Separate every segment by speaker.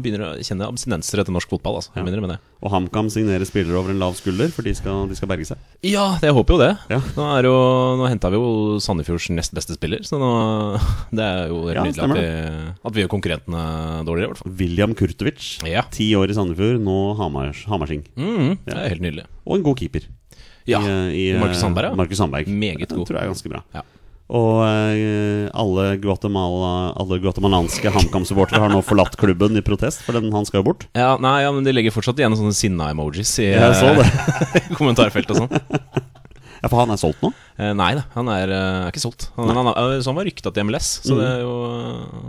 Speaker 1: begynner å kjenne abstinenser etter norsk fotball, altså. Jeg begynner med det.
Speaker 2: Og HamKam signerer spillere over en lav skulder, for de skal, de skal berge seg.
Speaker 1: Ja, jeg håper jo det.
Speaker 2: Ja.
Speaker 1: Nå, er jo, nå henta vi jo Sandefjords nest beste spiller, så nå, det er jo helt
Speaker 2: Ja,
Speaker 1: nydelig
Speaker 2: stemmer
Speaker 1: at vi, at vi gjør konkurrentene dårligere, i hvert fall.
Speaker 2: William Kurtovic.
Speaker 1: Ja.
Speaker 2: Ti år i Sandefjord, nå Hamars, Hamarsing.
Speaker 1: Mm, det er helt nydelig.
Speaker 2: Og en god keeper.
Speaker 1: Ja,
Speaker 2: I, eh, i,
Speaker 1: Markus Sandberg,
Speaker 2: eh,
Speaker 1: ja.
Speaker 2: Markus Sandberg.
Speaker 1: Meget
Speaker 2: Det
Speaker 1: god.
Speaker 2: tror jeg er ganske bra.
Speaker 1: Ja.
Speaker 2: Og eh, alle, Guatemala, alle guatemalanske HamKam-supportere har nå forlatt klubben i protest, for den, han skal jo bort.
Speaker 1: Ja, nei, ja, men De legger fortsatt igjen sånne sinna-emojis i
Speaker 2: Jeg så det.
Speaker 1: eh, kommentarfelt og sånn.
Speaker 2: Ja, for han er solgt nå?
Speaker 1: Eh, nei da, han er, eh, er ikke solgt. Han, han, er- så han var rykta til MLS,
Speaker 2: Mm.
Speaker 1: så det, er jo,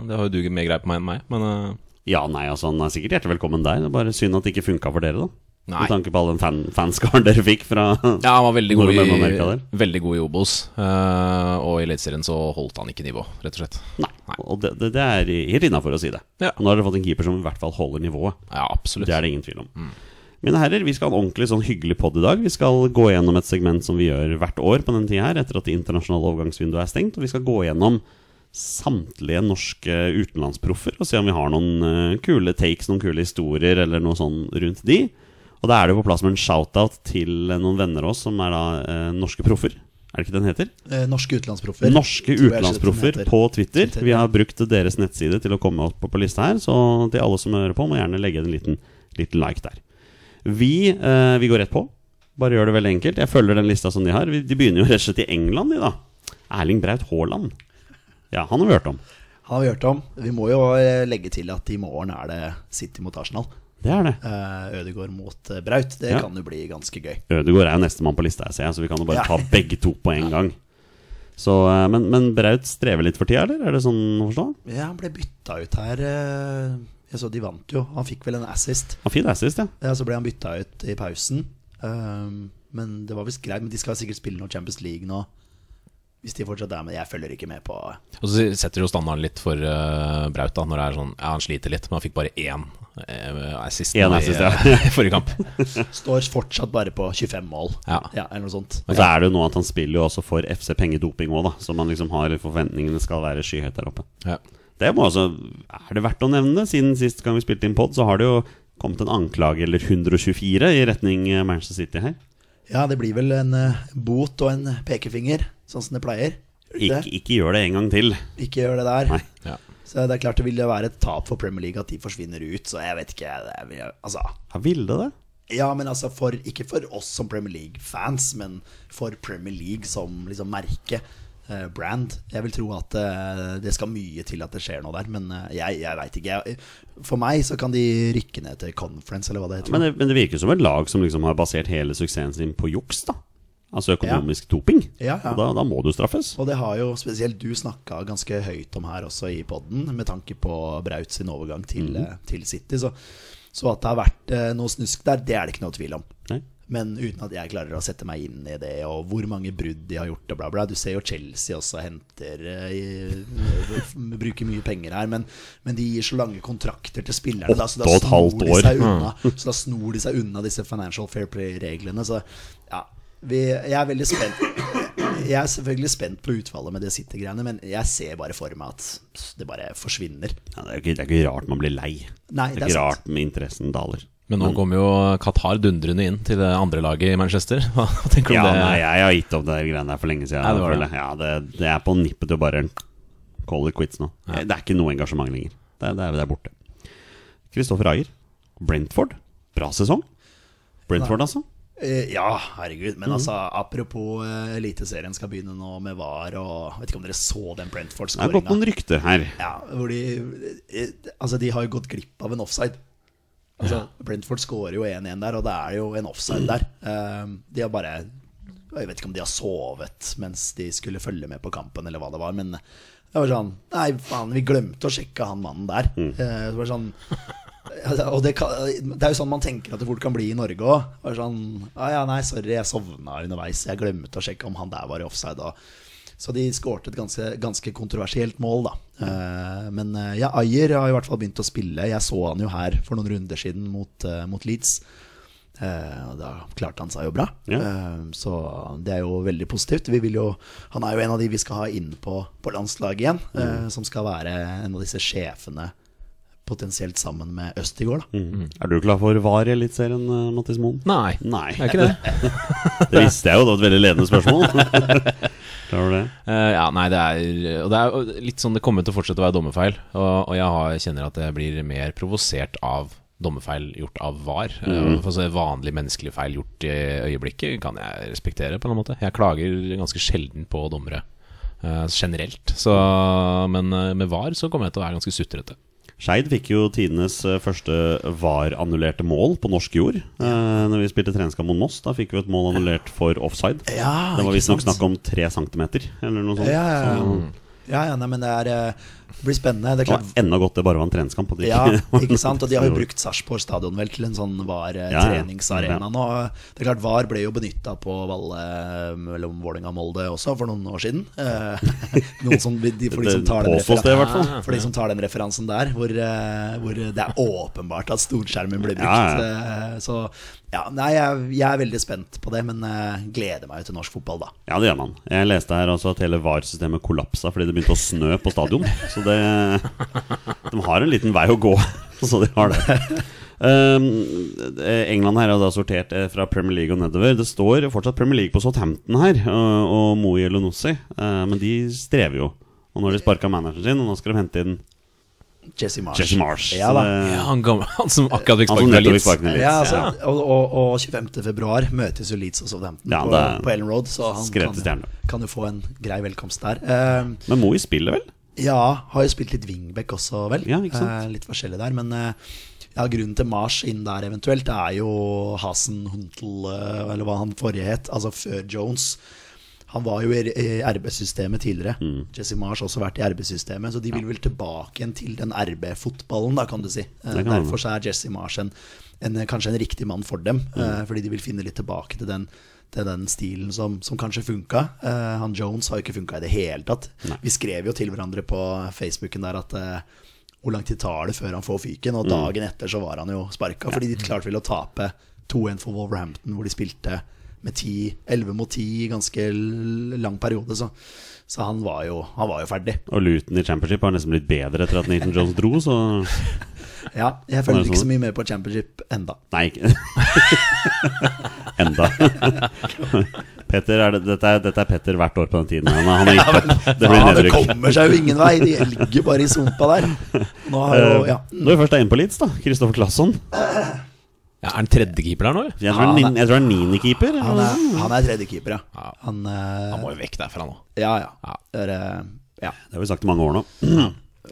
Speaker 1: det har jo du mer greie på meg enn meg. Men eh,
Speaker 2: Ja, nei, altså han er sikkert hjertelig velkommen der. Det er bare synd at det ikke funka for dere, da.
Speaker 1: Nei.
Speaker 2: Med tanke på all den fan fanskaren dere fikk fra
Speaker 1: ja, han var veldig god i,
Speaker 2: Nordmenn og Amerika der.
Speaker 1: veldig god i Obos. eh, og i Eliteserien så holdt han ikke nivå, rett og slett.
Speaker 2: Nei. Og det, det, det er helt innafor å si det.
Speaker 1: Ja.
Speaker 2: Og Nå har dere fått en keeper som i hvert fall holder nivået.
Speaker 1: Ja, absolutt.
Speaker 2: Det er det ingen tvil om. Mine herrer, vi skal ha en ordentlig sånn hyggelig pod i dag. Vi skal gå gjennom et segment som vi gjør hvert år på denne tida her, etter at det internasjonale overgangsvinduet er stengt. Og vi skal gå gjennom samtlige norske utenlandsproffer og se om vi har noen eh, kule takes, noen kule historier eller noe sånn rundt de. Og da er det på plass med en shout-out til eh, noen venner av oss som er da eh, norske proffer. Er det ikke den heter?
Speaker 3: Eh, Norske utenlandsproffer.
Speaker 2: Norske
Speaker 3: Tror jeg ikke det
Speaker 2: utenlandsproffer
Speaker 3: heter.
Speaker 2: på Twitter.
Speaker 3: Twitter,
Speaker 2: Vi
Speaker 3: ja.
Speaker 2: har brukt deres nettside til å komme opp på lista her, så til alle som hører på, må gjerne legge en liten, liten like der. Vi, eh, vi går rett på. Bare gjør det veldig enkelt. Jeg følger den lista som de har. Vi- De begynner jo rett og slett i England, de, da. Erling Braut Haaland. Ja, han har vi hørt om.
Speaker 3: Han har vi hørt om. Vi må jo eh, legge til at i morgen er det City mot Arsenal.
Speaker 2: Det er det.
Speaker 3: Eh, Ødegaard mot eh, Braut. Det
Speaker 2: Ja.
Speaker 3: kan jo bli ganske gøy.
Speaker 2: Ødegaard er jo nestemann på lista, jeg ser, så vi kan jo bare
Speaker 3: Ja.
Speaker 2: ta begge to på en gang. Så, eh, men, men Braut strever litt for tida, eller? Er det sånn å forstå?
Speaker 3: Ja, han ble bytta ut her. eh, Jeg så de vant jo. Han fikk vel en assist.
Speaker 2: Han fin assist, ja.
Speaker 3: Ja, så ble han bytta ut i Eh, pausen. Um, men det var visst greit. Men de skal sikkert spille noe Champions League nå. Hvis de fortsatt er med. Jeg følger ikke med på eh,
Speaker 1: Og så setter jo standarden litt for eh, Braut, da, når det er sånn Ja, han sliter litt, men han fikk bare én eh, assist
Speaker 2: Én
Speaker 1: nå i,
Speaker 2: assist, ja.
Speaker 1: eh, forrige kamp.
Speaker 3: Står fortsatt bare på 25 mål,
Speaker 1: Ja.
Speaker 3: ja, eller noe sånt.
Speaker 2: Men så er det jo nå at han spiller jo også for FC Pengedoping òg, da. Så man liksom har forventningene skal være skyhøyt der oppe.
Speaker 1: Ja.
Speaker 2: Det må altså, er det verdt å nevne. Siden sist gang vi spilte inn pod, så har det jo kommet en anklage, eller 124, i retning eh, Manchester City her.
Speaker 3: Ja, det blir vel en eh, bot og en pekefinger, sånn som det pleier. Gjør det
Speaker 2: Ikke,
Speaker 3: Ikke,
Speaker 2: ikke gjør det en gang til.
Speaker 3: det? ikke gjør det der.
Speaker 2: Nei.
Speaker 1: Ja.
Speaker 3: Så det er klart det vil jo være et tap for Premier League at de forsvinner ut, så jeg vet ikke det vil, jeg- Altså.
Speaker 2: Ja, ville det?
Speaker 3: Ja, men altså for, ikke for oss som Premier League-fans, men for Premier League som liksom merke. eh, Brand. Jeg vil tro at eh, det skal mye til at det skjer noe der, men eh, jeg, jeg veit ikke. Jeg, for meg så kan de rykke ned til conference, eller hva det heter.
Speaker 2: Men, det, men det virker som et lag som liksom har basert hele suksessen sin på juks, da. Altså økonomisk doping.
Speaker 3: Ja, ja.
Speaker 2: Og Da, da må du straffes.
Speaker 3: Og det har jo spesielt du snakka ganske høyt om her også i poden, med tanke på Braut sin overgang til, eh, til City. Så, så at det har vært eh, noe snusk der, det er det ikke noe tvil om.
Speaker 2: Nei.
Speaker 3: Men uten at jeg klarer å sette meg inn i det, og hvor mange brudd de har gjort og bla, bla. Du ser jo Chelsea også henter eh, i- Bruker mye penger her, men, men de gir så lange kontrakter til spillerne. Da, så da
Speaker 2: Åtte og et halvt
Speaker 3: snor de
Speaker 2: år.
Speaker 3: seg unna, så da snor de seg unna disse financial fair play-reglene. Så ja, vi, jeg er veldig spent. Jeg er selvfølgelig spent på utfallet med det City-greiene, men jeg ser bare for meg at det bare forsvinner.
Speaker 2: Ja, det, er jo ikke, det er ikke rart man blir lei.
Speaker 3: Nei,
Speaker 2: det er
Speaker 3: det er
Speaker 2: ikke
Speaker 3: sant.
Speaker 2: rart med interessen daler.
Speaker 1: Men nå kommer jo Qatar dundrende inn til det andre laget i Manchester. Hva tenker du
Speaker 2: Ja,
Speaker 1: om det?
Speaker 2: nei, jeg har gitt opp det greiene der for lenge siden.
Speaker 1: Nei, det var det.
Speaker 2: føler jeg. Ja, det, det er på nippet til å bare call it quits nå. Det er ikke noe engasjement lenger. Det, er- det, er, det er borte. Kristoffer Ayer, Brentford. Bra sesong. Brentford, altså.
Speaker 3: Eh, Ja, herregud. Men altså, apropos eh, Eliteserien skal begynne nå med VAR og Vet ikke om dere så den
Speaker 2: Det har gått noen
Speaker 3: Brentford-skåringa?
Speaker 2: rykter her.
Speaker 3: Ja, hvor de eh, Altså, de har jo gått glipp av en offside. Altså, Brentford skårer jo 1-1 der, og det er jo en offside der. Eh, de har bare Jeg vet ikke om de har sovet mens de skulle følge med på kampen, eller hva det var, men det var sånn Nei, faen, vi glemte å sjekke han mannen der. Eh, det var sånn Altså, og det, kan, det er jo sånn man tenker at det fort kan bli i Norge òg. Sånn, ah, ja, nei, sorry, jeg sovna underveis. Jeg glemte å sjekke om han der var i offside. Og. Så de skårte et ganske, ganske kontroversielt mål, da. Eh, men eh, ja, Ayer har i hvert fall begynt å spille. Jeg så han jo her for noen runder siden mot, eh, mot Leeds. Eh, og da klarte han seg jo bra.
Speaker 2: Ja.
Speaker 3: Eh, så det er jo veldig positivt. Vi vil jo, han er jo en av de vi skal ha inn på, på landslaget igjen, eh, som skal være en av disse sjefene potensielt sammen med Østigård. Da.
Speaker 2: Er du klar for VAR i Eliteserien, eh, Mattis Moen?
Speaker 1: Nei.
Speaker 2: Nei.
Speaker 1: Det er ikke det.
Speaker 2: Det visste jeg jo, det var et veldig ledende spørsmål. Klarer du det?
Speaker 1: Eh, ja, nei, det er, og det er jo litt sånn det kommer til å fortsette å være dommerfeil. Og, og jeg har, kjenner at jeg blir mer provosert av dommerfeil gjort av var. Eh,
Speaker 2: Mm.
Speaker 1: for å si vanlig menneskelig feil gjort i øyeblikket kan jeg respektere på en eller annen måte. Jeg klager ganske sjelden på dommere eh, generelt. Så, men eh, med var så kommer jeg til å være ganske sutrete.
Speaker 2: Skeid fikk jo tidenes eh, første VAR-annullerte mål på norsk jord. Eh, når vi spilte treningskamp mot Moss, da fikk vi et mål annullert for offside.
Speaker 3: Ja,
Speaker 2: det var
Speaker 3: ikke
Speaker 2: visstnok
Speaker 3: sant?
Speaker 2: snakk om tre centimeter, eller noe sånt.
Speaker 3: Ja, ja, ja.
Speaker 2: Så
Speaker 3: Ja, ja, nei, men det, er, eh, det blir spennende. Det er
Speaker 2: det var
Speaker 3: klart,
Speaker 2: enda godt det bare var en treningskamp. Og det
Speaker 3: ja,
Speaker 2: var
Speaker 3: ikke sant? Og de har jo
Speaker 2: noe-
Speaker 3: brukt Sarpsborg stadion vel til en sånn var eh,
Speaker 2: Ja, ja.
Speaker 3: treningsarena
Speaker 2: Ja.
Speaker 3: nå. Det er klart, VAR ble jo benytta på Valle eh, mellom Vålerenga og Molde også for noen år siden. Eh, Noen som, de, for de som tar den
Speaker 2: Det påstås det, i hvert fall.
Speaker 3: referansen- For de som tar den referansen der, hvor, eh, hvor det er åpenbart at storskjermen ble brukt.
Speaker 2: Ja,
Speaker 3: Eh, Så ja, nei, jeg, jeg er veldig spent på det, men eh, gleder meg jo til norsk fotball, da.
Speaker 2: Ja, det gjør man. Jeg leste her også at hele VAR-systemet kollapsa fordi det begynte å snø på stadion. Så det De har en liten vei å gå, så de har det. Um, England her har da sortert eh, fra Premier League og nedover. Det står fortsatt Premier League på Southampton her, og, og Moe Jelonossi, eh, men de strever jo. Og nå har de sparka manageren sin, og nå skal de hente inn
Speaker 3: Jesse Marsh.
Speaker 2: Jesse Marsh.
Speaker 3: Ja, da.
Speaker 1: Ja, han, gamle, han som akkurat fikk
Speaker 2: Han som
Speaker 1: sparken av
Speaker 2: nettopp fikk
Speaker 1: Leeds.
Speaker 2: sparken i
Speaker 3: Ja,
Speaker 2: Leeds.
Speaker 3: altså,
Speaker 2: Ja.
Speaker 3: og, og, og 25. februar møtes jo Leeds og Southampton
Speaker 2: Ja,
Speaker 3: på,
Speaker 2: det er
Speaker 3: på Ellen Road, så han
Speaker 2: skrevet i
Speaker 3: kan,
Speaker 2: stjernene.
Speaker 3: kan jo få en grei velkomst der. Eh,
Speaker 2: Men Moe spiller vel?
Speaker 3: ja, har jo spilt litt wingback også, vel.
Speaker 2: Ja, ikke sant?
Speaker 3: Eh, litt forskjellig der, men eh, ja, grunnen til Mars inn der eventuelt er jo Hasen Huntel, eh, eller hva han forrige het, altså før Jones. Han var jo i R- i RB-systemet tidligere.
Speaker 2: Mm.
Speaker 3: Jesse Marsh har også vært i RB-systemet, så de vil vel tilbake igjen til den RB-fotballen, da, kan du si. Eh,
Speaker 2: Det kan man.
Speaker 3: Derfor så er Jesse Marsh en, en, kanskje en riktig mann for dem, eh, fordi de vil finne litt tilbake til den, til den stilen som, som kanskje funka. Eh, han Jones har jo ikke funka i det hele tatt. Vi skrev jo til hverandre på Facebooken der at eh, hvor lang tid tar det før han får fyken? Og dagen etter så var han jo sparka, fordi de klarte vel å tape 2-1 for Wolverhampton, hvor de spilte med 10, 11 mot 10 i ganske l- lang periode. Så, så han, var jo, han var jo ferdig.
Speaker 2: Og Luton i Championship har nesten blitt bedre etter at Nathan Jones dro, så
Speaker 3: Ja, jeg
Speaker 2: Var
Speaker 3: følger
Speaker 2: det
Speaker 3: ikke
Speaker 2: sånn?
Speaker 3: så mye med på championship enda
Speaker 2: Nei, ikke Enda. Petter er det, dette, er, dette er Petter hvert år på den tiden. Han, han har gitt opp. Det blir
Speaker 3: Ja, det
Speaker 2: nedrykk.
Speaker 3: kommer seg jo ingen vei. De ligger bare i sumpa der. Nå har jo, ja.
Speaker 2: Eh, Når vi først er inne på Leeds, da. Kristoffer Klasson.
Speaker 1: Ja, er han tredjekeeper der nå? eller?
Speaker 2: Jeg tror han er nin- jeg tror han er niendekeeper.
Speaker 3: Han er, han er tredjekeeper, ja.
Speaker 1: Ja.
Speaker 3: Han,
Speaker 1: Han
Speaker 3: eh,
Speaker 1: må jo vekk derfra nå.
Speaker 3: ja, ja. Er, eh, ja.
Speaker 2: Det har vi sagt i mange år nå.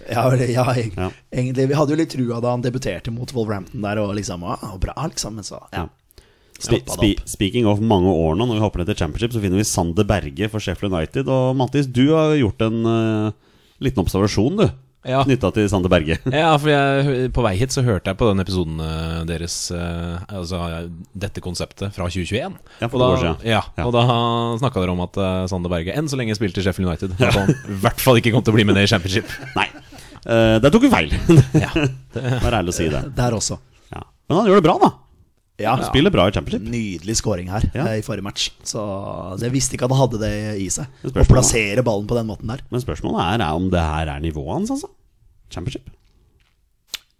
Speaker 3: Ja, vel, ja, eg-
Speaker 2: Ja.
Speaker 3: egentlig. Vi hadde jo litt trua da han debuterte mot Wolverhampton der, og liksom ah, bra, liksom. Men så ja.
Speaker 2: Ja. Spe
Speaker 3: Stoppa
Speaker 2: spe
Speaker 3: det opp.
Speaker 2: speaking of mange år nå, når vi hopper ned til Championship, så finner vi Sander Berge for Sheffield United. Og Mattis, du har gjort en eh, liten observasjon, du.
Speaker 1: Ja.
Speaker 2: Knytta til Sander Berge.
Speaker 1: Ja, for jeg, på vei hit så hørte jeg på den episoden eh, deres eh, Altså dette konseptet fra 2021.
Speaker 2: Ja, for
Speaker 1: og da,
Speaker 2: to år siden.
Speaker 1: Ja,
Speaker 2: Ja.
Speaker 1: og da snakka dere om at eh, Sander Berge enn så lenge spilte i Sheffield United. At han i hvert fall ikke kom til å bli med ned i Championship.
Speaker 2: Nei, eh, der tok vi feil.
Speaker 1: Ja,
Speaker 2: Vær ærlig å si det.
Speaker 3: Der også.
Speaker 2: Ja. Men han gjør det bra, da.
Speaker 3: Ja.
Speaker 2: Han spiller bra i Championship.
Speaker 3: Nydelig scoring her
Speaker 2: Ja.
Speaker 3: eh, i forrige match. Så jeg visste ikke at han hadde det i seg.
Speaker 2: Det
Speaker 3: Å
Speaker 2: spørs om han-
Speaker 3: plassere ballen på den måten der.
Speaker 2: Men spørsmålet er, er om det her er nivået hans, altså. Championship.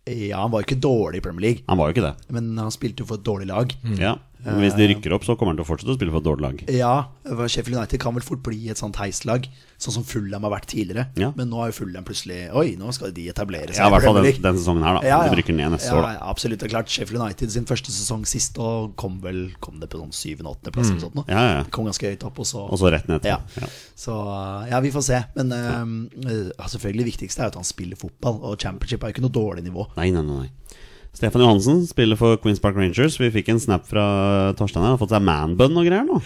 Speaker 3: Ja, han var jo ikke dårlig i Premier League,
Speaker 2: Han var jo ikke det.
Speaker 3: men han spilte jo for et dårlig lag.
Speaker 2: Ja. Men hvis de rykker opp, så kommer han til å fortsette å spille for et dårlig lag.
Speaker 3: Mm. Ja, Sheffield United kan vel fort bli et sånt heislag, sånn som Fulham har vært tidligere.
Speaker 2: Ja.
Speaker 3: Men nå har jo Fulham plutselig Oi, nå skal de etablere seg.
Speaker 2: Ja, i hvert fall
Speaker 3: Premier
Speaker 2: den,
Speaker 3: League.
Speaker 2: den sesongen her, da.
Speaker 3: Ja, ja.
Speaker 2: De rykker ned neste
Speaker 3: ja,
Speaker 2: år, da.
Speaker 3: ja, absolutt. Det er klart, Sheffield United sin første sesong sist, og kom vel kom det på sånn syvende-åttende plass. eller sånt nå.
Speaker 2: Mm. Ja, ja, ja.
Speaker 3: Kom ganske høyt opp, og så,
Speaker 2: Og så rett ned
Speaker 3: ja.
Speaker 2: etterpå. Ja.
Speaker 3: Så ja, vi får se. Men eh, eh, selvfølgelig det viktigste er jo at han spiller fotball, og championship er jo ikke noe dårlig nivå.
Speaker 2: Nei, nei, nei. nei. Stefan Johansen spiller for Queens Park Rangers. Vi fikk en snap fra Torstein her. Han har fått seg manbun og greier nå.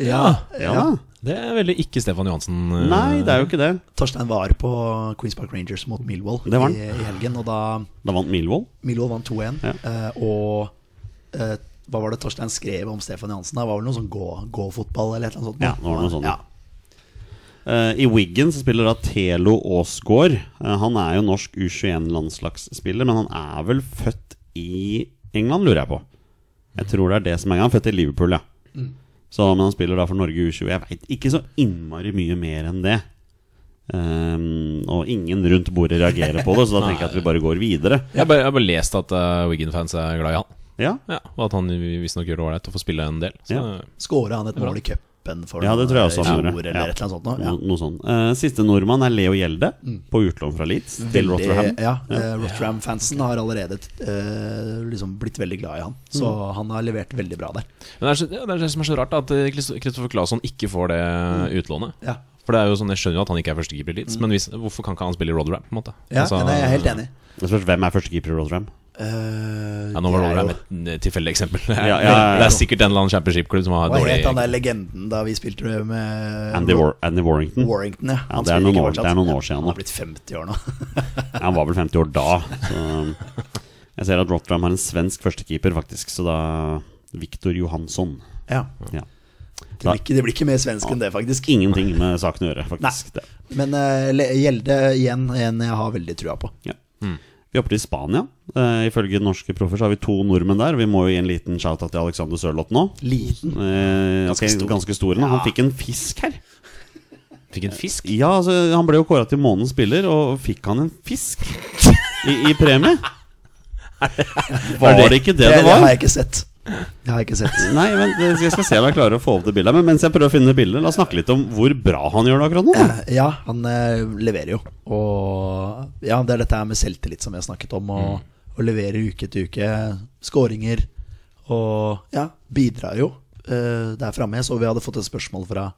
Speaker 3: Ja,
Speaker 2: Ja da.
Speaker 1: Det er veldig ikke Stefan Johansen. eh,
Speaker 2: Nei, det er jo ikke det.
Speaker 3: Torstein var på Queens Park Rangers mot Millwall
Speaker 2: Det var han.
Speaker 3: i, i helgen, og da
Speaker 2: Da vant Milvold.
Speaker 3: Millwall vant 2-1,
Speaker 2: Ja.
Speaker 3: eh, og eh, hva var det Torstein skrev om Stefan Johansen? Det var vel noe sånn gå- gå-fotball eller et eller annet sånt?
Speaker 2: Ja, det var noe sånt, ja.
Speaker 3: Ja.
Speaker 2: Eh, I Wiggen så spiller da Telo Aasgaard. Eh, han er jo norsk U21-landslagsspiller, men han er vel født i England, lurer jeg på. Jeg tror det er det som er Han er født i Liverpool, ja. Så, men han spiller da for Norge U20. Jeg veit ikke så innmari mye mer enn det. Ehm, og ingen rundt bordet reagerer på det, så da tenker jeg at vi bare går videre.
Speaker 1: Jeg har bare, jeg har bare lest at eh, Wigan-fans er glad i han.
Speaker 2: Ja,
Speaker 1: Ja, Og at han visstnok gjør det ålreit å få spille en del. Så
Speaker 2: Ja.
Speaker 3: Skåra han et mål i cupen for
Speaker 2: Ja, det tror jeg også han
Speaker 3: noen
Speaker 2: gjorde.
Speaker 3: fjor, eller
Speaker 2: Ja.
Speaker 3: et eller annet sånt nå? Ja.
Speaker 2: no, noe sånt. Eh, siste nordmann er Leo Gjelde, på utlån fra Leeds til
Speaker 3: Veldig-
Speaker 2: Rotterdam.
Speaker 3: Ja, eh, Rotterdam-fansen har allerede eh, liksom blitt veldig glad i han.
Speaker 2: Mm.
Speaker 3: Så han har levert veldig bra der.
Speaker 1: Men det er, så, ja, det er det som er så rart, da, at eh, Christ- Christopher Claesson ikke får det
Speaker 2: Mm.
Speaker 1: utlånet.
Speaker 3: Ja.
Speaker 1: For det er jo sånn, Jeg skjønner jo at han ikke er førstekeeper i Leeds, men hvis, hvorfor kan ikke han spille i Rotherham? på en måte?
Speaker 3: Mm. Ja,
Speaker 1: Altså,
Speaker 3: nei, jeg er helt enig.
Speaker 2: Det spørs hvem er førstekeeper i Rotterdam.
Speaker 3: Eh,
Speaker 1: Ja, nå var
Speaker 3: det er
Speaker 1: Rotherham
Speaker 3: jo-
Speaker 1: et eh, tilfeldig eksempel.
Speaker 2: ja, ja.
Speaker 1: Det er sikkert en eller annen championship-klubb som har
Speaker 3: Hva het han der
Speaker 1: dårlig
Speaker 3: legenden da vi spilte med
Speaker 2: Andy, War Andy Warrington.
Speaker 3: Warrington, ja. Han
Speaker 2: det er
Speaker 3: spiller
Speaker 2: noen
Speaker 3: ikke
Speaker 2: år-
Speaker 3: fortsatt.
Speaker 2: det er noen år
Speaker 3: Ja,
Speaker 2: siden
Speaker 3: Han
Speaker 2: nå.
Speaker 3: har blitt 50 år nå.
Speaker 2: Han var vel 50 år da. Så um, jeg ser at Rotterdam har en svensk førstekeeper, faktisk. Så da Viktor Johansson.
Speaker 3: ja.
Speaker 2: Ja.
Speaker 3: det, blir ikke, det blir ikke mer svensk enn det, faktisk.
Speaker 2: Ingenting med saken å gjøre, faktisk. Det.
Speaker 3: Men eh, Le- Gjelde igjen en jeg har veldig trua på.
Speaker 2: Ja. Vi hopper til Spania. Eh, ifølge norske proffer så har vi to nordmenn der. Vi må jo gi en liten shout-out til Alexander Sørloth nå.
Speaker 3: Liten.
Speaker 2: Eh, ganske,
Speaker 3: stor.
Speaker 2: ganske stor nå. Han fikk en fisk her.
Speaker 1: Fikk en fisk?
Speaker 2: Ja, altså, Han ble jo kåra til månedens spiller, og fikk han en fisk i, i premie? Var det ikke det
Speaker 3: Det,
Speaker 2: det
Speaker 3: det
Speaker 2: var?
Speaker 3: har jeg ikke sett. Det har jeg ikke sett.
Speaker 2: Nei, men det- jeg skal se om jeg klarer å få opp det bildet. her, Men mens jeg prøver å finne bildet, la oss snakke litt om hvor bra han gjør det akkurat nå.
Speaker 3: Ja, han eh, leverer jo. Og ja, det er dette her med selvtillit som jeg har snakket om. Og, og leverer uke etter uke. Skåringer. Og ja, bidrar jo eh, der framme. Jeg så vi hadde fått et spørsmål fra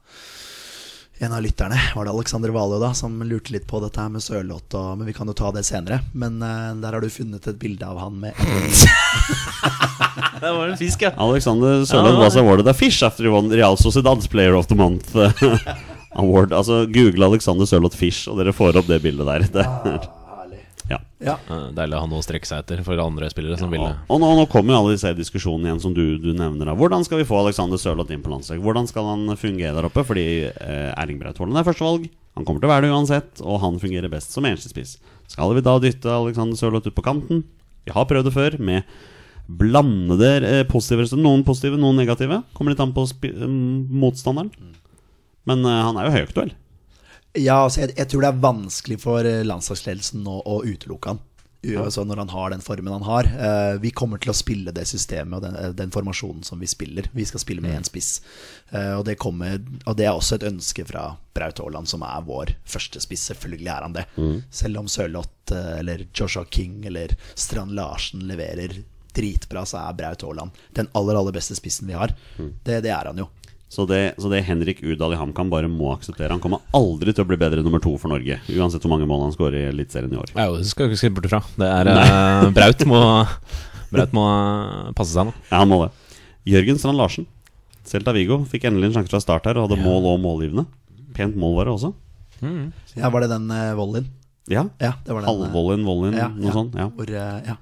Speaker 3: en av lytterne, var det Alexander Valø da, som lurte litt på dette her med sørlåt og Men vi kan jo ta det senere. Men eh, der har du funnet et bilde av han med
Speaker 1: Det var en fisk, ja.
Speaker 2: Alexander Sørloth was awarded a fish after he won Real Sociedad's Player of the Month eh, award. Altså, Google Alexander Sørloth Fish, og dere får opp det bildet der. Det,
Speaker 3: Ah,
Speaker 2: er- ja.
Speaker 3: Ja.
Speaker 1: Deilig å ha noe å strekke seg etter for andre spillere som ville
Speaker 2: Og nå, nå kommer jo alle disse diskusjonene igjen som du, du nevner. Da. Hvordan skal vi få Alexander Sørloth inn på landslaget? Hvordan skal han fungere der oppe? Fordi eh, Erling Braut Haaland er førstevalg. Han kommer til å være det uansett, og han fungerer best som enestespiss. Skal vi da dytte Alexander Sørloth ut på kanten? Vi har prøvd det før med blandede eh, positive resultater. Noen positive, noen negative. Kommer litt an på spi eh,
Speaker 1: Mm.
Speaker 2: motstanderen. Men eh, han er jo høyaktuell.
Speaker 3: Ja, altså jeg, jeg tror det er vanskelig for eh, landslagsledelsen nå å utelukke han. U- Altså når han har den formen han har. Eh, vi kommer til å spille det systemet og den, eh, den formasjonen som vi spiller. Vi skal spille med én spiss. Eh, og, det kommer, og det er også et ønske fra Braut Haaland, som er vår første spiss. Selvfølgelig er han det. Selv om Sørloth eh, eller Joshua King eller Strand Larsen leverer dritbra, så er Braut Haaland den aller, aller beste spissen vi har. Det, det er han jo.
Speaker 2: Så det, så det Henrik Udal i HamKam bare må akseptere. Han kommer aldri til å bli bedre nummer to for Norge. Uansett hvor mange mål han skårer i Eliteserien i år.
Speaker 1: Ja, jo, det skal du ikke se bort ifra. Det er eh, Braut må Braut må eh, passe seg nå.
Speaker 2: Ja, han må det. Jørgen Strand Larsen. Celta Vigo fikk endelig en sjanse fra start her og hadde mål og målgivende. Pent målvare også.
Speaker 3: Ja, var det den eh, volleyen?
Speaker 2: Ja.
Speaker 3: Ja, det var den. eh,
Speaker 2: Halvvolleyen, volleyen, noe sånt. Ja.
Speaker 3: Hvor, eh, ja.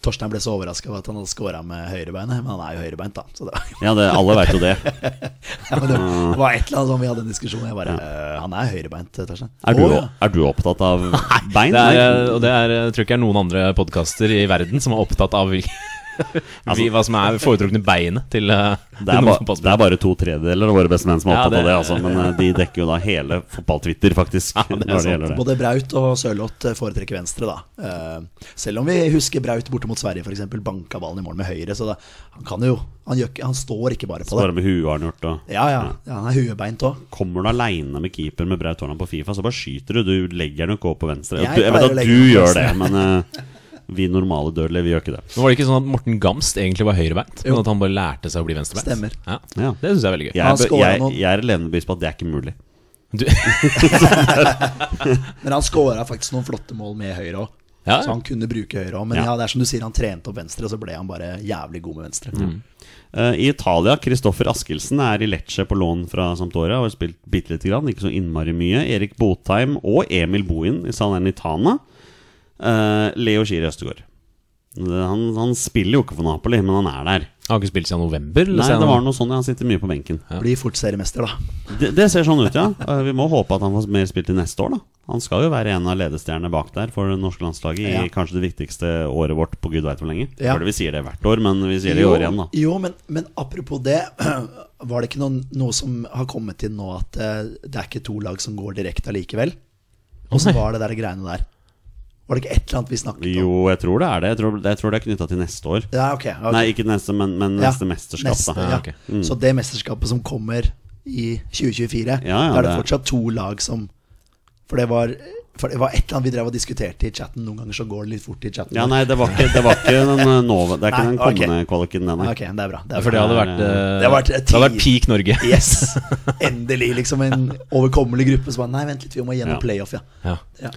Speaker 3: Torstein ble så overraska over at han hadde skåra med høyrebeinet, men han er jo høyrebeint, da. Så det, var-
Speaker 2: ja, det, alle veit jo det.
Speaker 3: ja, men det
Speaker 2: Mm.
Speaker 3: var et eller annet som vi hadde en diskusjon Jeg bare «Øh, Han er høyrebeint, Torstein.
Speaker 2: Er du,
Speaker 3: Å, ja.
Speaker 2: er du opptatt av bein?
Speaker 1: Det er, eh,
Speaker 2: Nei.
Speaker 1: og det er, jeg tror ikke det er noen andre podkaster i verden som er opptatt av vi,
Speaker 3: Altså-
Speaker 1: vi, hva som er foretrukne beinet til, eh,
Speaker 2: det, er
Speaker 1: til
Speaker 2: ba,
Speaker 1: noen
Speaker 2: det er
Speaker 1: fotballspillere.
Speaker 2: bare to tredjedeler av våre beste menn som er
Speaker 1: Ja,
Speaker 2: opptatt
Speaker 1: det-
Speaker 2: av det, altså. Men eh, de dekker jo da hele fotball-Twitter, faktisk.
Speaker 1: det
Speaker 2: når
Speaker 1: er sant.
Speaker 2: gjelder det.
Speaker 3: Altså, Både Braut og Sørloth eh, foretrekker venstre, da. Eh, Selv om vi husker Braut borte mot Sverige, f.eks. Banka ballen i mål med høyre, så da, han kan jo han, gjør, ikke- han står ikke bare på
Speaker 2: Bare
Speaker 3: det.
Speaker 2: med huet har han gjort og
Speaker 3: Ja, ja. ja han er huebeint òg.
Speaker 2: Kommer du aleine med keeper med Braut Haaland på Fifa, så bare skyter du. Du legger den jo ikke opp på venstre.
Speaker 3: Jeg
Speaker 2: Jeg, jeg vet
Speaker 3: pleier å
Speaker 2: at
Speaker 3: legge
Speaker 2: du
Speaker 3: den på
Speaker 2: gjør det,
Speaker 3: venstre.
Speaker 2: men eh, vi normale dødelige, vi gjør ikke det.
Speaker 1: Men var det ikke sånn at Morten Gamst egentlig var høyrebeint?
Speaker 3: Jo.
Speaker 1: Men at han bare lærte seg å bli venstrebeint?
Speaker 3: Stemmer.
Speaker 1: Ja.
Speaker 2: Ja.
Speaker 1: Det syns jeg er veldig gøy.
Speaker 2: Jeg,
Speaker 3: Han
Speaker 2: er-
Speaker 3: scoret
Speaker 2: jeg,
Speaker 3: noen.
Speaker 2: jeg er levende bevis på at det er ikke mulig.
Speaker 1: Du,
Speaker 3: Men han skåra faktisk noen flotte mål med høyre òg.
Speaker 1: Ja.
Speaker 3: Så han kunne bruke høyre òg. Men
Speaker 2: Ja.
Speaker 3: ja. det er som du sier, han trente opp venstre, og så ble han bare jævlig god med venstre.
Speaker 2: Eh, I Italia, Kristoffer Askildsen er i Lecce på lån fra Sampdoria. Har spilt bitte lite grann, ikke så innmari mye. Erik Botheim og Emil Bohin i Salernitana. Eh, Leo Schiri Østegård. Det- Han, han spiller jo ikke for Napoli, men han er der.
Speaker 1: han har ikke spilt siden november? eller
Speaker 2: Nei,
Speaker 1: siden-
Speaker 2: det var noe sånn, ja, Han sitter mye på benken.
Speaker 3: Blir fort seriemester, da.
Speaker 2: Det, det ser sånn ut, ja. Eh, Vi må håpe at han får mer spilt til neste år, da. Han skal jo være en av ledestjernene bak der for det norske landslaget i
Speaker 3: Ja.
Speaker 2: kanskje det viktigste året vårt på gud veit hvor lenge.
Speaker 3: Ja.
Speaker 2: Fordi vi sier det hvert år, men vi sier det i år igjen, da.
Speaker 3: Jo, men, men apropos det. Var det ikke noen, noe som har kommet inn nå at eh, det er ikke to lag som går direkte allikevel? Og så
Speaker 1: nei.
Speaker 3: var det der greiene der. Var det ikke et eller annet vi snakket om?
Speaker 2: Jo, jeg tror det er det. Jeg tror, jeg tror det er knytta til neste år.
Speaker 3: Ja, ok. ok.
Speaker 2: Nei, ikke neste, men, men
Speaker 3: Ja,
Speaker 2: neste mesterskap,
Speaker 3: neste,
Speaker 2: da. Mm.
Speaker 3: ja. Mm.
Speaker 1: ok.
Speaker 3: Så det mesterskapet som kommer i 2024,
Speaker 2: ja,
Speaker 3: da er det
Speaker 2: det-
Speaker 3: fortsatt to lag som For det var for det var et eller annet vi drev og diskuterte i chatten. Noen ganger så går det litt fort i chatten.
Speaker 2: Ja, nei, det var ikke, det var ikke den eh, nåve... Det er ikke
Speaker 3: Nei,
Speaker 2: den kommende kvaliken, den, nei.
Speaker 3: Ok, det er bra. Det
Speaker 1: Ja,
Speaker 3: er
Speaker 1: For det
Speaker 3: bra.
Speaker 1: hadde vært, eh,
Speaker 3: Det hadde vært
Speaker 1: det hadde vært
Speaker 3: ti-
Speaker 1: peak Norge.
Speaker 3: Yes! Endelig liksom en overkommelig gruppe som bare Nei, vent litt, vi må gjennom
Speaker 2: Ja.
Speaker 3: playoff, ja.
Speaker 1: Ja.
Speaker 3: ja.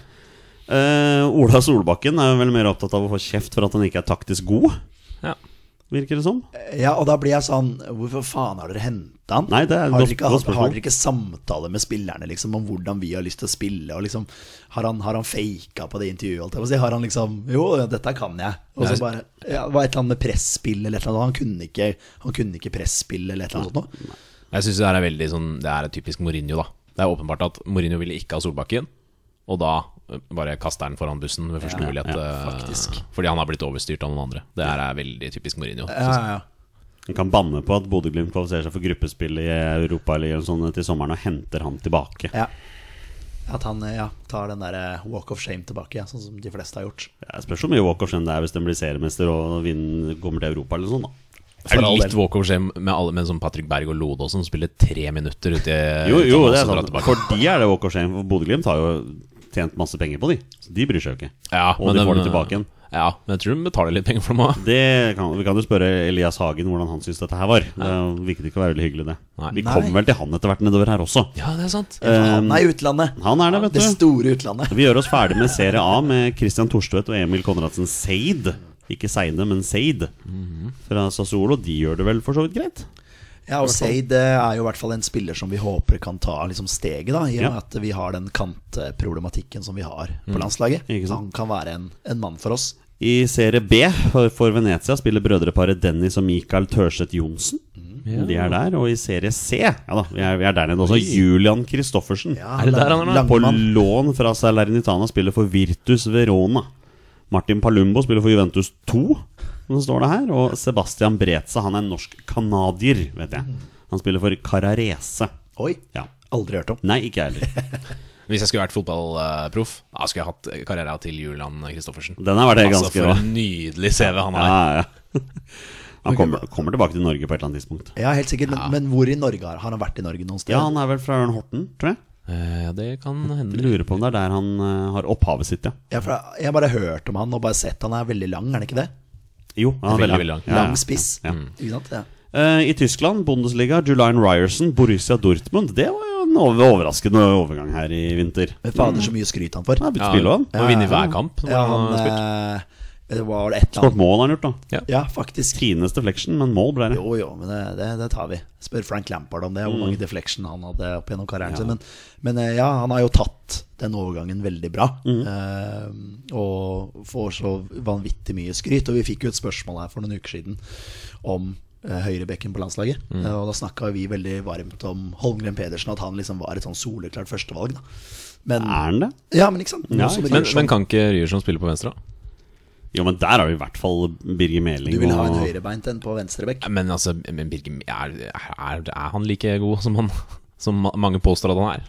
Speaker 2: Eh, Ola Solbakken er jo vel mer opptatt av å få kjeft for at han ikke er taktisk god,
Speaker 1: Ja.
Speaker 2: virker det som.
Speaker 3: Ja, og da blir jeg sånn Hvorfor faen har dere henta han?
Speaker 2: Nei, det er et
Speaker 3: har,
Speaker 2: godt-
Speaker 3: dere ikke,
Speaker 2: godt
Speaker 3: hatt-
Speaker 2: spørsmål.
Speaker 3: har dere ikke samtaler med spillerne liksom, om hvordan vi har lyst til å spille? Og liksom, har han, har han faka på det intervjuet? Holdt jeg på å si? Har han liksom Jo, ja, dette kan jeg. Og så bare ja, Det var et eller annet med presspill eller et eller annet. Han kunne ikke, han kunne ikke presspill eller et eller annet sånt noe.
Speaker 1: Jeg syns det her er veldig sånn Det er typisk Mourinho, da. Det er åpenbart at Mourinho ville ikke ha Solbakken, og da eh, bare kaster han foran bussen ved første mulighet. eh,
Speaker 3: faktisk.
Speaker 1: Fordi han har blitt overstyrt av noen andre. Det her er veldig typisk Mourinho.
Speaker 3: Ja,
Speaker 1: synes jeg.
Speaker 3: ja, ja.
Speaker 2: Han kan banne på at Bodø-Glimt kvalifiserer seg for gruppespill i Europaligaen sånn til sommeren og henter han tilbake.
Speaker 3: Ja. At han ja, tar den der eh, walk of shame tilbake, ja, sånn som de fleste har gjort.
Speaker 2: Jeg spørs hvor mye walk of shame det er hvis den blir seriemester og vinner, kommer til Europa eller sånn, da.
Speaker 1: Det er
Speaker 3: all
Speaker 1: litt
Speaker 3: del.
Speaker 1: walk over shame med alle Men som Patrick Berg og Lode også, som spiller tre minutter ute i
Speaker 2: Jo, jo,
Speaker 1: utlandet,
Speaker 2: det er
Speaker 1: og så drar
Speaker 2: sant.
Speaker 1: tilbake.
Speaker 2: For de er det walk of shame. For Bodø-Glimt har jo tjent masse penger på de, så de bryr seg jo ikke.
Speaker 1: Ja,
Speaker 2: Og de
Speaker 1: den-
Speaker 2: får det tilbake igjen.
Speaker 1: Ja, men jeg tror de betaler litt penger for dem òg.
Speaker 2: Det kan, vi kan jo spørre Elias Hagen hvordan han syns dette her var. Det virket ikke å være veldig hyggelig, det.
Speaker 1: Nei.
Speaker 2: Vi
Speaker 3: Nei.
Speaker 2: kommer vel til han etter hvert nedover her også.
Speaker 1: Ja, det er sant.
Speaker 3: Han er i Eh, utlandet.
Speaker 2: Han er det, vet
Speaker 3: Det
Speaker 2: du.
Speaker 3: store utlandet.
Speaker 2: Vi gjør oss ferdig med Serie A med Christian Thorstvedt og Emil Konradsen Seid. Ikke Seine, men Seid fra Sassuolo. De gjør det vel for så vidt greit?
Speaker 3: Ja, og Seid eh, er jo i hvert fall en spiller som vi håper kan ta liksom steget, da, i og
Speaker 2: Ja.
Speaker 3: med at vi har den kantproblematikken som vi har på landslaget.
Speaker 2: Ikke sant.
Speaker 3: Han kan være en, en mann for oss.
Speaker 2: I Serie B for, for Venezia spiller brødreparet Dennis og Michael Tørseth Johnsen. De er der. Og i Serie C ja da, vi er, vi er der nede også. Julian Kristoffersen.
Speaker 3: Ja,
Speaker 1: Er det der
Speaker 3: lang-
Speaker 1: han er nå?
Speaker 2: På
Speaker 3: Langmann.
Speaker 2: lån fra Salernitana spiller for Virtus Verona. Martin Palumbo spiller for Juventus 2, som det står det her. Og Sebastian Bretza, han er norsk-canadier, vet jeg. Han spiller for Cararese.
Speaker 3: Oi.
Speaker 2: Ja.
Speaker 3: Aldri hørt om.
Speaker 2: Nei, ikke jeg heller.
Speaker 1: Hvis jeg skulle vært fotballproff, da skulle jeg hatt karriera til Julian Kristoffersen.
Speaker 2: Den har vært helt
Speaker 1: Altså,
Speaker 2: ganske
Speaker 1: for
Speaker 2: rå.
Speaker 1: en nydelig CV han har.
Speaker 2: Ja, ja. Han kommer, kommer tilbake til Norge på et eller annet tidspunkt.
Speaker 3: Ja, helt sikkert. Men, men hvor i Norge har han? Har han vært i Norge noen steder?
Speaker 2: Ja, han er vel fra Ørn Horten, tror jeg.
Speaker 1: Eh, det kan
Speaker 2: Jeg
Speaker 1: hende.
Speaker 2: Lurer på om det er der han eh, har opphavet sitt, ja.
Speaker 3: Ja, for jeg- jeg har bare hørt om han og bare sett. Han er veldig lang, er han ikke det?
Speaker 2: Jo, han er
Speaker 1: Veldig,
Speaker 2: veldig
Speaker 1: veldig lang.
Speaker 2: Ja, ja.
Speaker 3: Lang spiss. Mm.
Speaker 2: Ja.
Speaker 3: Ikke sant? Ja.
Speaker 2: Eh, I Tyskland, Bundesliga, Julian Ryerson, Borussia Dortmund. Det var jo en over- overraskende overgang her i vinter.
Speaker 3: Men fader, så mye skryt han får.
Speaker 2: Han har
Speaker 1: Ja,
Speaker 2: begynt å spille òg.
Speaker 1: Må vinne hver kamp. når
Speaker 3: Ja,
Speaker 1: han har spilt.
Speaker 3: han eh, Det var det et eller
Speaker 2: Skåret
Speaker 3: annet
Speaker 2: mål har han gjort, da.
Speaker 3: Ja, faktisk.
Speaker 2: Tiendes deflection, men mål ble det.
Speaker 3: Jo, jo, men det, det, det tar vi. Spør Frank Lampard om det,
Speaker 1: Mm.
Speaker 3: hvor mange deflection han hadde opp gjennom karrieren sin. Men, men eh, ja, han har jo tatt den overgangen veldig bra.
Speaker 1: Mm.
Speaker 3: eh, og får så vanvittig mye skryt. Og vi fikk jo et spørsmål her for noen uker siden om eh, høyrebekken på landslaget.
Speaker 1: Mm.
Speaker 3: Eh, og da snakka vi veldig varmt om Holmgren Pedersen, at han liksom var et sånn soleklart førstevalg. Da. Men,
Speaker 2: Er han det?
Speaker 3: ja, men ikke sant?
Speaker 2: Ja,
Speaker 3: Nå som
Speaker 2: ikke
Speaker 1: Ah. Men,
Speaker 3: Ryerson-
Speaker 1: men kan ikke Ryerson spille på venstre? da?
Speaker 2: Jo, men der har vi i hvert fall Birger Meling
Speaker 3: du vil ha en
Speaker 2: og
Speaker 3: høyrebeint en på venstrebekk?
Speaker 1: Ja, Men altså, men Birger, er, er, er han like god som, han, som ma- mange påstår at han er?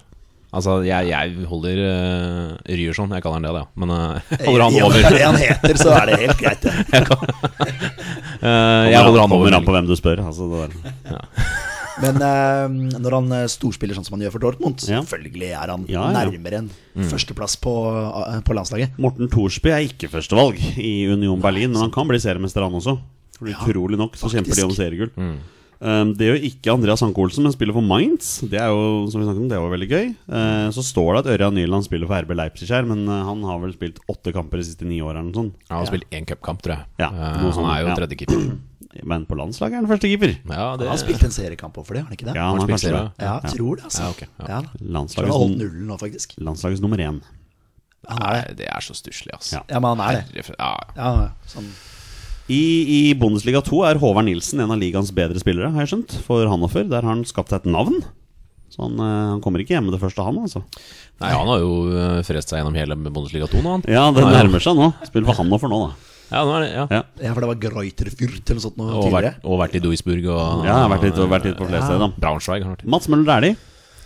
Speaker 1: Altså, jeg, jeg holder uh, Ryerson, jeg kaller han det, da. Men eh, holder han
Speaker 3: I og med
Speaker 1: over.
Speaker 3: Det han heter, så er det helt greit. det.
Speaker 1: Eh, jeg holder han
Speaker 2: Kommer
Speaker 1: over.
Speaker 2: an på hvem du spør. Altså, det der.
Speaker 3: Men eh, når han eh, storspiller sånn som han gjør for Dortmund,
Speaker 2: Ja.
Speaker 3: selvfølgelig er han
Speaker 2: Ja, ja.
Speaker 3: nærmere en
Speaker 1: Mm.
Speaker 3: førsteplass på, eh, på landslaget.
Speaker 2: Morten Thorsby er ikke førstevalg i Union Berlin, men han kan bli seriemester, han også. For Utrolig nok så kjemper de om seriegull.
Speaker 3: Mm.
Speaker 2: Um, det gjør ikke Andreas Anke Olsen, men spiller for Mainz. Det er jo som vi snakket om, det var veldig gøy. Eh, så står det at Ørjan Nyland spiller for RB Leipzig her, men eh, han har vel spilt åtte kamper de siste ni åra eller noe sånt.
Speaker 1: Ja, han har spilt én cupkamp, tror jeg.
Speaker 2: Ja,
Speaker 1: Eh,
Speaker 2: noe
Speaker 1: han
Speaker 2: sånt,
Speaker 1: er jo
Speaker 2: ja.
Speaker 1: tredjekeeper.
Speaker 2: Men på landslaget er han førstekeeper.
Speaker 1: Ja, det
Speaker 3: Han spilte en seriekamp også for det, har Mm. han ikke det?
Speaker 2: Ja, han
Speaker 1: han
Speaker 2: har
Speaker 1: spilt
Speaker 2: kanskje det.
Speaker 1: serie?
Speaker 3: Ja, jeg tror det, altså.
Speaker 1: Ja, ok, ja.
Speaker 3: Ja, da. Tror han har holdt
Speaker 2: Landslagets,
Speaker 3: nullen nå, faktisk.
Speaker 2: landslagets nummer én.
Speaker 3: Han er det.
Speaker 1: Nei, det er så stusslig, altså.
Speaker 2: Ja.
Speaker 3: Ja, men han er det.
Speaker 1: Herre- Ja.
Speaker 3: Ja, sånn.
Speaker 2: I, I Bundesliga 2 er Håvard Nilsen en av ligaens bedre spillere, har jeg skjønt, for Hannover. Der har han skapt seg et navn. Så han, eh, han kommer ikke hjem med det første, han, altså.
Speaker 1: Nei, han har jo eh, frest seg gjennom hele Bundesliga 2 nå, han.
Speaker 2: Ja, det
Speaker 1: Nei, ja.
Speaker 2: nærmer seg nå. Spiller for Hannover nå, da.
Speaker 1: Ja, nå er det, ja.
Speaker 2: Ja.
Speaker 3: ja, for det var Greuterfurt eller noe sånt noe
Speaker 1: Og, vært,
Speaker 3: tidligere.
Speaker 1: og vært i Duisburg og Eh,
Speaker 2: Ja, jeg har vært litt, vært litt på flere steder, da.
Speaker 1: Braunschweig. har han vært i.
Speaker 2: Mats Møller Dæhlie.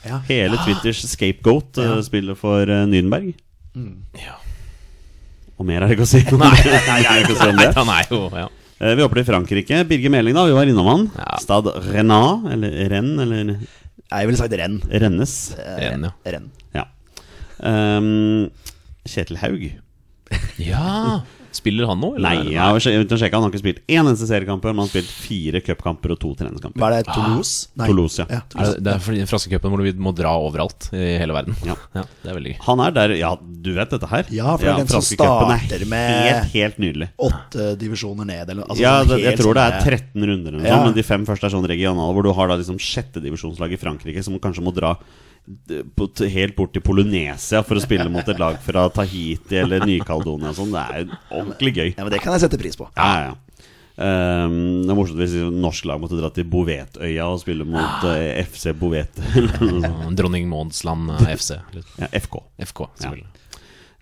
Speaker 3: Ja.
Speaker 2: Hele Twitters scapegoat eh, spiller for eh, Nürnberg.
Speaker 1: Ja.
Speaker 2: Og mer er det ikke å si. Nei, nei, ikke å si om
Speaker 1: Nei,
Speaker 2: det.
Speaker 1: han er jo ja.
Speaker 2: Eh, Vi hopper til Frankrike. Birger Meling, da. Vi var innom han.
Speaker 1: Ja.
Speaker 2: Stad Renat, eller Renn, eller
Speaker 3: Jeg ville sagt renn. Eh,
Speaker 2: Rennes.
Speaker 1: Renn, ja.
Speaker 3: Renn.
Speaker 2: Ja. Ehm, Kjetil Haug.
Speaker 1: Ja! Spiller han nå,
Speaker 2: Nei, jeg har sj- jeg har uten å sjekke, han har ikke spilt én eneste seriekamp, men han har spilt fire cupkamper og to treningskamper.
Speaker 3: Hva er det, Toulouse? Nei.
Speaker 2: Ah, Toulouse, ja.
Speaker 3: ja.
Speaker 1: Er det, det er fordi fraskecupen hvor vi må dra overalt i hele verden.
Speaker 2: Ja.
Speaker 1: Det er veldig gøy.
Speaker 2: Han er der Ja, du vet dette her?
Speaker 3: Ja, for det er den som
Speaker 2: franske cupen er
Speaker 3: starter med-
Speaker 2: Helt, helt nydelig.
Speaker 3: Åtte divisjoner ned, eller noe. altså,
Speaker 2: ja,
Speaker 3: sånn
Speaker 2: det, jeg
Speaker 3: helt
Speaker 2: tror det er
Speaker 3: sånn, eh,
Speaker 2: 13 runder eller noe,
Speaker 3: Ja.
Speaker 2: men de fem første er sånn regionale, hvor du har da liksom sjettedivisjonslag i Frankrike som kanskje må dra d- på, t- helt bort til Polynesia for å spille mot et lag fra Tahiti eller Ny-Caledonia og sånn. Det er jo ordentlig gøy.
Speaker 3: Ja, men Det kan jeg sette pris på.
Speaker 2: Ja, ja. Ehm, det er morsomt hvis norsk lag måtte dra til Bovetøya og spille mot
Speaker 3: Ah.
Speaker 2: eh, FC Bovet. Mm.
Speaker 1: Eh, Dronning Mauds land eh, FC. Eller
Speaker 2: ja, FK.
Speaker 1: FK, selvfølgelig.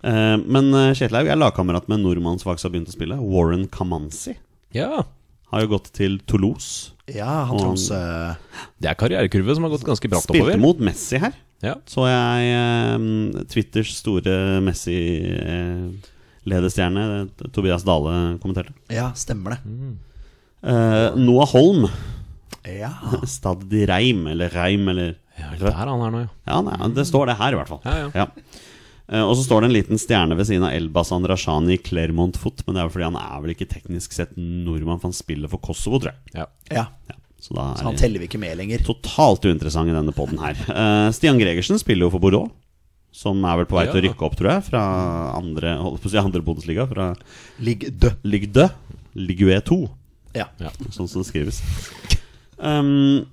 Speaker 2: Ehm, men eh, Kjetil Haug er lagkamerat med en nordmann som faktisk har begynt å spille. Warren Kamanzi
Speaker 1: Ja.
Speaker 2: har jo gått til Toulouse.
Speaker 3: Ja, han Tromsø
Speaker 1: Det er karrierekurve som har gått ganske bratt
Speaker 2: Spilte
Speaker 1: oppover.
Speaker 2: mot Messi her.
Speaker 1: Ja.
Speaker 2: Så jeg eh, Twitters store Messi-ledestjerne, Tobias Dale, kommenterte.
Speaker 3: Ja, stemmer det.
Speaker 1: Mm.
Speaker 2: Eh, Noah Holm,
Speaker 3: Ja.
Speaker 2: Stad de Reim, eller Reim, eller
Speaker 1: ja, der han er nå, ja.
Speaker 2: Ja, nei, det står det her, i hvert fall.
Speaker 1: Ja, ja.
Speaker 2: Eh, Og så står det en liten stjerne ved siden av Elbas Andrashani i Clermont Foot, men det er jo fordi han er vel ikke teknisk sett nordmann, for han spiller for Kosovo, tror jeg.
Speaker 1: Ja.
Speaker 3: Ja,
Speaker 2: Ja, så da
Speaker 3: så han
Speaker 2: er det
Speaker 3: teller vi ikke med lenger.
Speaker 2: totalt uinteressant i denne poden her. Eh, Stian Gregersen spiller jo for Bordeaux, som er vel på vei til å
Speaker 1: Ja.
Speaker 2: rykke opp, tror jeg, fra andre, holdt på å si andre Bundesliga, fra
Speaker 3: Ligg død.
Speaker 2: Ligue 2, Ligue 2,
Speaker 3: Ja.
Speaker 2: sånn som det skrives. Um,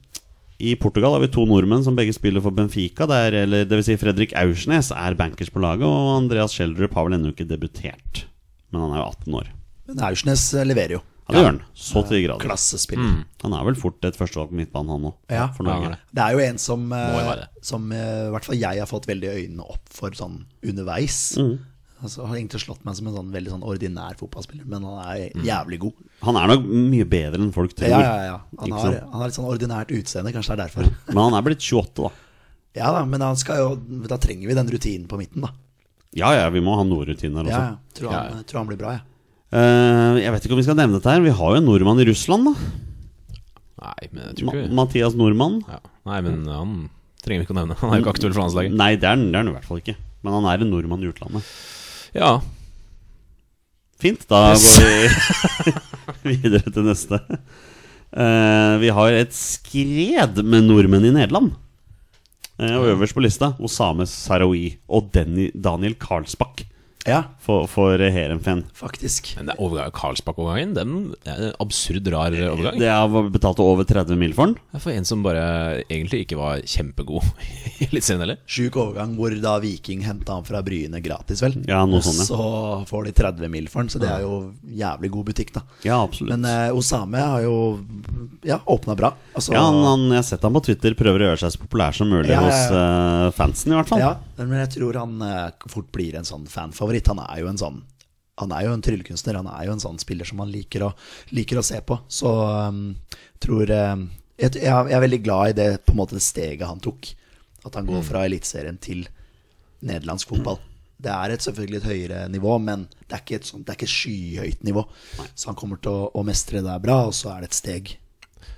Speaker 2: I Portugal har vi to nordmenn som begge spiller for Benfica. Der, eller, det vil si Fredrik Aursnes er bankers på laget, og Andreas Schjelderup har vel ennå ikke debutert. Men han er jo 18 år.
Speaker 3: Men Aursnes leverer jo.
Speaker 2: Ja, det gjør han. Så til de grader.
Speaker 3: Klassespiller.
Speaker 2: Han er vel fort et førstevalg på midtbanen, han òg.
Speaker 3: Ja.
Speaker 2: For
Speaker 1: Ja, han
Speaker 2: Norge.
Speaker 1: er det.
Speaker 3: Det er jo en som, eh,
Speaker 1: jo være det.
Speaker 3: som eh, i hvert fall jeg har fått veldig øynene opp for sånn underveis. Altså, har egentlig slått meg som en sånn veldig sånn ordinær fotballspiller, men han er jævlig god.
Speaker 2: Han er nok mye bedre enn folk tror.
Speaker 3: Ja, ja, ja. Han,
Speaker 2: Ikke
Speaker 3: har,
Speaker 2: sant?
Speaker 3: han har litt sånn ordinært utseende, kanskje det er derfor.
Speaker 2: Men han er blitt 28, da.
Speaker 3: Ja da, men han skal jo, da trenger vi den rutinen på midten, da.
Speaker 2: Ja ja, vi må ha noe rutiner også.
Speaker 3: Ja, ja. Tror, han, tror han blir bra, jeg. Ja.
Speaker 2: Eh, jeg vet ikke om vi skal nevne dette her. Vi har jo en nordmann i Russland, da.
Speaker 1: Nei, men jeg
Speaker 2: Ma
Speaker 1: tror ikke vi-
Speaker 2: Mathias Nordmann.
Speaker 1: ja. Nei, men han trenger vi ikke å nevne. Han er jo ikke aktuell for landslaget.
Speaker 2: Nei, det er han det er han i hvert fall ikke. Men han er en nordmann i utlandet.
Speaker 1: Ja,
Speaker 2: Fint, da går vi videre til neste. Eh, vi har et skred med nordmenn i Nederland. Eh, og øverst på lista Osame Sarawi og Denny, Daniel Karlsbakk
Speaker 3: Ja,
Speaker 2: for, for Heerenveen.
Speaker 3: faktisk.
Speaker 1: men det er overgang Karlsbakk-overgangen. Den er en absurd rar overgang.
Speaker 2: Det er betalt over 30 mil for den.
Speaker 1: Det er for en som bare egentlig ikke var kjempegod i Eliteserien heller.
Speaker 3: Sjuk overgang hvor da Viking henta han fra Bryne gratis, vel.
Speaker 2: Ja, noe sånt, ja.
Speaker 3: Så får de 30 mil for han, så det er jo jævlig god butikk, da.
Speaker 2: Ja, absolutt.
Speaker 3: Men eh, Osame har jo ja, åpna bra. Altså,
Speaker 2: ja, han, han, jeg har sett han på Twitter prøver å gjøre seg så populær som mulig
Speaker 3: Ja, ja, ja.
Speaker 2: hos eh, fansen, i hvert fall.
Speaker 3: ja, men jeg tror han eh, fort blir en sånn fanfavoritt. Han er jo en sånn han er jo en tryllekunstner, han er jo en sånn spiller som han liker å, liker å se på. Så um, tror eh, jeg, jeg er- jeg er veldig glad i det på en måte det steget han tok. At han går
Speaker 2: Mm.
Speaker 3: fra Eliteserien til nederlandsk fotball. Det er et, selvfølgelig et høyere nivå, men det er ikke et, sånt, det er ikke et skyhøyt nivå. Så han kommer til å, å mestre det der bra, og så er det et steg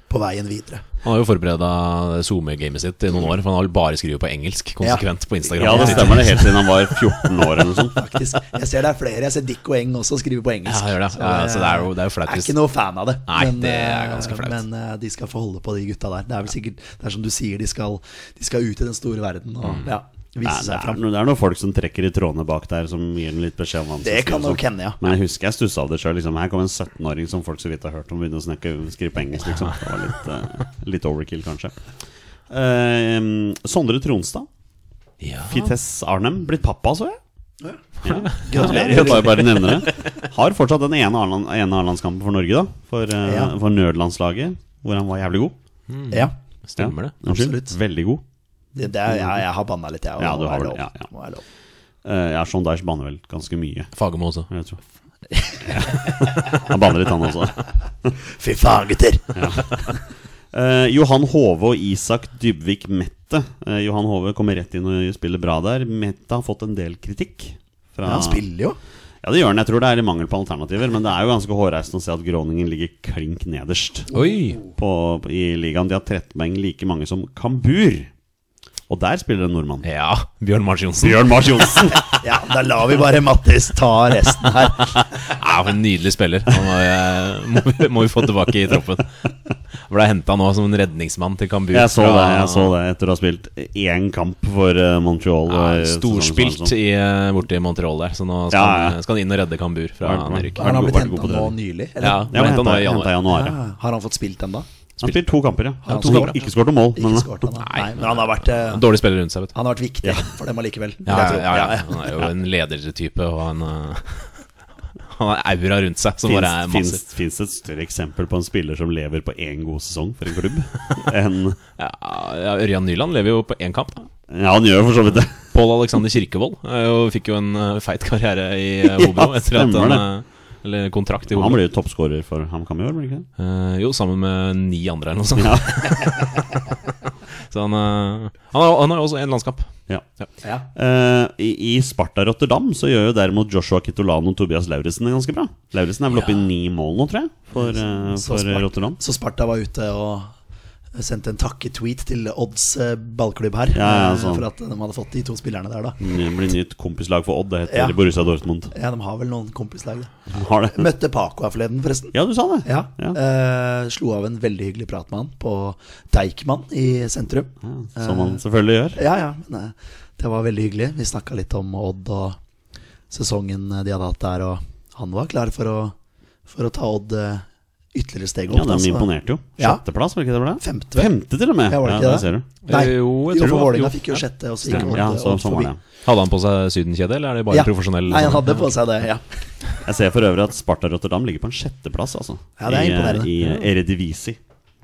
Speaker 3: på veien videre.
Speaker 1: Han har jo forbereda SoMe-gamet sitt i noen år, for han har vel bare skrevet på engelsk konsekvent på Instagram.
Speaker 2: Ja, det stemmer det helt siden han var 14 år eller noe sånt.
Speaker 3: faktisk. Jeg ser det er flere. Jeg ser Dick og Eng også skrive på engelsk.
Speaker 1: Ja, jeg gjør det. Ja, så det er jo- det er jo flaut
Speaker 3: Jeg er
Speaker 1: hvis-
Speaker 3: ikke noe fan av det.
Speaker 1: Nei, det er
Speaker 3: eh,
Speaker 1: ganske flaut.
Speaker 3: Men eh, de skal få holde på, de gutta der. Det er vel sikkert Det er som du sier, de skal, de skal ut i den store verden
Speaker 1: Mm.
Speaker 3: og ja,
Speaker 2: Nei,
Speaker 3: vise
Speaker 2: det,
Speaker 3: seg
Speaker 2: er,
Speaker 3: fram.
Speaker 2: no- det er noen folk som trekker i trådene bak der, som gir den litt beskjed om hva den skal
Speaker 3: Det
Speaker 2: skrive
Speaker 3: kan
Speaker 2: og
Speaker 3: nok
Speaker 2: sånn.
Speaker 3: hende, ja.
Speaker 2: Men jeg husker jeg stussa av det sjøl. Liksom. Her kom en 17-åring som folk så vidt har hørt om, begynne å snakke, skrive på engelsk. Liksom. Det var litt, eh, litt overkill, kanskje. Eh, Sondre Tronstad,
Speaker 1: Ja.
Speaker 2: Fites Arnem, blitt pappa, så jeg. Ja.
Speaker 3: Gratulerer.
Speaker 2: Jeg bare, bare nevner det. Har fortsatt den ene Arland- ene A-landskampen for Norge, da. For, eh,
Speaker 3: Ja.
Speaker 2: for nødlandslaget, hvor han var jævlig god.
Speaker 1: Mm.
Speaker 3: Ja,
Speaker 1: Stemmer det.
Speaker 2: Ja, unnskyld.
Speaker 3: Absolutt.
Speaker 2: Veldig god.
Speaker 3: det, det er, ja, jeg har banna litt, jeg. og
Speaker 2: Ja, du
Speaker 3: må
Speaker 2: har vel
Speaker 3: være
Speaker 2: det,
Speaker 3: lov.
Speaker 2: ja, ja.
Speaker 3: Må være lov.
Speaker 2: Eh, ja, Sean Dyche banner vel ganske mye.
Speaker 1: Fagermo også.
Speaker 2: Jeg tror. Han banner litt, han også.
Speaker 3: Fy faen, gutter!
Speaker 2: Eh, Johan Hove og Isak Dybvik Mette. Eh, Johan Hove kommer rett inn og spiller bra der. Mette har fått en del kritikk. Fra,
Speaker 3: Men han spiller jo.
Speaker 2: Ja, det gjør han. Jeg tror det er i mangel på alternativer. Men det er jo ganske hårreisende å se at Groningen ligger klink nederst
Speaker 1: Oi!
Speaker 2: på, i ligaen. De har 13 poeng, like mange som Kambur. Og der spiller en nordmann.
Speaker 1: Ja, Bjørn Mars Johnsen.
Speaker 2: Bjørn Mars Johnsen!
Speaker 3: Ja, Da lar vi bare Mattis ta resten her.
Speaker 1: Ja, for en nydelig spiller. Han må, eh, må, vi, må vi få tilbake i troppen. Ble henta nå som en redningsmann til Kambur.
Speaker 2: Jeg så
Speaker 1: fra-
Speaker 2: det jeg så det etter å ha spilt én kamp for eh, Montreal.
Speaker 1: Ja,
Speaker 2: eh, sesongen som var
Speaker 1: storspilt
Speaker 2: sånn.
Speaker 1: i, eh, borte i Montreal der, så nå skal,
Speaker 2: Ja, ja.
Speaker 1: Han, skal han inn og redde Kambur fra
Speaker 2: Vært- vært-
Speaker 1: nedrykk.
Speaker 2: vært
Speaker 3: Han har
Speaker 2: god-
Speaker 3: blitt
Speaker 2: vært god
Speaker 3: henta
Speaker 2: på det.
Speaker 3: nå nylig, eller?
Speaker 1: Ja,
Speaker 2: Ja,
Speaker 1: ble
Speaker 2: han
Speaker 1: henta nå i
Speaker 2: hentet i
Speaker 1: januar.
Speaker 2: januar.
Speaker 3: Ja,
Speaker 2: ja.
Speaker 3: Har han fått spilt ennå?
Speaker 2: Han spilte to kamper, ja.
Speaker 3: Han
Speaker 2: to
Speaker 3: to
Speaker 2: kamper.
Speaker 3: kamper.
Speaker 2: Ikke skåret noe mål, men eh,
Speaker 3: Ikke skåret han, da. Nei, men han har vært, eh,
Speaker 1: Dårlig spiller rundt seg, vet du.
Speaker 3: han har vært viktig for dem allikevel. vil
Speaker 1: Ja,
Speaker 3: jeg
Speaker 1: ja,
Speaker 3: tro.
Speaker 1: ja, ja. Han er jo en ledertype, og han eh, Han har aura rundt seg som bare er
Speaker 2: Finns,
Speaker 1: massiv.
Speaker 2: finnes, finnes et større eksempel på en spiller som lever på én god sesong for en klubb? enn
Speaker 1: Ja, ja, Ørjan Nyland lever jo på én kamp. da
Speaker 2: Ja, han gjør jo for så vidt det.
Speaker 1: Pål Alexander Kirkevold eh, jo fikk jo en eh, feit karriere i eh, Hobro
Speaker 2: Ja,
Speaker 1: etter at
Speaker 2: stemmer
Speaker 1: han eh, Eller kontrakt i
Speaker 2: Han
Speaker 1: Hobro.
Speaker 2: blir jo toppskårer for HamKam i år, blir han ikke det?
Speaker 1: Eh, jo, sammen med ni andre eller noe sånt.
Speaker 2: Ja.
Speaker 1: Så han, eh, han, har, han har jo også en landskamp.
Speaker 2: Ja.
Speaker 3: Ja.
Speaker 2: Eh, i, I Sparta Rotterdam så gjør jo derimot Joshua Kitolano og Tobias Lauritzen det ganske bra. Lauritzen er vel oppe i ni mål nå, tror jeg, for, eh,
Speaker 3: Så
Speaker 2: for
Speaker 3: Sparta-
Speaker 2: Rotterdam.
Speaker 3: Så Sparta var ute og sendte en takketweet til Odds eh, ballklubb her
Speaker 2: Ja, ja,
Speaker 3: eh,
Speaker 2: sånn. Mm.
Speaker 3: for at de hadde fått de to spillerne der, da.
Speaker 2: Det blir nytt kompislag for Odd. Det heter
Speaker 3: Ja.
Speaker 2: Borussia Dortmund.
Speaker 3: Ja, De har vel noen kompislag. da.
Speaker 2: Har det.
Speaker 3: Møtte Paco her forleden, forresten.
Speaker 2: Ja, du sa det.
Speaker 3: Ja.
Speaker 2: Ja.
Speaker 3: Eh, slo av en veldig hyggelig prat med han på Deichman i sentrum.
Speaker 2: Ja, Som man selvfølgelig gjør.
Speaker 3: Ja, ja, men eh, det var veldig hyggelig. Vi snakka litt om Odd og sesongen de hadde hatt der, og han var klar for å, for å ta Odd eh, ytterligere steg opp.
Speaker 2: Ja,
Speaker 3: da,
Speaker 2: Den
Speaker 3: så-
Speaker 2: imponerte jo.
Speaker 3: altså. Ja.
Speaker 2: Sjetteplass, var det ikke det? ble?
Speaker 3: Femte, vel?
Speaker 2: Femte til og med.
Speaker 3: Ja, var det ikke
Speaker 2: der
Speaker 3: det?
Speaker 2: ser du.
Speaker 3: Nei,
Speaker 1: Eh,
Speaker 3: jo,
Speaker 1: jo, jeg tror
Speaker 3: for
Speaker 1: det var-
Speaker 3: Vålerenga
Speaker 1: jo.
Speaker 3: fikk jo sjette, og så gikk
Speaker 2: Stemmer.
Speaker 3: Odd,
Speaker 2: Ja, så, sånn
Speaker 3: Odd
Speaker 2: var
Speaker 3: forbi.
Speaker 2: det.
Speaker 1: Hadde han på seg sydenkjede, eller er det bare
Speaker 3: Ja.
Speaker 1: profesjonell? sånn?
Speaker 3: Nei, han hadde på seg det, ja.
Speaker 2: Jeg ser for øvrig at Sparta Rotterdam ligger på en sjetteplass, altså.
Speaker 3: Ja, det er
Speaker 2: I, eh,
Speaker 3: imponerende.
Speaker 2: I eh, Eredivisie,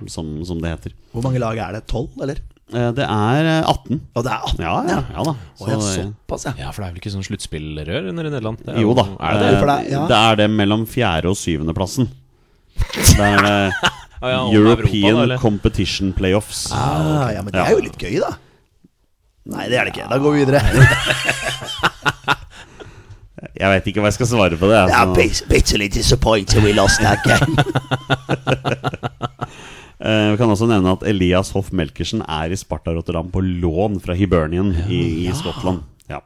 Speaker 2: som, som det heter.
Speaker 3: Hvor mange lag er det? Tolv, eller?
Speaker 2: Eh, Det er eh, 18.
Speaker 3: Og det er 18,
Speaker 2: Ja, ja, ja da.
Speaker 3: Å, ja,
Speaker 2: Så, eh,
Speaker 3: såpass, ja.
Speaker 1: Ja, for det er vel ikke sånn sluttspillrør under i Nederland? Det er
Speaker 2: jo da.
Speaker 1: Er det
Speaker 2: Eh,
Speaker 1: det?
Speaker 3: For det er- ja.
Speaker 2: det er det mellom fjerde- og syvendeplassen. Det er eh,
Speaker 1: Ah, ja, om
Speaker 2: European
Speaker 1: Europa, da, eller?
Speaker 2: Competition Playoffs.
Speaker 3: Ah, ja, men det
Speaker 2: Ja.
Speaker 3: er jo litt gøy, da. Nei, det er det ikke. Da går vi videre.
Speaker 2: Jeg veit ikke hva jeg skal svare på det.
Speaker 3: Det
Speaker 2: altså.
Speaker 3: er bit- bitterly disappointed we lost that game.
Speaker 2: Eh, Vi kan også nevne at Elias Hoff Melkersen er i Sparta Rotterdam på lån fra Hibernian i, i Skottland. Ja.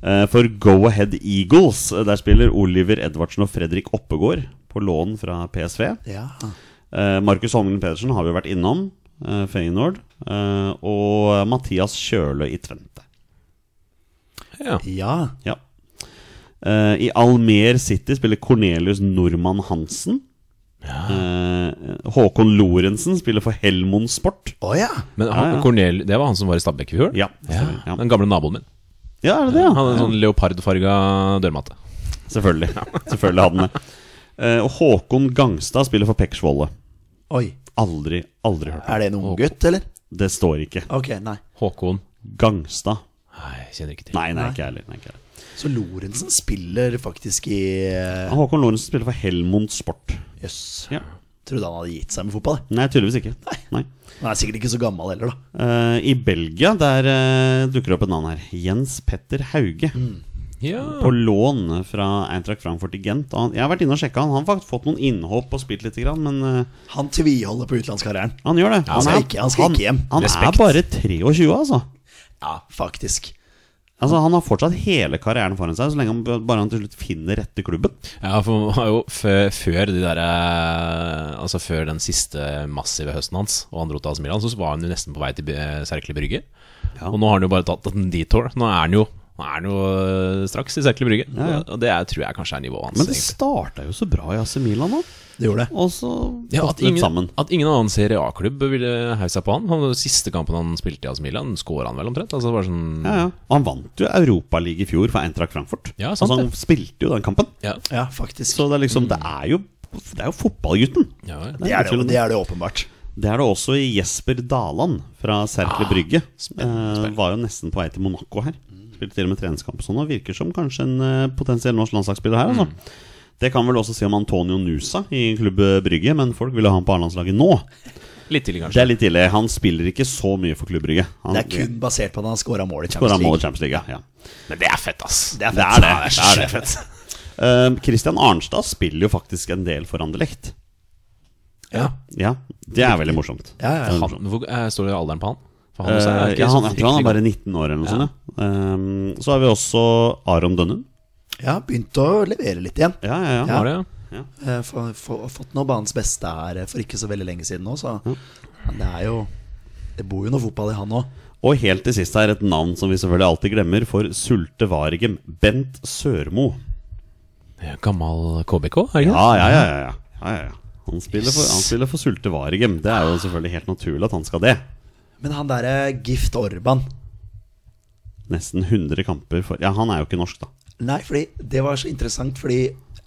Speaker 2: Eh, For Go Ahead Eagles, eh, der spiller Oliver Edvardsen og Fredrik Oppegård på lån fra PSV.
Speaker 3: Ja.
Speaker 2: Eh, Markus Holmgren Pedersen har vi vært innom, eh, Feyenoord. eh, Og Mathias Kjølø i Tvente.
Speaker 1: Ja.
Speaker 3: ja.
Speaker 2: Ja. Eh, I Almer City spiller Cornelius Normann Hansen. Eh, Håkon Lorentzen spiller for Helmond Sport.
Speaker 3: Å ja.
Speaker 1: Men han,
Speaker 2: Ja, ja.
Speaker 1: Cornel, det var han som var i Stabæk i fjor?
Speaker 2: Ja, stemmer, ja.
Speaker 1: Den gamle naboen min.
Speaker 2: Ja, er det det? Ja?
Speaker 1: Han hadde en sånn leopardfarga dørmatte.
Speaker 2: Selvfølgelig. Selvfølgelig hadde han det. Eh, Og Håkon Gangstad spiller for Peksvolle.
Speaker 3: Oi.
Speaker 2: Aldri, aldri hørt.
Speaker 3: Er det en unggutt, eller?
Speaker 2: Det står ikke.
Speaker 3: Ok, nei.
Speaker 1: Håkon
Speaker 2: Gangstad.
Speaker 1: Nei, jeg kjenner ikke til.
Speaker 2: Nei, nei, ikke jeg heller. Nei, ikke jeg heller.
Speaker 3: Så Lorentzen spiller faktisk i eh,
Speaker 2: Håkon Lorentzen spiller for Helmond Sport.
Speaker 3: Jøss.
Speaker 2: Ja.
Speaker 3: Trodde han hadde gitt seg med fotball. jeg.
Speaker 2: Nei, tydeligvis ikke. Nei.
Speaker 3: Han er sikkert ikke så gammel heller, da.
Speaker 2: Eh, I Belgia der eh, dukker det opp et navn her. Jens Petter Hauge.
Speaker 1: Ja.
Speaker 2: På lån fra Eintracht Frankfurt i Gent. Og Han, jeg har vært inne og sjekka han. Han har faktisk fått noen innhopp og spilt litt, grann, men eh,
Speaker 3: Han tviholder på utenlandskarrieren.
Speaker 2: han gjør det.
Speaker 3: han skal ikke- han skal ikke hjem.
Speaker 2: Han, han
Speaker 1: Respekt.
Speaker 2: er bare 23, altså.
Speaker 3: Ja, faktisk.
Speaker 2: Altså Han har fortsatt hele karrieren foran seg, så lenge han b- bare han til slutt finner rette klubben.
Speaker 1: Ja, for han var jo før, før de der, eh, Altså før den siste massive høsten hans og han dro til AC Milan, så var han jo nesten på vei til eh, Serkle Brygge. Og nå har han jo bare tatt en detour. Nå er han jo, nå er han jo eh, straks i Serkle Brygge. Og det er, tror jeg kanskje er nivået hans.
Speaker 2: Men det
Speaker 1: egentlig.
Speaker 2: starta jo så bra i AC Milan nå,
Speaker 3: Det gjorde det.
Speaker 2: og så
Speaker 1: Ja,
Speaker 2: falt
Speaker 1: at,
Speaker 2: det litt
Speaker 1: ingen,
Speaker 2: sammen.
Speaker 1: at ingen annen Serie A-klubb ville hausse seg på han. han. Siste kampen han spilte i AC Milan, skåra han vel omtrent? Altså bare sånn
Speaker 2: Ja, ja. Og han vant jo Europaligaen i fjor for Eintracht Frankfurt.
Speaker 1: Ja, sant
Speaker 2: altså, han
Speaker 1: det.
Speaker 2: spilte jo den kampen.
Speaker 1: Ja.
Speaker 3: Ja, faktisk.
Speaker 2: Så det er liksom Det er jo, det er jo fotballgutten.
Speaker 1: Ja, ja.
Speaker 3: Det er det, det er det åpenbart.
Speaker 2: Det er det også i Jesper Daland fra Serkle Brygge. Eh, var jo nesten på vei til Monaco her. Spilte til og med treningskamp og sånn, og virker som kanskje en eh, potensiell norsk landslagsspiller her, altså. Det kan vel også si om Antonio Nusa i Klubb Brygge, men folk ville ha han på A-landslaget nå.
Speaker 1: Litt tidlig,
Speaker 2: Det
Speaker 1: kanskje.
Speaker 2: er litt ille. Han spiller ikke så mye for Klubb Brygge. Han
Speaker 3: Det er kun basert på at han scora mål i
Speaker 2: skårer
Speaker 3: Champions
Speaker 2: han mål i
Speaker 3: League.
Speaker 2: Champions League. Ja.
Speaker 1: Men det er fett, ass.
Speaker 3: Det er
Speaker 2: Det
Speaker 3: fett.
Speaker 2: er det. det, er det.
Speaker 1: fett.
Speaker 2: Eh, Christian Arnstad spiller jo faktisk en del for Anderlecht.
Speaker 1: Ja.
Speaker 2: Ja, det er veldig morsomt.
Speaker 3: Ja, ja, ja.
Speaker 1: Han, hvor eh, står det alderen på han? For han også er
Speaker 2: Eh,
Speaker 1: ikke
Speaker 2: ja, han,
Speaker 1: så
Speaker 2: jeg tror han er
Speaker 1: fryktelig
Speaker 2: bare 19 år eller noe sånt. Ja. Ehm, så har vi også Aron Dønnum.
Speaker 3: ja begynte å levere litt igjen.
Speaker 2: Ja, ja, ja.
Speaker 1: gammel. Var det, ja.
Speaker 3: Eh, få- få- Fått noe banens beste her eh, for ikke så veldig lenge siden nå, så Men det er jo Det bor jo noe fotball i han òg.
Speaker 2: Og helt til sist her et navn som vi selvfølgelig alltid glemmer, for Sulte Varigem. Bent Sørmo. Ah,
Speaker 1: Ja, Gammel KBK, er det ikke det?
Speaker 2: Ja, ja, ja. ja, ja. ja, ja, ja. Han, spiller for, han spiller for Sulte Varigem. Det er jo selvfølgelig helt naturlig at han skal det.
Speaker 3: Men han derre Gift Orban
Speaker 2: Nesten 100 kamper for Ja, han er jo ikke norsk, da.
Speaker 3: Nei, fordi det var så interessant, fordi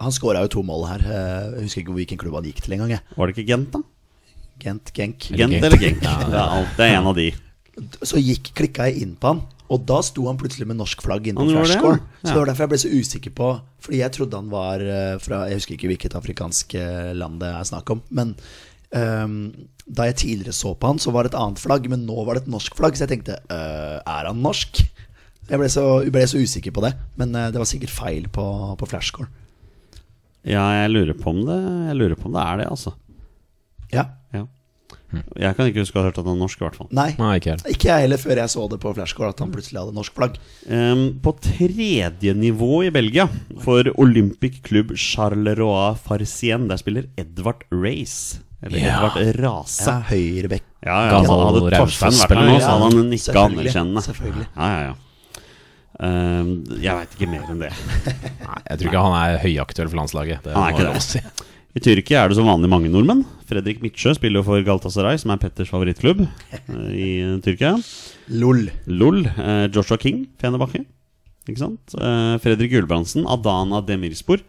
Speaker 3: han skåra jo to mål her. Eh, Jeg husker ikke hvilken klubb han gikk til engang. jeg.
Speaker 2: Var det ikke Gent, da?
Speaker 3: Gent, Genk.
Speaker 2: Gent
Speaker 1: Genk.
Speaker 2: eller Genk? Det er, alt, det er en av de.
Speaker 3: Så gikk, klikka jeg inn på han, og da sto han plutselig med norsk flagg inne
Speaker 2: Han
Speaker 3: på
Speaker 2: gjorde det,
Speaker 3: flashscore.
Speaker 2: ja.
Speaker 3: Så det var derfor jeg ble så usikker på Fordi jeg trodde han var eh, fra Jeg husker ikke hvilket afrikansk eh, land det er snakk om, men ehm, da jeg tidligere så på han, så var det et annet flagg, men nå var det et norsk flagg, så jeg tenkte øh, Er han norsk? Jeg ble så, jeg ble så usikker på det, men eh, det var sikkert feil på, på flashscore.
Speaker 2: Ja, jeg lurer på om det Jeg lurer på om det er det, altså.
Speaker 3: Ja.
Speaker 2: Ja. Jeg kan ikke huske å ha hørt at han er norsk, i hvert fall.
Speaker 3: Nei,
Speaker 1: Nei, ikke helt.
Speaker 3: ikke jeg heller før jeg så det på flashcore at han plutselig hadde norsk flagg.
Speaker 2: Ehm, på tredje nivå i Belgia, for Olympic klubb Charleroi Farcien, der spiller Edvard Race. Eller
Speaker 1: Ja.
Speaker 2: Edvard Rase.
Speaker 3: Ja, Høyrebekk.
Speaker 2: Ja, ja, altså,
Speaker 1: Gammel liksom.
Speaker 2: hadde Torstein
Speaker 1: Raufoss
Speaker 2: vært her nå,
Speaker 1: spiller,
Speaker 2: så hadde han nikka
Speaker 3: selvfølgelig,
Speaker 2: anerkjennende.
Speaker 3: selvfølgelig.
Speaker 2: Ja, ja, ja. Ehm, jeg veit ikke mer enn det.
Speaker 1: Nei, jeg tror ikke han er høyaktuell for landslaget. Det
Speaker 2: Han er
Speaker 1: må
Speaker 2: ikke
Speaker 1: jeg
Speaker 2: det.
Speaker 1: lov å si.
Speaker 2: I Tyrkia er det som vanlig mange nordmenn. Fredrik Midtsjø spiller jo for Galatasaray, som er Petters favorittklubb eh, i Tyrkia.
Speaker 3: LOL.
Speaker 2: LOL. eh, Joshua King, Fenebakke. Ikke sant? Eh, Fredrik Gulbrandsen, Adana Demirspor.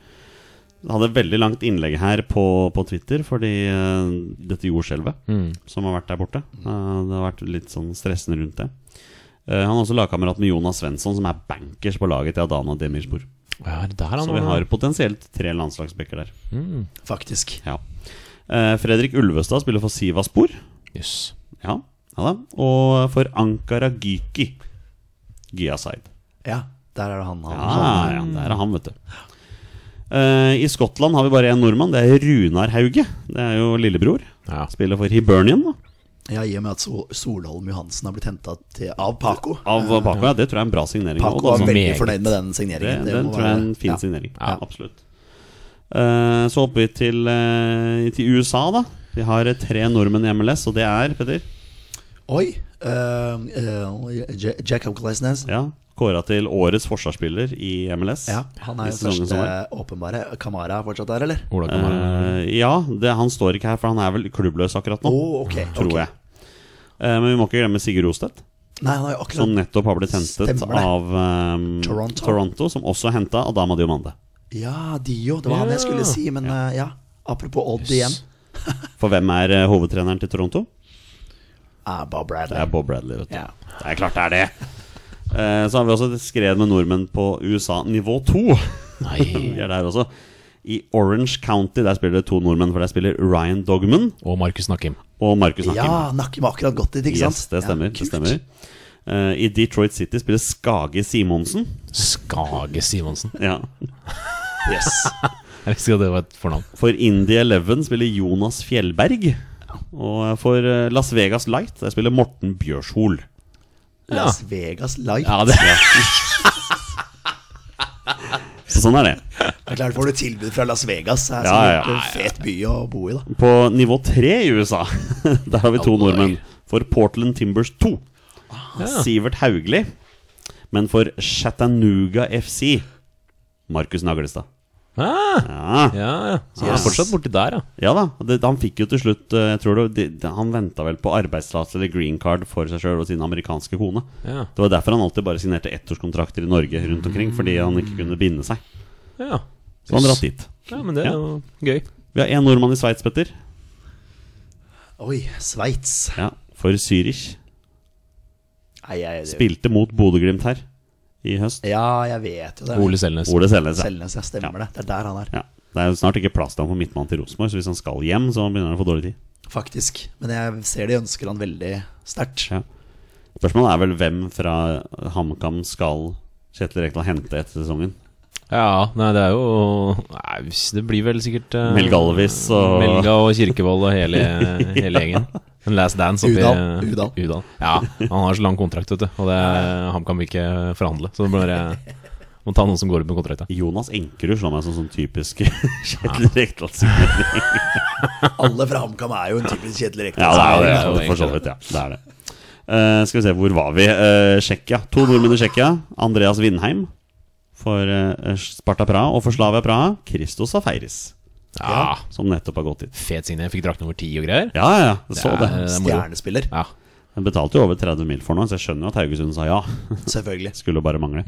Speaker 2: Hadde et veldig langt innlegg her på, på Twitter fordi eh, dette jordskjelvet
Speaker 1: Mm.
Speaker 2: som har vært der borte. Eh, det har vært litt sånn stressende rundt det. Eh, han er også lagkamerat med Jonas Svensson, som er bankers på laget til Adana Demirspor.
Speaker 1: Ja, er det der han
Speaker 2: Så vi har potensielt tre landslagsbekker der.
Speaker 3: Faktisk.
Speaker 2: Ja. Eh, Fredrik Ulvestad spiller for Sivaspor.
Speaker 1: Jøss.
Speaker 2: Ja, ja da. Og for Ankara Gyki Gyasaid.
Speaker 3: Ja, der er det han. han
Speaker 2: Ja,
Speaker 3: Ah.
Speaker 2: ja, det er han, vet du. Eh, I Skottland har vi bare én nordmann. Det er Runar Hauge. Det er jo lillebror.
Speaker 1: Ja.
Speaker 2: Spiller for Hibernian. Da.
Speaker 3: Ja, I og med at Sol Solholm Johansen har blitt henta av Paco.
Speaker 2: Av Paco. Ja, det tror jeg er en bra signering.
Speaker 3: Paco
Speaker 2: også,
Speaker 3: var
Speaker 2: altså.
Speaker 3: veldig
Speaker 1: meget.
Speaker 3: fornøyd med den
Speaker 2: Det,
Speaker 3: signeringen.
Speaker 2: det,
Speaker 3: må
Speaker 2: tror jeg er en
Speaker 3: være-
Speaker 2: fin
Speaker 3: ja.
Speaker 2: signering.
Speaker 1: Ja.
Speaker 2: Absolutt. Eh, så hopper vi til, eh, til USA, da. Vi har eh, tre nordmenn i MLS, og det er Petter.
Speaker 3: Oi! eh, eh, Ja- Jacob Glesnes.
Speaker 2: Ja, Kåra til årets forsvarsspiller i MLS.
Speaker 3: Ja, han er
Speaker 2: i
Speaker 3: jo
Speaker 2: sesongen som var.
Speaker 3: første åpenbare. Kamara er fortsatt der, eller?
Speaker 1: Ola kan være
Speaker 2: Eh, ja, det, han står ikke her, for han er vel klubbløs akkurat nå.
Speaker 3: Å, ok,
Speaker 2: tror
Speaker 3: ok.
Speaker 2: jeg. Eh, men vi må ikke glemme Sigurd Rostedt,
Speaker 3: Nei, han er jo akkurat
Speaker 2: som nettopp har blitt hentet
Speaker 3: Stemmer det.
Speaker 2: av eh,
Speaker 3: Toronto.
Speaker 2: som også henta Adama Diomande.
Speaker 3: Ja, Dio. Det var han
Speaker 1: Ja.
Speaker 3: jeg skulle si, men eh, ja. Apropos Odd igjen.
Speaker 2: For hvem er eh, hovedtreneren til Toronto?
Speaker 3: Ah, Bob
Speaker 2: Det
Speaker 3: Bradley.
Speaker 2: er Bob Bradley, vet du.
Speaker 3: Ja.
Speaker 2: Det er klart det er det! Eh, så har vi også et skred med nordmenn på USA nivå 2.
Speaker 1: Nei.
Speaker 2: vi er der også. I Orange County der spiller det to nordmenn, for der spiller Ryan Dogman
Speaker 1: Og Markus Nakim.
Speaker 2: og Markus Nakim.
Speaker 3: Ja, Nakim har akkurat gått dit, ikke sant?
Speaker 2: Yes, det stemmer.
Speaker 3: Ja,
Speaker 2: det
Speaker 3: kult.
Speaker 2: stemmer. Eh, I Detroit City spiller Skage Simonsen.
Speaker 1: Skage Simonsen.
Speaker 2: Ja.
Speaker 3: Yes.
Speaker 1: Jeg visste ikke at det var et fornavn.
Speaker 2: For Indie Eleven spiller Jonas Fjellberg. Og for eh, Las Vegas Light der spiller Morten Bjørshol.
Speaker 3: Las Vegas Light.
Speaker 1: Ja, det
Speaker 2: Så sånn er det.
Speaker 3: Det er klart får du tilbud fra Las Vegas. Det er
Speaker 2: Ja, ja,
Speaker 3: sikkert en fet by å bo i, da.
Speaker 2: På nivå tre i USA, der har vi to nordmenn. For Portland Timbers 2. Sivert Haugli. Men for Chattanooga FC Markus Naglestad.
Speaker 1: ah,
Speaker 2: Ja.
Speaker 1: Ja, ja. Så han er fortsatt borti der, ja.
Speaker 2: Ja da, det, han fikk jo til slutt eh, Jeg tror det, det, det- Han venta vel på arbeidstillatelse eller green card for seg sjøl og sin amerikanske kone.
Speaker 1: Ja.
Speaker 2: Det var derfor han alltid bare signerte ettårskontrakter i Norge rundt omkring. Fordi han ikke kunne binde seg.
Speaker 1: ja.
Speaker 2: Så han dratt dit.
Speaker 1: Ja, men det er
Speaker 2: Ja.
Speaker 1: jo gøy.
Speaker 2: Vi har én nordmann i Sveits, Petter.
Speaker 3: Oi, Sveits.
Speaker 2: Ja, for Zürich.
Speaker 3: Nei, jeg- det-
Speaker 2: Spilte mot Bodø-Glimt her i høst.
Speaker 3: Ja, jeg vet jo det.
Speaker 1: Ole Selnes.
Speaker 2: Ole Selnes. ja.
Speaker 3: Selnes, ja. Stemmer det. Det er der han er,
Speaker 2: Ja. Det er jo snart ikke plass til han på midtmannen til Rosenborg, så hvis han skal hjem, så begynner han å få dårlig tid.
Speaker 3: faktisk. Men jeg ser de ønsker han veldig sterkt.
Speaker 2: Ja. Spørsmålet er vel hvem fra HamKam skal Kjetil Rekdal hente etter sesongen?
Speaker 1: Ja, nei, det er jo Nei, hvis- det blir vel sikkert eh,
Speaker 2: Mel Galvis og-
Speaker 1: Melga og Kirkevold og hele, hele gjengen. En last dance oppi eh,
Speaker 3: Udal, Udal.
Speaker 1: Ja, han har så lang kontrakt, vet du. Og det, han kan vi ikke forhandle. Så det blir bare eh, Må ta noen som går ut med kontrakta.
Speaker 2: Jonas Enkerud slår meg som sånn typisk Kjetil Rekdal-signering.
Speaker 3: Alle fra HamKam er jo en typisk Kjetil Rekdal.
Speaker 2: Ja, det er jo det.
Speaker 1: jo
Speaker 2: altså, For så
Speaker 1: egentlig
Speaker 2: vidt, ja. Det er det. Eh, skal vi se, hvor var vi? Eh, Tsjekkia. to nordmenn i Tsjekkia. Andreas Vindheim for eh, Sparta Praha. Og for Slavia Praha, Christos Afeiris,
Speaker 1: Ja,
Speaker 2: som nettopp har gått hit.
Speaker 1: fet signe. Fikk drakt nummer ti og greier.
Speaker 2: Ja, ja, ja, jeg så
Speaker 1: Det
Speaker 2: det.
Speaker 1: er- Eh, det er moro.
Speaker 3: Stjernespiller,
Speaker 1: Ja.
Speaker 2: Jeg betalte jo over 30 mil for noe, så jeg skjønner jo at Haugesund sa ja.
Speaker 3: selvfølgelig.
Speaker 2: Skulle bare mangle.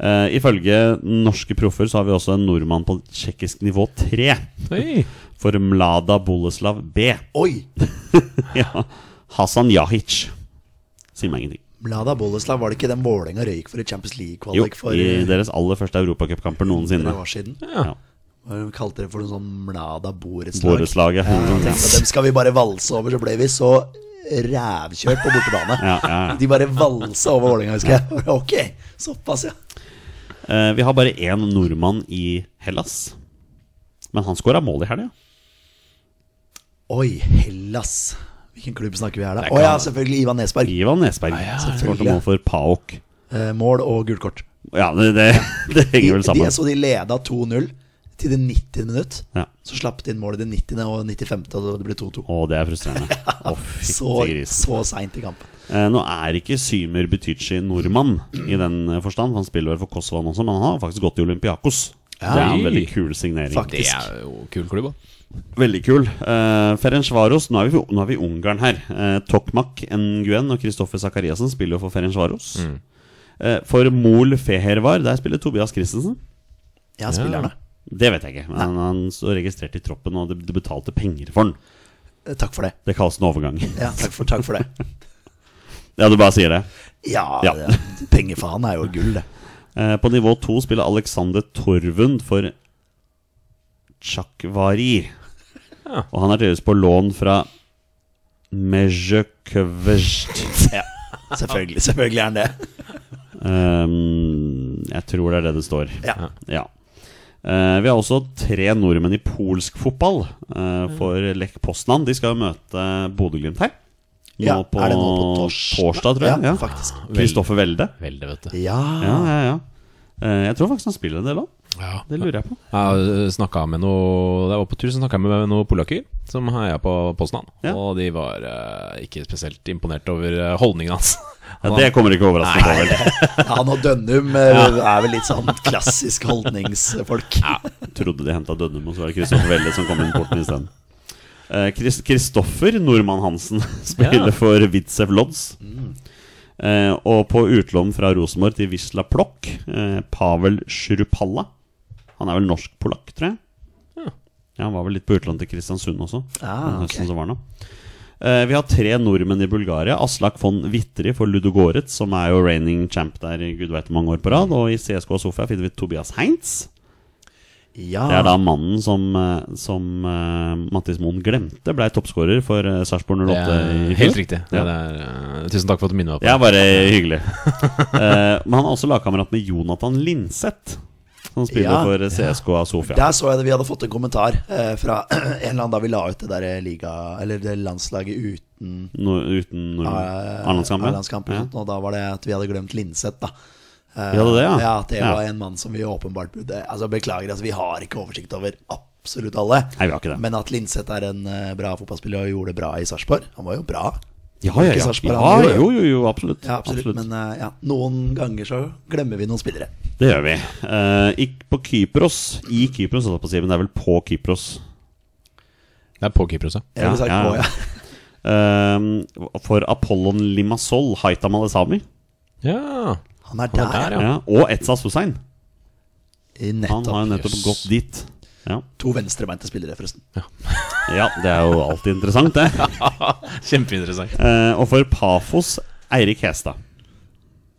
Speaker 2: Eh, ifølge norske proffer så har vi også en nordmann på tsjekkisk nivå 3.
Speaker 1: Oi.
Speaker 2: For Mlada Boleslav B.
Speaker 3: Oi!
Speaker 2: ja. Hasan Jahic. Sier meg ingenting.
Speaker 3: Mlada Boleslav, var det ikke den Vålerenga røyk for i Champions
Speaker 2: Jo,
Speaker 3: League-kvalik for
Speaker 2: i deres aller første europacupkamper noensinne.
Speaker 3: noen år siden?
Speaker 2: Ja.
Speaker 3: Hva kalte det for noe sånn Mlada Boreslag?
Speaker 2: Boreslaget.
Speaker 3: Jeg tenkte at Dem skal vi bare valse over, så ble vi så rævkjørt på bortebane.
Speaker 2: Ja, ja, ja.
Speaker 3: De bare valsa over Vålerenga, husker jeg. Ok, såpass, ja.
Speaker 2: Eh, vi har bare én nordmann i Hellas. Men han skåra mål i helga.
Speaker 3: Oi, Hellas. Hvilken klubb snakker vi her, da?
Speaker 1: Det
Speaker 3: Å
Speaker 1: kan-
Speaker 3: ja, selvfølgelig Ivan Nesberg.
Speaker 2: Ivan Nesberg
Speaker 1: ja,
Speaker 2: skårte
Speaker 3: Ah, selvfølgelig.
Speaker 2: mål for Paok.
Speaker 3: Eh, mål og gult kort.
Speaker 2: Ja, det, det, det henger vel
Speaker 3: De,
Speaker 2: sammen.
Speaker 3: de, så de leda 2-0 til det 90. minutt.
Speaker 2: Ja.
Speaker 3: Så slapp de inn mål i det 90. og 95. og det ble 2-2.
Speaker 2: Å, det er frustrerende. Å, fytti
Speaker 3: Så,
Speaker 2: grisen.
Speaker 3: så seint i kampen.
Speaker 2: Eh, nå er ikke Symer Butychi nordmann i den eh, forstand. Han spiller vel for Kosovo også, men han har faktisk gått i Olympiakos. Det er en veldig kul signering.
Speaker 3: Fuck.
Speaker 1: Det er jo kul klubb, da.
Speaker 2: Veldig kul. Uh, Ferencvaros, nå er, vi, nå er vi i Ungarn her. Eh, Tokmak Nguyen og Kristoffer Sakariassen spiller jo for Ferencvaros. Eh, for Mol Fehervar, der spiller Tobias Christensen.
Speaker 3: Ja, spillerne.
Speaker 2: Det vet jeg ikke, men han, han står registrert i troppen, og det, det betalte penger for han.
Speaker 3: Eh, Takk for det.
Speaker 2: Det kalles en overgang.
Speaker 3: Ja, takk for, takk for det.
Speaker 2: Ja, du bare sier det.
Speaker 3: Ja,
Speaker 2: Ja.
Speaker 3: det- pengefaen er jo gull, det.
Speaker 2: Eh, på nivå to spiller Alexander Torvund for Chakvari.
Speaker 1: Ja.
Speaker 2: Og han er tydeligvis på lån fra Mezjekøvst.
Speaker 3: Ja, selvfølgelig, selvfølgelig er han det.
Speaker 2: Ehm, jeg tror det er det det står.
Speaker 3: Ja.
Speaker 2: Ja. Eh, vi har også tre nordmenn i polsk fotball eh,
Speaker 3: Mm.
Speaker 2: for Lech Poznan. De skal jo møte Bodø-Glimt her. Nå
Speaker 3: Ja,
Speaker 2: på,
Speaker 3: er det nå på torsdag?
Speaker 2: tror jeg.
Speaker 3: Ja,
Speaker 2: Ja,
Speaker 3: faktisk.
Speaker 2: Kristoffer Welde.
Speaker 1: Vel, det, vet du.
Speaker 2: Ja,
Speaker 3: Ja,
Speaker 2: ja, ja. Eh, jeg tror faktisk han spiller en del òg.
Speaker 1: Ja.
Speaker 2: Det lurer jeg på.
Speaker 1: Jeg snakket med noe Da jeg var på tur, så snakka jeg med noen polakker som heia på Poznan.
Speaker 2: Ja.
Speaker 1: Og de var eh, ikke spesielt imponert over eh, holdningen hans.
Speaker 2: Ja, det kommer ikke overraskende på, vel.
Speaker 3: Han og Dønnum eh, er vel litt sånn klassisk holdningsfolk.
Speaker 2: Trodde de henta Dønnum, og så var det Kristoffer Welle som kom inn porten isteden. Eh, Kris- Kristoffer Nordmann Hansen spiller
Speaker 1: Ja.
Speaker 2: for Witzef Lodz. Eh, og på utlån fra Rosenborg til Wisla Plock, eh, Pavel Sjurupalla. Han er vel norsk-polakk, tror jeg. Ja, Han var vel litt på utlån til Kristiansund også.
Speaker 3: Ah,
Speaker 2: den
Speaker 3: ok.
Speaker 2: høsten som var nå. Eh, vi har tre nordmenn i Bulgaria. Aslak von Witteri for Ludogorets, som er jo reigning champ der i gud vet hvor mange år på rad. Og i CSK Sofia finner vi Tobias Heinz.
Speaker 3: Ja,
Speaker 2: Det er da mannen som, eh, som eh, Mattis Moen glemte blei toppskårer for eh, Sarpsborg 08
Speaker 1: Det er
Speaker 2: i fjor.
Speaker 1: helt riktig. Det
Speaker 2: Ja.
Speaker 1: er, eh, tusen takk for at du minner meg på
Speaker 2: Ja, bare hyggelig. Eh, men han er også lagkamerat med Jonathan Linseth, som spiller
Speaker 3: Ja.
Speaker 2: for eh, CSK av Sofia.
Speaker 3: Der så jeg det, vi hadde fått en kommentar eh, fra en eller annen da vi la ut det der eh, liga, eller det landslaget uten
Speaker 2: No, uten nordmenn.
Speaker 3: eh,
Speaker 2: Arendalskamp, ja.
Speaker 3: Arendalskamp og
Speaker 2: Mm. Ja.
Speaker 3: sånt, Og da var det at vi hadde glemt Linseth, da. Eh,
Speaker 2: Vi hadde det, ja.
Speaker 3: ja At det
Speaker 2: Ja.
Speaker 3: var en mann som vi åpenbart burde Altså Beklager, altså, vi har ikke oversikt over absolutt alle.
Speaker 2: Nei, vi har ikke det.
Speaker 3: Men at Linseth er en eh, bra fotballspiller og gjorde det bra i Sarpsborg Han var jo bra.
Speaker 2: Ja, ja,
Speaker 3: Ikke
Speaker 2: ja.
Speaker 3: Sarpsborg,
Speaker 2: ja,
Speaker 3: han gjorde det.
Speaker 2: jo, jo, jo, absolutt.
Speaker 3: Ja, absolutt,
Speaker 2: absolutt.
Speaker 3: Men eh, ja, noen ganger så glemmer vi noen spillere.
Speaker 2: Det gjør vi. Eh, ikk- på Kypros I Kypros, holdt jeg på å si, men det er vel på Kypros.
Speaker 1: det. Det er på Kypros, ja.
Speaker 3: Jeg
Speaker 2: Ja,
Speaker 3: ville sagt
Speaker 2: ja,
Speaker 3: Å,
Speaker 2: ja.
Speaker 3: ja.
Speaker 2: Ehm, for Apollon Limassol, Haitam Alesami
Speaker 1: ja.
Speaker 3: Han
Speaker 1: Han
Speaker 3: er der,
Speaker 1: er der,
Speaker 3: ja.
Speaker 1: ja.
Speaker 2: ja, og Etzas Hussein.
Speaker 3: I
Speaker 2: Han har jo
Speaker 3: nettopp.
Speaker 2: nettopp gått dit. Ja.
Speaker 3: To venstrebeinte spillere, forresten.
Speaker 2: ja, det er jo alltid interessant, det.
Speaker 1: Kjempeinteressant.
Speaker 2: Eh, og for Pafos Eirik Hestad.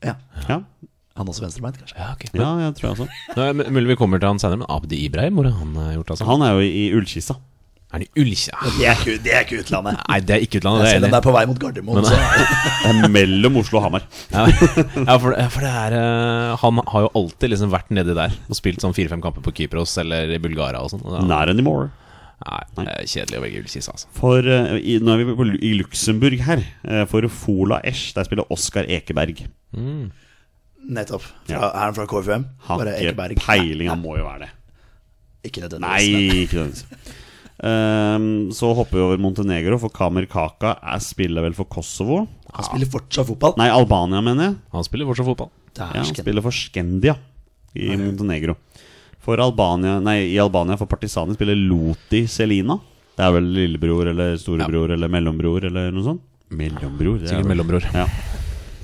Speaker 3: Ja,
Speaker 2: Ja.
Speaker 3: Han også venstrebeint, kanskje.
Speaker 1: Ja, ok.
Speaker 2: ja, jeg tror jeg også.
Speaker 1: Nå er det Mulig vi kommer til han senere, men Abdi Ibrahim, hvor har han eh, gjort av seg?
Speaker 2: Han er jo i Ullkissa.
Speaker 1: Er han i Ullkja?
Speaker 3: Det er ikke, det er ikke utlandet.
Speaker 1: Nei, det er ikke utlandet, det er
Speaker 3: Selv
Speaker 1: jeg enig
Speaker 3: om det
Speaker 1: i.
Speaker 3: er på vei mot Gardermoen.
Speaker 1: Men-
Speaker 3: Så er det-
Speaker 2: Eh, Mellom Oslo og Hamar.
Speaker 1: Ja, ja, for, ja, for det er eh, Han har jo alltid liksom vært nedi der og spilt sånn fire-fem kamper på Kypros eller i Bulgaria og sånn. og da-
Speaker 2: Not anymore.
Speaker 1: Nei, det er kjedelig å velge Ullkisa, altså.
Speaker 2: For, eh, i, nå er vi på, Lu- i Luxembourg her. eh, for Fola Esch, der spiller Oskar Ekeberg.
Speaker 3: Nettopp. Fra,
Speaker 2: Ja.
Speaker 3: Er han fra KFUM?
Speaker 2: Har
Speaker 3: Bare Ekeberg.
Speaker 2: ikke peiling, han må jo være det.
Speaker 3: Ikke nødvendigvis.
Speaker 2: Nei, ikke nødvendigvis. Ehm, så hopper vi over Montenegro, for Kamer Kaka er, spiller vel for Kosovo?
Speaker 3: men Han spiller fortsatt fotball.
Speaker 2: Nei, Albania, mener jeg.
Speaker 1: Han spiller fortsatt fotball.
Speaker 2: Ja, han
Speaker 3: Dæsken.
Speaker 2: spiller for Skendia i Montenegro. For Albania, nei, I Albania for Partisanen spiller Loti Selina. Det er vel lillebror eller storebror eller mellombror eller noe sånt? Mellombror. det er
Speaker 1: Sikkert
Speaker 2: vel-
Speaker 1: mellombror.
Speaker 2: Ja.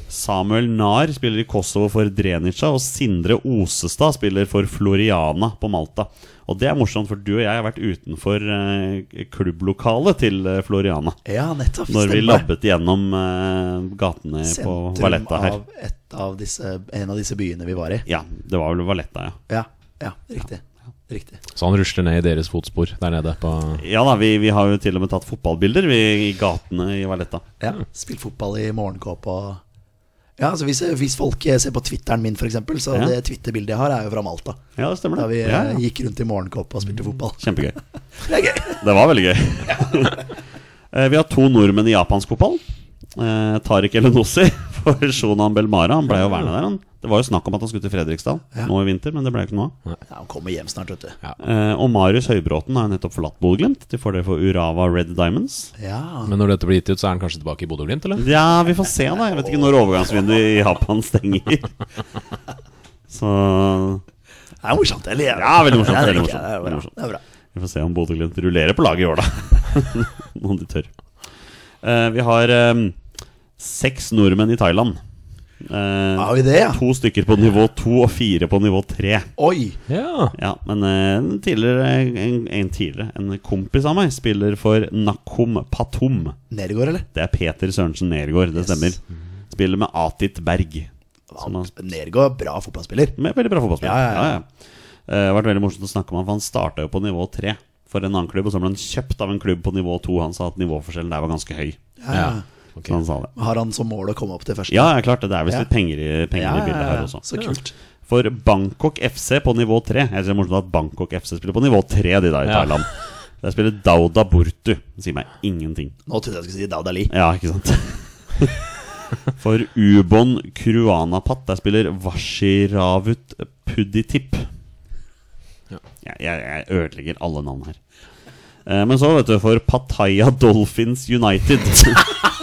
Speaker 2: Samuel Nar spiller i Kosovo for Drenica, og Sindre Osestad spiller for Floriana på Malta. Og det er morsomt, for du og jeg har vært utenfor eh, klubblokalet til eh, Floriana
Speaker 3: Ja, nettopp.
Speaker 2: når vi
Speaker 3: stemmer.
Speaker 2: labbet gjennom eh, gatene på
Speaker 3: Sentrum
Speaker 2: Valletta her.
Speaker 3: av, et av disse, en av disse byene vi var i.
Speaker 2: Ja, det var vel Valletta, ja.
Speaker 3: Ja, ja riktig. Riktig.
Speaker 1: Så han rusler ned i deres fotspor der nede på
Speaker 2: Ja da, vi, vi har jo til og med tatt fotballbilder vi, i gatene i Valletta.
Speaker 3: Ja, Spilt Mm. fotball i morgenkåpe og ja, altså hvis, hvis folk ser på Twitteren min, f.eks., så
Speaker 2: Ja.
Speaker 3: det Twitter-bildet jeg har, er jo fra Malta.
Speaker 2: Ja, det stemmer
Speaker 3: Da vi
Speaker 2: det.
Speaker 3: eh,
Speaker 2: Ja, Mm. ja.
Speaker 3: gikk rundt i morgenkåpe og spilte fotball.
Speaker 2: Kjempegøy.
Speaker 3: Det er gøy.
Speaker 2: Det var veldig gøy. Eh, Vi har to nordmenn i japansk fotball. Eh, Tariq Elenossi for Shonan Belmara. Han ble jo værende der. Han. Det var jo snakk om at han skulle til Fredrikstad nå i vinter, men det ble jo ikke noe av.
Speaker 3: Ja, han kommer hjem snart, vet du.
Speaker 2: Eh, Og Marius Høybråten har jo nettopp forlatt Bodø-Glimt til fordel for Urava Red Diamonds.
Speaker 3: Ja,
Speaker 1: Men når dette blir gitt ut, så er han kanskje tilbake i Bodø-Glimt, eller?
Speaker 2: Ja, vi får se, da. Jeg vet ikke når overgangsvinduet i Japan stenger. Så
Speaker 3: Det er morsomt. Eller?
Speaker 2: Ja, veldig morsomt,
Speaker 3: Ja, det
Speaker 2: veldig
Speaker 3: liker jeg. Det er bra.
Speaker 2: morsomt.
Speaker 3: Det er bra.
Speaker 2: vi får se om Bodø-Glimt rullerer på laget i år, da. Om de tør. Eh, Vi har eh, seks nordmenn i Thailand. Eh,
Speaker 3: Har vi det, ja?
Speaker 2: To stykker på nivå to og fire på nivå tre.
Speaker 3: Oi!
Speaker 1: Ja.
Speaker 2: Ja, men eh, en tidligere, en, en tidligere En kompis av meg spiller for Nakhom Patom.
Speaker 3: Nedegård, eller?
Speaker 2: Det er Peter Sørensen Nergård, det
Speaker 3: Yes.
Speaker 2: stemmer. Spiller med Atit Berg. Som har
Speaker 3: Nergård, bra fotballspiller.
Speaker 2: med veldig bra fotballspiller.
Speaker 3: Ja, ja, ja.
Speaker 2: Eh, Det har vært veldig morsomt å snakke om han, for han starta jo på nivå tre for en annen klubb, og så ble han kjøpt av en klubb på nivå to. Han sa at nivåforskjellen der var ganske høy.
Speaker 1: Ja.
Speaker 2: Så han sa det.
Speaker 3: Har han som mål å komme opp til første?
Speaker 2: Ja, ja, klart det. Det er visst
Speaker 3: Ja.
Speaker 2: litt penger i, penger
Speaker 3: Ja, ja,
Speaker 2: i bildet
Speaker 3: ja.
Speaker 2: her også.
Speaker 3: Så kult.
Speaker 2: For Bangkok FC på nivå 3 Jeg synes det er morsomt at Bangkok FC spiller på nivå 3 De der i
Speaker 1: Ja.
Speaker 2: Thailand Der spiller Dauda Burtu Det sier meg ingenting
Speaker 3: Nå trodde jeg jeg skulle si Daud Ali.
Speaker 2: Ja, ikke sant For Ubon Kruanapat Der spiller Vashiravut Puditip jeg, jeg, jeg ødelegger alle navn her Eh, Men så vet du For Pattaya Dolphins United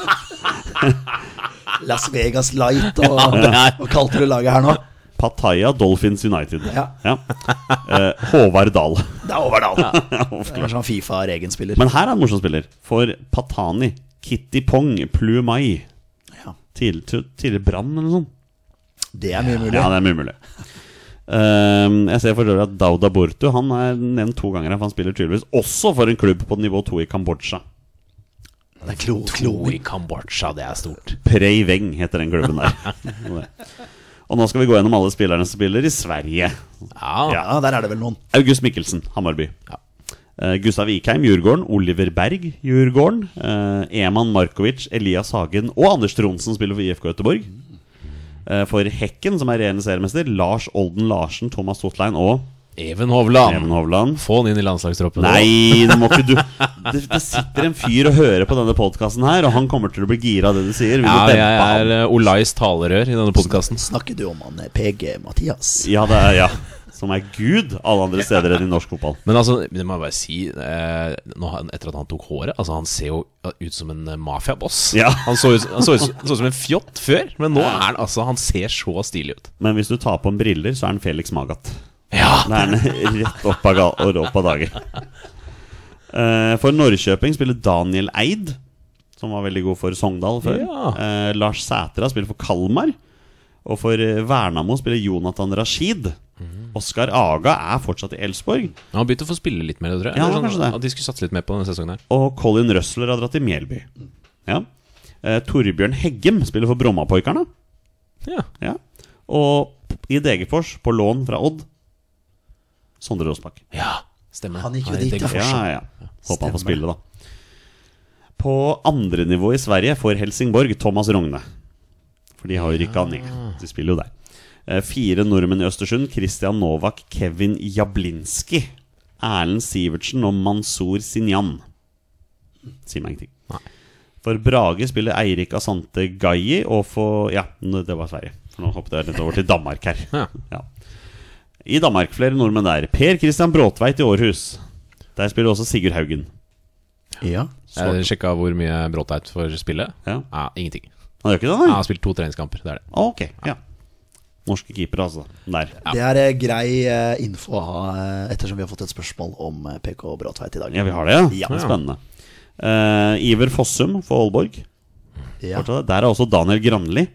Speaker 3: Las Vegas Light og, og kalte du laget her nå?
Speaker 2: Pattaya Dolphins United
Speaker 3: Ja.
Speaker 2: Eh, Håvard Dahl
Speaker 3: Det er Overdal.
Speaker 2: Ofte
Speaker 3: Kanskje han Fifa er egen spiller.
Speaker 2: Men her er en morsom spiller. For Patani, Kitty Pong, Plumai.
Speaker 3: Ja.
Speaker 2: Tidligere tidlig Brann eller noe sånt.
Speaker 3: Det er mye mulig.
Speaker 2: Ja, det er mye mulig. Ehm, jeg ser for øvrig at Dauda Bortu Han er nevnt to ganger. her, For Han spiller tydeligvis også for en klubb på nivå to i Kambodsja.
Speaker 3: Det er klo,
Speaker 1: Klo
Speaker 3: kloing.
Speaker 1: i Kambodsja, det er stort.
Speaker 2: Prey Veng heter den klubben der. Og nå skal vi gå gjennom alle spillerne som spiller i Sverige.
Speaker 1: Ja.
Speaker 3: Ja, der er det vel noen.
Speaker 2: August Mikkelsen, Hammarby.
Speaker 1: Ja.
Speaker 2: Eh, Gustav Ikheim, Djurgården. Oliver Berg, Djurgården. Eh, Eman Markovic, Elias Hagen og Anders Tronsen spiller for IFK Göteborg. Eh, for Hekken, som er regjerende seriemester, Lars Olden Larsen, Thomas Totlein og
Speaker 1: Even Hovland.
Speaker 2: Even Hovland.
Speaker 1: Få han inn i landslagstroppen.
Speaker 2: Nei, det må ikke du det, det sitter en fyr og hører på denne podkasten her, og han kommer til å bli gira av det du sier. Vil
Speaker 1: Ja,
Speaker 2: du dempe
Speaker 1: jeg
Speaker 2: han?
Speaker 1: er eh, Olais talerør i denne podkasten.
Speaker 3: Snakker du om han eh, PG Mathias?
Speaker 2: Ja, det er ja. Som er Gud alle andre steder enn i norsk fotball.
Speaker 1: Men altså, det må jeg bare si eh, nå, han- Etter at han tok håret Altså, han ser jo ut som en eh, mafiaboss.
Speaker 2: Ja.
Speaker 1: Han så ut han så ut som- han så ut som en fjott før, men nå er han altså Han ser så stilig ut.
Speaker 2: Men hvis du tar på en briller, så er han Felix Magat.
Speaker 1: Ja,
Speaker 2: Da er den rett opp av, ga- og opp av dagen. Eh, for Norrköping spiller Daniel Eid, som var veldig god for Sogndal før.
Speaker 1: Ja.
Speaker 2: Eh, Lars Sætra spiller for Kalmar. Og for eh, Vernamo spiller Jonathan Rashid. Oskar Aga er fortsatt i Elsborg.
Speaker 1: Han har begynt å få spille litt mer, tror jeg.
Speaker 2: Ja,
Speaker 1: Eller sånn,
Speaker 2: kanskje det.
Speaker 1: At de skulle satse litt mer på denne sesongen her.
Speaker 2: Og Colin Røsler har dratt til Mjelby. Ja. Eh, Torbjørn Heggem spiller for Brommapoikerne.
Speaker 1: Ja.
Speaker 2: Ja. Og i Degerfors, på lån fra Odd, Sondre Rosbakk.
Speaker 1: ja stemmer det.
Speaker 3: Han gikk jo
Speaker 1: er i
Speaker 3: dit, da.
Speaker 1: Degerfors.
Speaker 2: Ja, ja. Håper han får
Speaker 3: Stemmer.
Speaker 2: spille, da. På andre nivå i Sverige får Helsingborg Thomas Rogne. For de har jo rykka ned. De spiller jo der. Eh, Fire nordmenn i Østersund. Christian Novak, Kevin Jablinski, Erlend Sivertsen og Mansour Sinjan. Sier meg ingenting. For Brage spiller Eirik Asante Gayi, og for Ja, n- det var Sverige. For nå hoppet jeg litt over til Danmark her.
Speaker 1: Ja.
Speaker 2: Ja. I Danmark, flere nordmenn der. Per Christian Bråtveit i Århus. Der spiller også Sigurd Haugen.
Speaker 3: Ja.
Speaker 1: Jeg sjekka hvor mye Bråteit får spille.
Speaker 2: Ja.
Speaker 1: Ja, ingenting.
Speaker 2: Han gjør ikke det,
Speaker 1: Ja,
Speaker 2: da?
Speaker 1: han har spilt to treningskamper. Det er det.
Speaker 2: Ok, ja. Norske keepere, altså. Der.
Speaker 3: Det er eh, grei eh, info å ha eh, ettersom vi har fått et spørsmål om eh, PK Bråtveit i dag.
Speaker 2: Ja, vi har det, ja.
Speaker 3: Ja.
Speaker 2: Det er Spennende. Eh, Iver Fossum for Aalborg.
Speaker 3: Ja.
Speaker 2: Fortsatt Der er også Daniel Granli.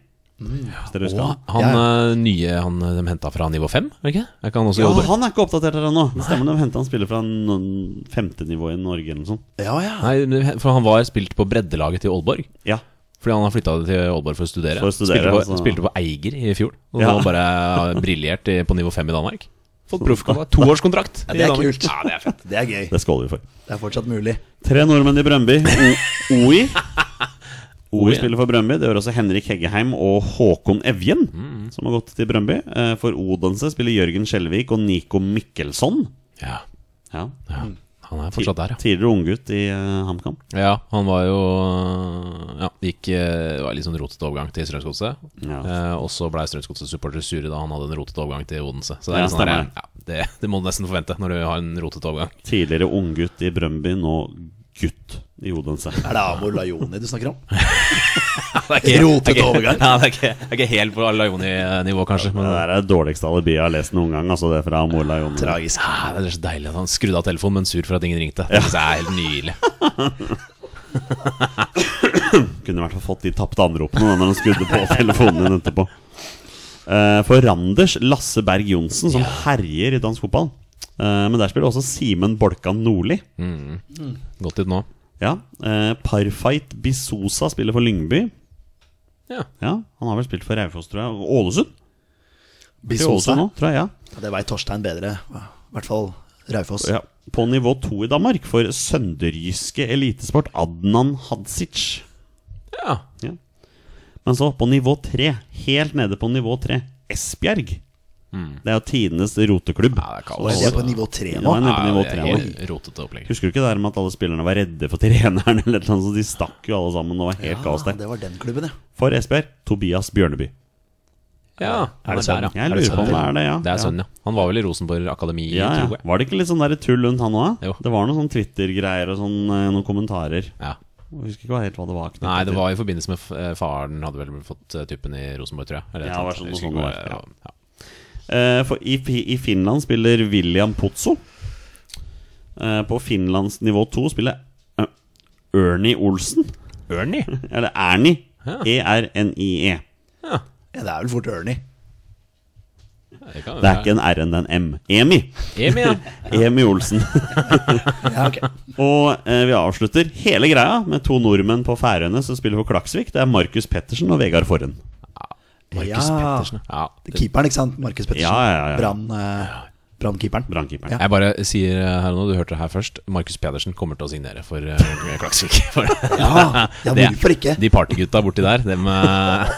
Speaker 2: Hvis dere husker han.
Speaker 1: Han
Speaker 3: Ja,
Speaker 1: eh, nye han eh, de henta fra nivå fem, er det ikke? Er ikke han også i
Speaker 2: Ja,
Speaker 1: Aalborg?
Speaker 2: han er ikke oppdatert her ennå. Det Stemmer det? Hentet han spiller fra noen femte nivå i Norge eller noe sånt.
Speaker 3: ja, ja.
Speaker 1: Nei, men- for han var spilt på breddelaget til Aalborg.
Speaker 2: Ja.
Speaker 1: Fordi han har flytta til Aalborg for å studere.
Speaker 2: For å studere,
Speaker 1: spilte, på,
Speaker 2: altså.
Speaker 1: spilte på Eiger i fjor. Og
Speaker 2: Ja.
Speaker 1: nå bare har briljert i- på nivå fem i Danmark. Fått proffkontrakt. Toårskontrakt.
Speaker 3: Ja, det er
Speaker 1: i Danmark.
Speaker 3: kult.
Speaker 1: Ja, det er fett.
Speaker 3: Det er gøy.
Speaker 2: Det skåler vi for.
Speaker 3: Det er fortsatt mulig.
Speaker 2: Tre nordmenn i Brøndby. O- OI. OI
Speaker 1: ja.
Speaker 2: spiller for Brøndby. Det gjør også Henrik Heggeheim og Håkon Evjen,
Speaker 1: Mm.
Speaker 2: som har gått til Brøndby. Eh, For Odense spiller Jørgen Skjelvik og Nico Mikkelsson.
Speaker 1: Ja.
Speaker 2: Ja.
Speaker 1: ja. han er fortsatt der, ja.
Speaker 2: Tidligere unggutt i eh, HamKam.
Speaker 1: Ja, han var jo Ja, gikk eh, Det var litt sånn rotete overgang til Strømsgodset.
Speaker 2: Ja.
Speaker 1: Eh, og så blei Strømsgodset-supportere sure da han hadde en rotete overgang til Odense. Så det er
Speaker 2: Ja,
Speaker 1: litt sånn der,
Speaker 2: stemmer.
Speaker 1: ja, det, det må du nesten forvente når du har en rotete overgang.
Speaker 2: Tidligere unggutt i Brøndby, nå gutt i Odense.
Speaker 3: Er det Amor Lajoni du snakker om?
Speaker 1: Det er ikke-
Speaker 3: Rotete
Speaker 1: det er ikke-
Speaker 3: overgang.
Speaker 1: Ja, det er ikke, det er ikke helt på Laioni-nivå, kanskje.
Speaker 2: Det
Speaker 1: Men,
Speaker 2: der er det dårligste alibiet jeg har lest noen gang. Altså det fra Mola Jonny.
Speaker 3: Tragisk.
Speaker 1: Ah, det er så deilig at han skrudde av telefonen, men sur for at ingen ringte. Det synes jeg er helt nydelig.
Speaker 2: Kunne i hvert fall fått de tapte anropene da, når han skrudde på telefonen din etterpå. Eh, For Randers Lasse Berg Johnsen, som herjer i dansk fotball. Eh, Men der spiller også Simen Bolkan Nordli.
Speaker 1: Godt ut nå.
Speaker 2: Ja, eh, Parfight Bisosa spiller for Lyngby.
Speaker 1: Ja.
Speaker 2: Ja, Han har vel spilt for Raufoss, tror jeg. Og Ålesund. Til
Speaker 3: Bisonsa.
Speaker 2: Ålesund nå, tror jeg. ja.
Speaker 3: Ja, Det veit Torstein bedre. I hvert fall Raufoss.
Speaker 2: ja. På nivå to i Danmark for sønderjyske elitesport Adnan Hadzic.
Speaker 1: ja.
Speaker 2: Ja. Men så på nivå tre, helt nede på nivå tre, Esbjerg. Det er jo tidenes roteklubb.
Speaker 1: Mm. Ja, det er
Speaker 3: Og de er på
Speaker 1: kaos.
Speaker 3: nivå tre
Speaker 2: Nå
Speaker 3: nå.
Speaker 2: er jeg nede på nivå
Speaker 1: det er
Speaker 2: tre nå.
Speaker 1: helt rotete opplegg.
Speaker 2: Husker du ikke det der med at alle spillerne var redde for treneren? eller et eller annet, så De stakk jo alle sammen. Det var helt kaos
Speaker 3: Ja,
Speaker 2: der.
Speaker 3: Ah, det var den klubben, ja.
Speaker 2: For Esbjerg, Tobias Bjørneby.
Speaker 1: Ja,
Speaker 3: Er det
Speaker 1: der,
Speaker 3: sønnen?
Speaker 1: ja.
Speaker 2: Jeg lurer på om det er det, ja.
Speaker 1: Det er sønnen, ja. Han var vel i Rosenborg Akademi,
Speaker 2: Ja, ja.
Speaker 1: tror jeg.
Speaker 2: Var det ikke litt sånn der tull rundt han òg?
Speaker 1: Jo.
Speaker 2: Det var noen sånn Twitter-greier og sånn, eh, noen kommentarer.
Speaker 1: Ja.
Speaker 2: Jeg husker ikke hva- helt hva det var. knyttet
Speaker 1: Nei, det
Speaker 2: til.
Speaker 1: var i forbindelse med f- eh, faren hadde vel fått eh, typen i Rosenborg, tror jeg. Eller et
Speaker 2: Ja, det
Speaker 1: eller
Speaker 2: var sånn noe
Speaker 1: annet. Jeg
Speaker 2: sånt
Speaker 1: husker ikke
Speaker 2: det var,
Speaker 1: hva- ja.
Speaker 2: Eh, For i, Fi- i Finland spiller William Pozzo. Eh, På Finlands nivå 2 spiller eh, Ernie Olsen.
Speaker 1: Ernie?
Speaker 2: Eller Ernie. E
Speaker 1: Ja.
Speaker 2: E-R-N-I-E.
Speaker 3: ja. Det er vel fort Ernie.
Speaker 1: Det, kan,
Speaker 2: Det er ikke en R enn en M. Emi.
Speaker 1: Emi, ja.
Speaker 2: Emi Olsen.
Speaker 3: Ja, ok
Speaker 2: Og eh, vi avslutter hele greia med to nordmenn på Færøyene som spiller for Klaksvik. Det er Markus Pettersen og Vegard Forhen.
Speaker 1: Markus
Speaker 3: Ja.
Speaker 1: Pettersen. Ja.
Speaker 3: Det er Keeperen, ikke sant? Markus Pettersen.
Speaker 2: Ja, ja, ja.
Speaker 3: Brann, eh, Brannkeeperen.
Speaker 2: Brannkeeperen.
Speaker 1: Jeg bare sier eh, her og nå, du hørte det her først, Markus Pedersen kommer til å signere for eh, Klaksvik. For,
Speaker 3: Ja, ja,
Speaker 1: Det-
Speaker 3: hvorfor ikke?
Speaker 1: De partygutta borti der, dem eh,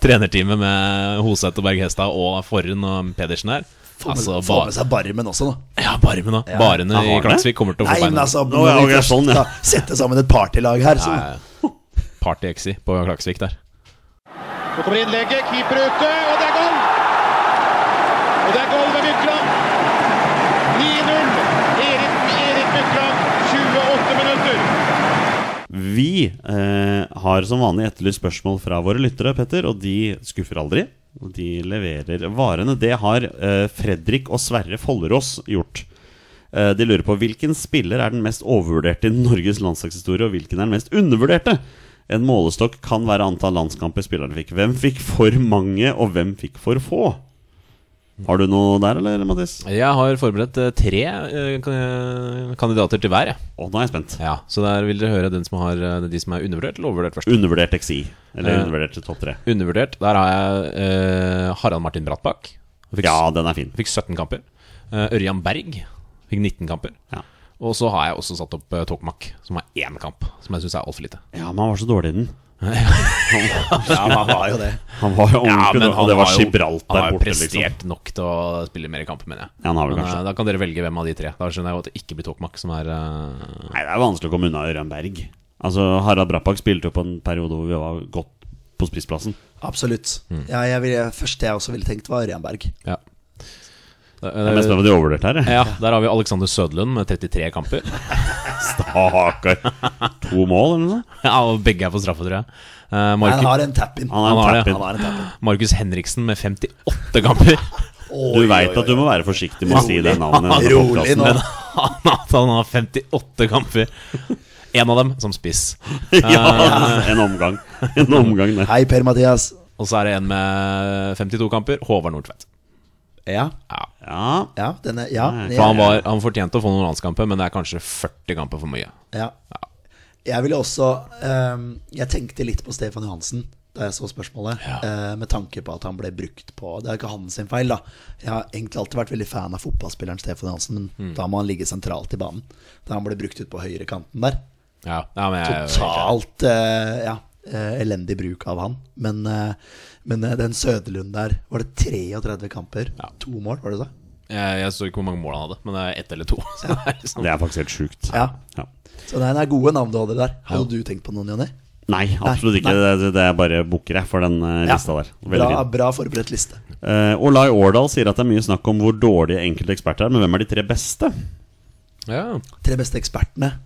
Speaker 1: trenerteamet med Hoseth og Berghestad og Forhen og Pedersen her.
Speaker 3: Få med,
Speaker 1: Altså,
Speaker 3: få
Speaker 1: bar,
Speaker 3: med seg Barmen også, da.
Speaker 1: ja, barmen, da. Barene
Speaker 2: Ja,
Speaker 1: i
Speaker 2: har det?
Speaker 1: Klaksvik kommer til å
Speaker 3: Nei,
Speaker 1: få
Speaker 3: men
Speaker 1: beina.
Speaker 3: altså
Speaker 2: Nå, ja,
Speaker 3: når vi
Speaker 2: ok,
Speaker 3: først
Speaker 2: sånn, ja.
Speaker 3: skal sette sammen et partylag her, så
Speaker 1: Party-exi på Klaksvik der.
Speaker 4: Nå kommer innlegget, keeper ute, og det er goal! Og det er goal ved Mykland. 9-0. Erik, Erik Mykland, 28 minutter.
Speaker 2: Vi eh, har som vanlig etterlyst spørsmål fra våre lyttere, Petter, og de skuffer aldri. Og de leverer varene. Det har eh, Fredrik og Sverre Follerås gjort. Eh, de lurer på hvilken spiller er den mest overvurderte i Norges landslagshistorie, og hvilken er den mest undervurderte? En målestokk kan være antall landskamper spillerne fikk. Hvem fikk for mange, og hvem fikk for få? Har du noe der, eller, Mattis? Å,
Speaker 1: Jeg har forberedt eh, tre eh, kan- kandidater til hver, jeg.
Speaker 2: nå er jeg spent.
Speaker 1: Ja, så der vil dere høre den som har, eh, de som er undervurdert eller overvurdert først.
Speaker 2: Undervurdert XI. Eller
Speaker 1: Eh.
Speaker 2: undervurdert til topp tre.
Speaker 1: Undervurdert, der har jeg eh, Harald Martin Brattbakk. Han Fikk,
Speaker 2: Ja, den er fin.
Speaker 1: fikk 17 kamper. Eh, Ørjan Berg fikk 19 kamper.
Speaker 2: Ja.
Speaker 1: Og så har jeg også satt opp uh, Tokmak, som har én kamp. Som jeg syns er altfor lite.
Speaker 2: Ja, men han var så dårlig i den.
Speaker 3: Ja, man var jo det.
Speaker 2: Han var jo ordentlig, og det var
Speaker 1: har jo- Han
Speaker 2: Gibraltar
Speaker 1: har jo
Speaker 2: borte,
Speaker 1: prestert
Speaker 2: liksom.
Speaker 1: nok til å spille mer kamper, mener jeg.
Speaker 2: Ja, han har vel
Speaker 1: Men, eh,
Speaker 2: kanskje
Speaker 1: da kan dere velge hvem av de tre. Da skjønner jeg jo at det ikke blir Tokmak som er eh,
Speaker 2: Nei, det er vanskelig å komme unna Ørjan Berg. Altså, Harald Brappak spilte jo på en periode hvor vi var godt på spissplassen.
Speaker 3: Absolutt.
Speaker 1: Mm.
Speaker 3: Ja, jeg ville, første jeg også ville tenkt, var Ørjan Berg.
Speaker 1: Ja. Da,
Speaker 2: Jeg er mest
Speaker 1: eh,
Speaker 2: spent på de overvurderte her, jeg.
Speaker 1: ja, der har vi Alexander Sødlund med 33 kamper.
Speaker 2: Stakkar. To mål, eller noe?
Speaker 1: Ja, og begge er på straffe, tror jeg. Eh,
Speaker 3: Nei, Han
Speaker 1: Markus,
Speaker 3: har en tap-in.
Speaker 2: Han
Speaker 1: Han
Speaker 2: er
Speaker 1: har
Speaker 2: en
Speaker 1: det.
Speaker 3: Han
Speaker 2: tap-in.
Speaker 3: har en tap-in.
Speaker 1: Markus Henriksen med 58 kamper.
Speaker 2: Du veit at du må være forsiktig med å si det navnet. i denne
Speaker 3: Rolig
Speaker 2: podcasten.
Speaker 3: nå.
Speaker 1: Men han, at han har 58 kamper. En av dem som spiss.
Speaker 2: Ja, en omgang. En omgang der.
Speaker 3: Hei, Per-Mathias.
Speaker 1: Og så er det en med 52 kamper, Håvard Nordtvedt.
Speaker 3: Ja,
Speaker 1: Ja.
Speaker 2: Ja,
Speaker 3: ja, denne, ja,
Speaker 2: Nei,
Speaker 1: For
Speaker 3: ja,
Speaker 1: han, var, han fortjente å få noen landskamper, men det er kanskje 40 kamper for mye.
Speaker 3: ja. Jeg ville også ehm, Jeg tenkte litt på Stefan Johansen da jeg så spørsmålet, eh, med tanke på at han ble brukt på Det er ikke hans sin feil, da. Jeg har egentlig alltid vært veldig fan av fotballspilleren Stefan Johansen,
Speaker 1: Mm.
Speaker 3: men da må han ligge sentralt i banen. Da han ble brukt ut på høyrekanten der.
Speaker 1: Ja, ja men jeg,
Speaker 3: totalt eh, ja, eh, elendig bruk av han. Men, eh, men eh, den Søderlund der, var det 33 kamper?
Speaker 1: Ja.
Speaker 3: To mål, var det så?
Speaker 1: Jeg, jeg så ikke hvor mange mål han hadde, men det er ett eller to. Så det er liksom,
Speaker 2: Det er faktisk helt sjukt.
Speaker 3: Ja.
Speaker 2: Ja.
Speaker 3: Så det er det er gode navn du hadde der. Hadde du tenkt på noen, Jonny?
Speaker 2: Nei, absolutt ikke. Det, det er bare booker jeg for den eh, lista der. Veldig
Speaker 3: Bra,
Speaker 2: fin.
Speaker 3: bra forberedt liste.
Speaker 2: Eh, Olai Årdal sier at det er mye snakk om hvor dårlige enkelte eksperter er, men hvem er de tre beste?
Speaker 1: ja.
Speaker 3: Tre beste ekspertene.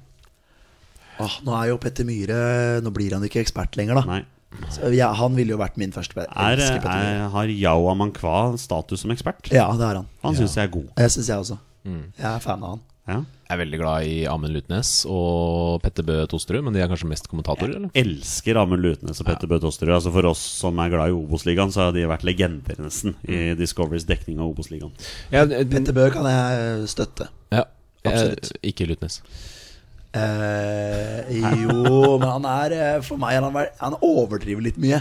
Speaker 3: Åh, nå er jo Petter Myhre Nå blir han ikke ekspert lenger, da.
Speaker 2: Nei.
Speaker 3: Så jeg, han ville jo vært min første pe-
Speaker 2: Er,
Speaker 3: elsker Petter
Speaker 2: er,
Speaker 3: Myhre.
Speaker 2: har Yawa Mankwa status som ekspert?
Speaker 3: Ja, det er han.
Speaker 2: Han syns jeg er god.
Speaker 3: Jeg syns jeg også.
Speaker 2: Mm.
Speaker 3: Jeg er fan av han.
Speaker 2: Ja.
Speaker 1: Jeg er veldig glad i Amund Lutnes og Petter Bø Tosterud, men de er kanskje mest kommentatorer, eller?
Speaker 2: Elsker Amund Lutnes og Petter Bøe Tosterud. Altså for oss som er glad i Obos-ligaen, så har de vært legender nesten i
Speaker 3: Mm.
Speaker 2: Discoverys dekning av Obos-ligaen.
Speaker 1: Ja, d-
Speaker 3: Petter Bøe kan jeg eh, støtte.
Speaker 1: ja.
Speaker 3: Absolutt.
Speaker 1: Eh, Ikke Lutnes.
Speaker 3: Eh, jo, men han er eh, For meg er han, vel- han overdriver litt mye,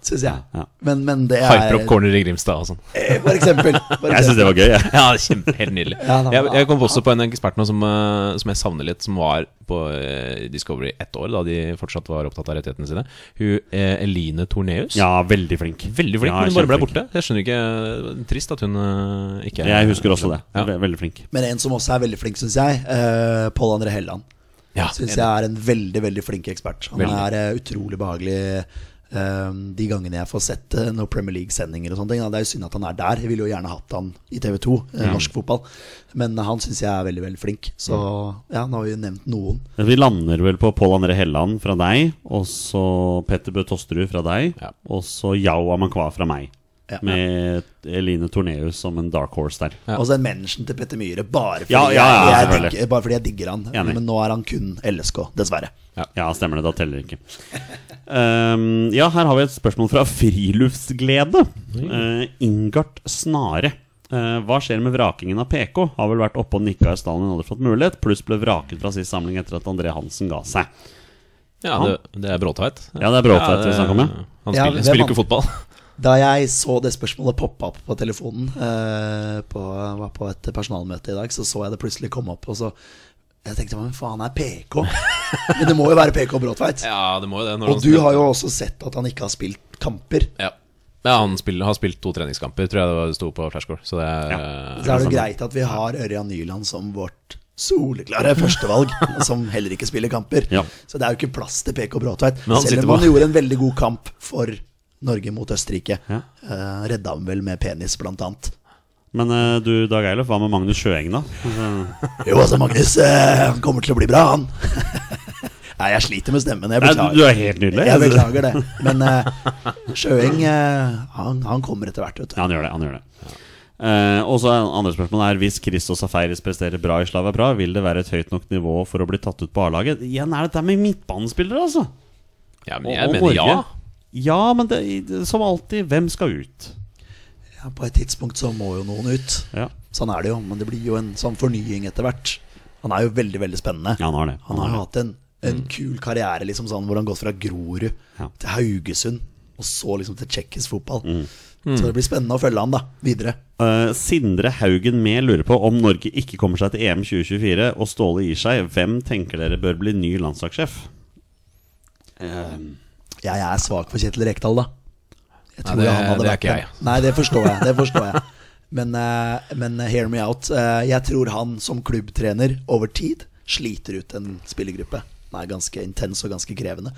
Speaker 3: syns jeg.
Speaker 2: Ja.
Speaker 3: Men, men det er
Speaker 1: Hyper opp corner i Grimstad og sånn.
Speaker 3: Eh, For eksempel. For
Speaker 2: Jeg syns det
Speaker 3: eksempel.
Speaker 2: var gøy, jeg.
Speaker 1: Ja, kjempe, helt nydelig.
Speaker 3: Ja, da,
Speaker 1: jeg,
Speaker 3: da.
Speaker 1: jeg kom også på en ekspert nå som, eh, som jeg savner litt, som var på eh, Discovery ett år, da de fortsatt var opptatt av rettighetene sine. Hun eh, Eline Torneus.
Speaker 2: Ja, veldig flink.
Speaker 1: Veldig flink,
Speaker 2: Ja,
Speaker 1: men hun bare ble
Speaker 2: kjempeflink.
Speaker 1: borte. Jeg skjønner ikke Trist at hun eh, ikke er-
Speaker 2: Jeg husker også det.
Speaker 1: Ja.
Speaker 2: Ve- Veldig flink.
Speaker 3: Men en som også er veldig flink, syns jeg, uh, Pål André Helland.
Speaker 1: Ja,
Speaker 3: Syns
Speaker 1: enig.
Speaker 3: jeg er en veldig, veldig flink ekspert. Han
Speaker 1: Veldig.
Speaker 3: er eh, utrolig behagelig eh, de gangene jeg får sett eh, noen Premier League-sendinger og sånne ting. da. Det er jo synd at han er der. Jeg ville jo gjerne hatt han i TV 2,
Speaker 2: Mm.
Speaker 3: norsk fotball. Men han syns jeg er veldig, veldig flink. Så
Speaker 2: Mm.
Speaker 3: ja, nå har vi jo nevnt noen.
Speaker 2: Vi lander vel på Pål André Helland fra deg, og så Petter Bøe Tosterud fra deg,
Speaker 1: Ja.
Speaker 2: og så Yao Amankwa fra meg.
Speaker 3: Ja.
Speaker 2: Med Eline Torneus som en dark horse der.
Speaker 1: Ja.
Speaker 3: Og så en mention til Petter Myhre, bare fordi,
Speaker 2: Ja, ja, ja,
Speaker 3: jeg, jeg
Speaker 2: selvfølgelig.
Speaker 3: digger, bare fordi jeg digger han.
Speaker 2: Enig.
Speaker 3: Men nå er han kun LSK, dessverre.
Speaker 2: Ja, stemmer det. Da teller det ikke. Ehm, ja, her har vi et spørsmål fra Friluftsglede. Eh, Ingart Snare. Eh, hva skjer med vrakingen av PK? Har vel vært oppe og nikka i stallen, men aldri fått mulighet. Pluss ble vraket fra sist samling etter at André Hansen ga seg.
Speaker 1: Ja, det, det er Bråtveit.
Speaker 2: Ja, det er Bråtveit vi snakker om, ja.
Speaker 1: Han
Speaker 3: Ja,
Speaker 1: spiller,
Speaker 3: hvem
Speaker 1: spiller
Speaker 3: han-
Speaker 1: ikke fotball.
Speaker 3: Da jeg så det spørsmålet poppe opp på telefonen, eh, på, var på et personalmøte i dag, så så jeg det plutselig komme opp, og så jeg tenkte men faen, er PK? Men det må jo være PK Bråtveit.
Speaker 1: Ja, det må jo det. når han
Speaker 3: Og du
Speaker 1: spiller-
Speaker 3: har jo også sett at han ikke har spilt kamper.
Speaker 1: Ja, ja han spiller, har spilt to treningskamper, tror jeg det var- det sto på Flashcore. Så det er
Speaker 2: Ja.
Speaker 3: Så er det jo greit at vi har Ørjan Nyland som vårt soleklare førstevalg, som heller ikke spiller kamper.
Speaker 2: Ja.
Speaker 3: Så det er jo ikke plass til PK Bråtveit.
Speaker 1: Men han
Speaker 3: Selv
Speaker 1: sitter
Speaker 3: om
Speaker 1: på-
Speaker 3: han gjorde en veldig god kamp for Norge mot Østerrike.
Speaker 2: Ja.
Speaker 3: Eh, redda han vel med penis, blant annet.
Speaker 2: Men eh, du, Dag Eilef, hva med Magnus Sjøeng, da?
Speaker 3: Jo, altså, Magnus, eh, han kommer til å bli bra, han. Nei, jeg sliter med stemmen.
Speaker 2: Nei,
Speaker 3: Jeg
Speaker 2: du,
Speaker 3: beklager.
Speaker 2: du er helt nydelig.
Speaker 3: jeg beklager det. Men eh, Sjøeng, eh, han, han kommer etter hvert, vet du.
Speaker 2: Ja, han gjør det. han gjør det Eh, og så er- andre spørsmål er Hvis Christos Safaris presterer bra i Slava Praha, vil det være et høyt nok nivå for å bli tatt ut på A-laget? Igjen er dette med midtbanespillere, altså.
Speaker 1: Ja,
Speaker 2: Og-
Speaker 1: men jeg
Speaker 2: og
Speaker 1: mener ja.
Speaker 2: Norge. Ja, men det, i- det- som alltid, hvem skal ut?
Speaker 3: Ja, på et tidspunkt så må jo noen ut.
Speaker 2: Ja,
Speaker 3: Sånn er det jo, men det blir jo en sånn fornying etter hvert. Han er jo veldig, veldig spennende.
Speaker 2: ja han har det.
Speaker 3: Han har jo hatt en, en kul karriere, liksom sånn, hvor han har gått fra Grorud
Speaker 2: Ja. Mm.
Speaker 3: til Haugesund, og så liksom til tsjekkisk fotball. Så det blir spennende å følge han da, videre.
Speaker 2: Eh, Sindre Haugen Mehl lurer på om Norge ikke kommer seg til EM 2024 og Ståle gir seg, hvem tenker dere bør bli ny landslagssjef?
Speaker 3: Jeg er svak for Kjetil Rekdal, da. Jeg
Speaker 1: Nei, det- det er
Speaker 3: vært
Speaker 1: ikke
Speaker 3: en-
Speaker 1: jeg.
Speaker 3: Nei, det forstår jeg. Det forstår jeg. Men, eh, men hear me out. Eh, Jeg tror han som klubbtrener over tid sliter ut en spillergruppe. Den er ganske intens og ganske krevende.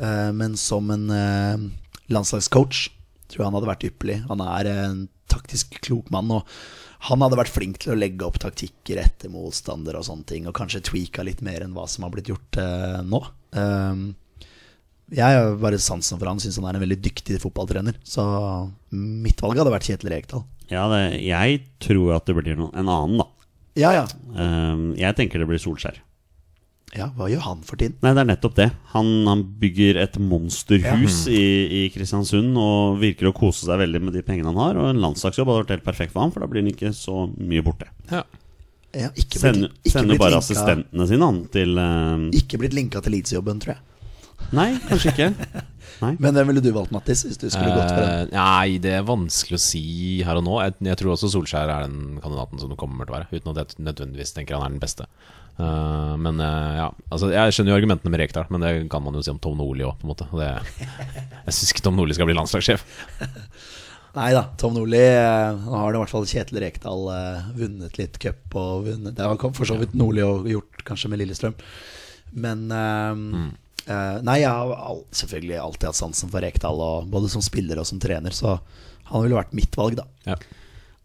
Speaker 3: Eh, Men som en eh, landslagscoach tror jeg han hadde vært ypperlig. Han er en taktisk klok mann. og han hadde vært flink til å legge opp taktikker etter motstander og sånne ting, og kanskje tweaka litt mer enn hva som har blitt gjort eh, nå. Eh, jeg har bare sansen for han, syns han er en veldig dyktig fotballtrener. Så mitt valg hadde vært Kjetil Rekdal.
Speaker 2: Ja, det, jeg tror at det blir noen, en annen, da.
Speaker 3: Ja, ja.
Speaker 2: Eh, jeg tenker det blir Solskjær.
Speaker 3: Ja, Hva gjør han for tiden?
Speaker 2: Nei, det er nettopp det. Han, han bygger et monsterhus i, i Kristiansund og virker å kose seg veldig med de pengene han har. Og en landslagsjobb hadde vært helt perfekt for ham, for da blir han ikke så mye borte.
Speaker 1: ja.
Speaker 3: Ja, ikke
Speaker 2: Sender
Speaker 3: blitt- ikke
Speaker 2: sender
Speaker 3: blitt
Speaker 2: bare
Speaker 3: linka-
Speaker 2: assistentene sine, han, til eh,
Speaker 3: Ikke blitt linka til Leeds-jobben, tror jeg.
Speaker 2: Nei, kanskje ikke. Nei.
Speaker 3: Men hvem ville du valgt, Mattis, hvis du skulle gått for den?
Speaker 1: Eh, Nei, det er vanskelig å si her og nå. Jeg, jeg tror også Solskjær er den kandidaten som det kommer til å være. Uten at jeg nødvendigvis tenker han er den beste. Eh, men eh, ja, altså jeg skjønner jo argumentene med Rekdal, men det kan man jo si om Tom Nordli òg, på en måte. Og Det, jeg syns ikke Tom Nordli skal bli landslagssjef.
Speaker 3: Nei da, Tom Nordli eh, Nå har det i hvert fall Kjetil Rekdal eh, vunnet litt cup og vunnet Det har kom- for så vidt Nordli og gjort kanskje med Lillestrøm. Men eh, eh, Nei, jeg har al- selvfølgelig alltid hatt sansen for Rekdal, og både som spiller og som trener, så han ville vært mitt valg, da.
Speaker 1: Ja.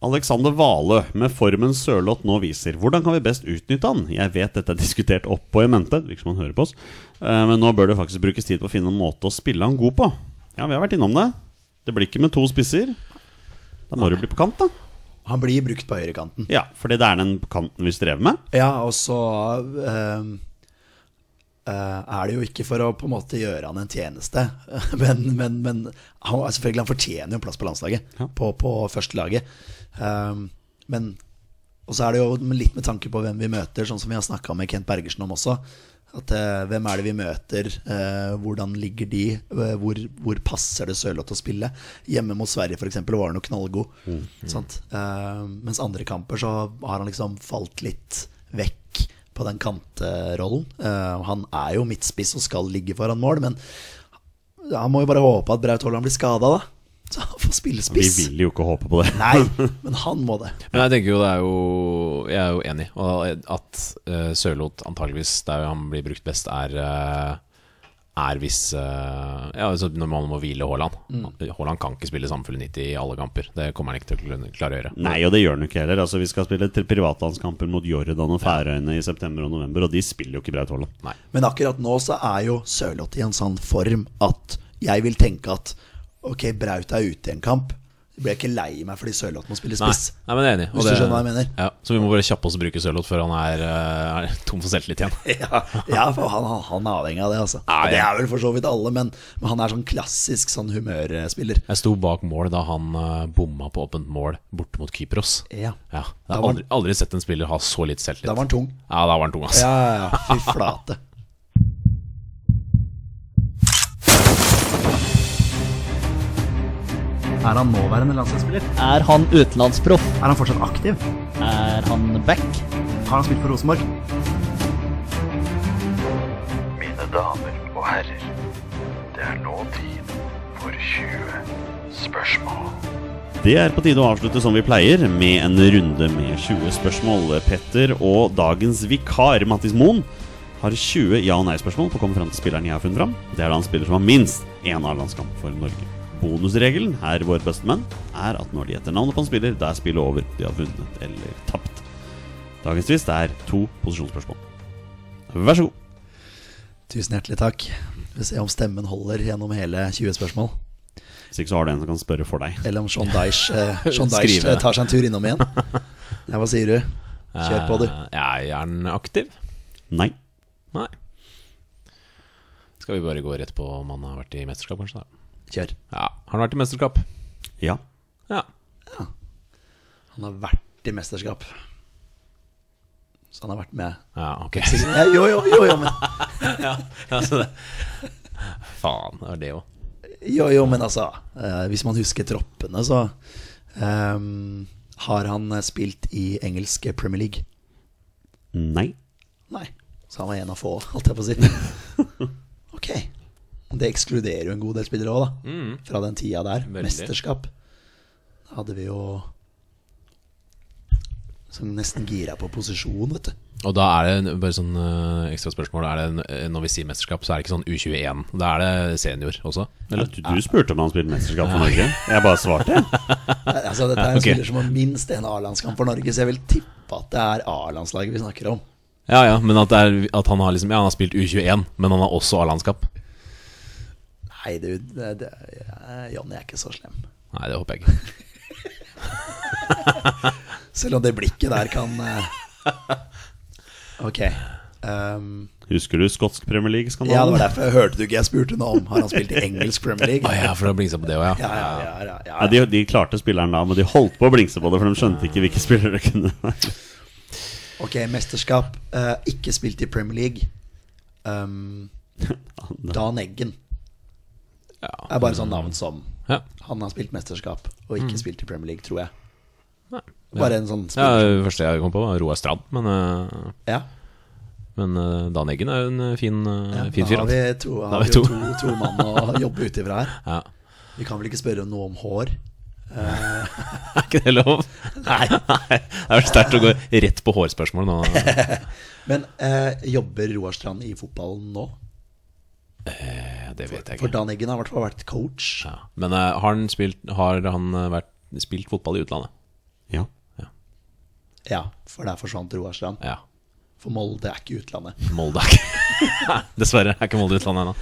Speaker 2: Alexander Valø, med formen Sørloth nå viser, hvordan kan vi best utnytte han? Jeg vet dette er diskutert opp og i mente, det virker som han hører på oss, eh, men nå bør det faktisk brukes tid på å finne en måte å spille han god på. Ja, vi har vært innom det. Det blir ikke med to spisser. Da må du bli på kant, da.
Speaker 3: Han blir brukt på høyrekanten.
Speaker 2: Ja, fordi det er den kanten vi strever med.
Speaker 3: Ja, og så ehm, eh, er det jo ikke for å på en måte gjøre han en tjeneste, men, men, men han, altså, selvfølgelig han fortjener jo en plass på landslaget,
Speaker 2: Ja.
Speaker 3: på, på førstelaget. Um, men og så er det jo litt med tanke på hvem vi møter, sånn som vi har snakka med Kent Bergersen om også. At eh, hvem er det vi møter, eh, hvordan ligger de, eh, hvor, hvor passer det Sørloth å spille? Hjemme mot Sverige f.eks. var han jo knallgod.
Speaker 2: Mm.
Speaker 3: Sant? Eh, mens andre kamper så har han liksom falt litt vekk på den kanterollen. Eh, han er jo midtspiss og skal ligge foran mål, men han må jo bare håpe at Braut Haaland blir skada, da. Så han får spille
Speaker 2: Vi
Speaker 3: spiss.
Speaker 2: vil jo ikke håpe på det.
Speaker 3: Nei, men han må det.
Speaker 1: Men jeg tenker jo det er jo Jeg er jo enig. Og at uh, Sørloth antageligvis der han blir brukt best, er eh, Er hvis eh, Ja, altså når man må hvile Haaland.
Speaker 3: Mm.
Speaker 1: Haaland kan ikke spille samfulle 90 i alle kamper. Det kommer han ikke til å kunne- klare å gjøre.
Speaker 2: Nei, og det gjør han jo ikke heller. Altså, vi skal spille til privatlandskamper mot Jordan og Færøyene i september og november, og de spiller jo ikke Braut Haaland.
Speaker 1: Nei.
Speaker 3: Men akkurat nå så er jo Sørloth i en sånn form at jeg vil tenke at ok, Braut er ute i en kamp. Jeg blir ikke lei meg fordi Sørloth må spille
Speaker 1: Nei,
Speaker 3: spiss.
Speaker 1: nei, men jeg er enig.
Speaker 3: Hvis du skjønner hva jeg mener.
Speaker 1: Ja, så vi må bare kjappe oss og bruke Sørloth før han er, eh, er tom for selvtillit igjen.
Speaker 3: Ja, ja, for han, han- han er avhengig av det, altså.
Speaker 1: Ja, ja.
Speaker 3: Det er vel for så vidt alle, men, men han er sånn klassisk sånn humørspiller.
Speaker 1: Jeg sto bak mål da han eh, bomma på åpent mål borte mot Kypros.
Speaker 3: Ja.
Speaker 1: Ja, jeg
Speaker 3: Da
Speaker 1: har
Speaker 3: var-
Speaker 1: aldri, aldri sett en spiller ha så litt selvtillit.
Speaker 3: Da var han tung.
Speaker 1: Ja, da var han tung, ass.
Speaker 3: Ja, ja, ja. Fy flate.
Speaker 5: Er han nåværende landslagsspiller?
Speaker 6: Er han utenlandsproff?
Speaker 5: Er han fortsatt aktiv?
Speaker 6: Er han back?
Speaker 5: Har han spilt for Rosenborg?
Speaker 7: Mine damer og herrer, det er nå tid for 20 spørsmål.
Speaker 2: Det er på tide å avslutte som vi pleier, med en runde med 20 spørsmål. Petter og dagens vikar, Mattis Moen, har 20 ja- og nei-spørsmål på å komme fram til spilleren jeg har funnet fram. Det er da en spiller som har minst én A-landskamp for Norge. Bonusregelen her vår beste menn er at når de gjetter navnet på en spiller, da er spillet over. De har vunnet eller tapt. Dagens twist er to posisjonsspørsmål. Vær så god.
Speaker 3: Tusen hjertelig takk. Vi ser om stemmen holder gjennom hele 20 spørsmål.
Speaker 2: Hvis ikke så har du en som kan spørre for deg.
Speaker 3: Eller om Sean Dyche, eh, Sean Dyche
Speaker 1: Skrive.
Speaker 3: eh, tar seg en tur innom igjen. Ja, hva sier du? Kjør på, du.
Speaker 1: Eh, Jeg er han aktiv?
Speaker 2: Nei.
Speaker 1: Nei. Skal vi bare gå rett på om han har vært i mesterskap, kanskje? da?
Speaker 3: Kjør.
Speaker 1: Ja, Har han vært i mesterskap?
Speaker 2: Ja.
Speaker 1: Ja.
Speaker 3: Han har vært i mesterskap. Så han har vært med
Speaker 1: ja ok.
Speaker 3: Ja, Eh, Jo, jo, jo, jo, men,
Speaker 1: altså, det. Faen, det var det òg.
Speaker 3: jo, jo, men altså eh, Hvis man husker troppene, så ehm, har han spilt i engelske Premier League.
Speaker 2: Nei.
Speaker 3: Nei, så han var en av få, holdt jeg på å si. Ok. Det ekskluderer jo en god del spillere òg, da. Fra den tida der.
Speaker 1: Mm. Veldig.
Speaker 3: Mesterskap. Da hadde vi jo Som nesten gira på posisjon, vet du.
Speaker 1: Og da er det en- bare sånn eh, ekstra spørsmål. Er det, en- eh, når vi sier mesterskap, så er det ikke sånn U21. Da er det senior også?
Speaker 2: Eller,
Speaker 1: Eller?
Speaker 2: du, du spurte om han spilte mesterskap for Norge. Jeg bare svarte, jeg.
Speaker 3: Nei, Altså, dette er en
Speaker 1: Ok.
Speaker 3: spiller som har minst én A-landskamp for Norge, så jeg vil tippe at det er A-landslaget vi snakker om.
Speaker 1: Ja ja, men at, det er, at han har liksom Ja, han har spilt U21, men han har også A-landskap.
Speaker 3: Nei, du, det, det, jeg- Jonny er ikke så slem.
Speaker 1: Nei, det håper jeg ikke.
Speaker 3: Selv om det blikket der kan eh, Ok. ehm,
Speaker 2: Husker du skotsk Premier League-skandalen?
Speaker 3: ja, det var derfor jeg hørte du ikke jeg spurte noe om. Har han spilt i engelsk Premier League?
Speaker 1: Å ja, for det har blingsa på det òg, ja.
Speaker 3: Ja, ja, ja, ja, ja.
Speaker 2: Ja, de, de klarte spilleren da, men de holdt på å blingse på det, for de skjønte ikke hvilke spillere det kunne være.
Speaker 3: Ok, mesterskap. Eh, ikke spilt i Premier League. Um, Dan Eggen
Speaker 1: Ja.
Speaker 3: er bare sånn navn som
Speaker 1: ja. Mm.
Speaker 3: Han har spilt mesterskap og ikke spilt i Premier League, tror jeg.
Speaker 1: Nei.
Speaker 3: Bare en sånn
Speaker 1: Ja,
Speaker 3: spill.
Speaker 1: det første jeg kom på, var Roar Strand. Men, eh,
Speaker 3: Ja.
Speaker 1: men eh, Dan Eggen er jo en eh, fin, eh,
Speaker 3: Ja,
Speaker 1: fin
Speaker 3: da
Speaker 1: fyr.
Speaker 3: har
Speaker 1: da.
Speaker 3: vi
Speaker 1: Da
Speaker 3: to, har
Speaker 1: har
Speaker 3: vi
Speaker 1: vi to.
Speaker 3: jo to, to mann å jobbe ut ifra her.
Speaker 1: Ja.
Speaker 3: Vi kan vel ikke spørre om noe om hår?
Speaker 1: Er ikke det lov?
Speaker 3: Nei.
Speaker 1: Nei, Det er vel sterkt å gå rett på hårspørsmål nå.
Speaker 3: Men eh, jobber Roar Strand i fotballen nå?
Speaker 1: Ja, det vet jeg
Speaker 3: For
Speaker 1: ikke.
Speaker 3: Dan Eggen har i hvert fall vært coach.
Speaker 1: Ja. Men eh, har han, spilt, har han eh, vært, spilt fotball i utlandet?
Speaker 2: Ja.
Speaker 3: Ja, for der forsvant Roar Strand.
Speaker 1: Ja.
Speaker 3: For Molde er ikke utlandet.
Speaker 1: Molde er ikke Dessverre er ikke Molde i utlandet ennå.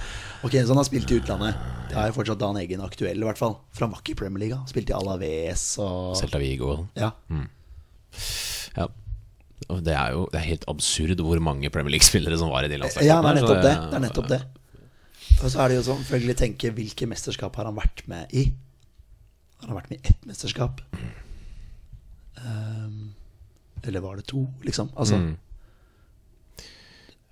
Speaker 3: Ok, Så han har spilt i utlandet. Da er jo fortsatt Dan Eggen aktuell, i hvert fall. For han var ikke i Premier League. Han spilte i Alaves og
Speaker 1: Celta Vigo og sånn.
Speaker 3: ja.
Speaker 1: Ja. Og Det er jo det er helt absurd hvor mange Premier League-spillere som var i de landslagene.
Speaker 3: Eh, ja, det er nettopp det. Det er nettopp det. Og så er det jo sånn, selvfølgelig tenke hvilke mesterskap har han vært med i? Har han vært med i ett mesterskap? Ehm, eller var det to, liksom? Altså,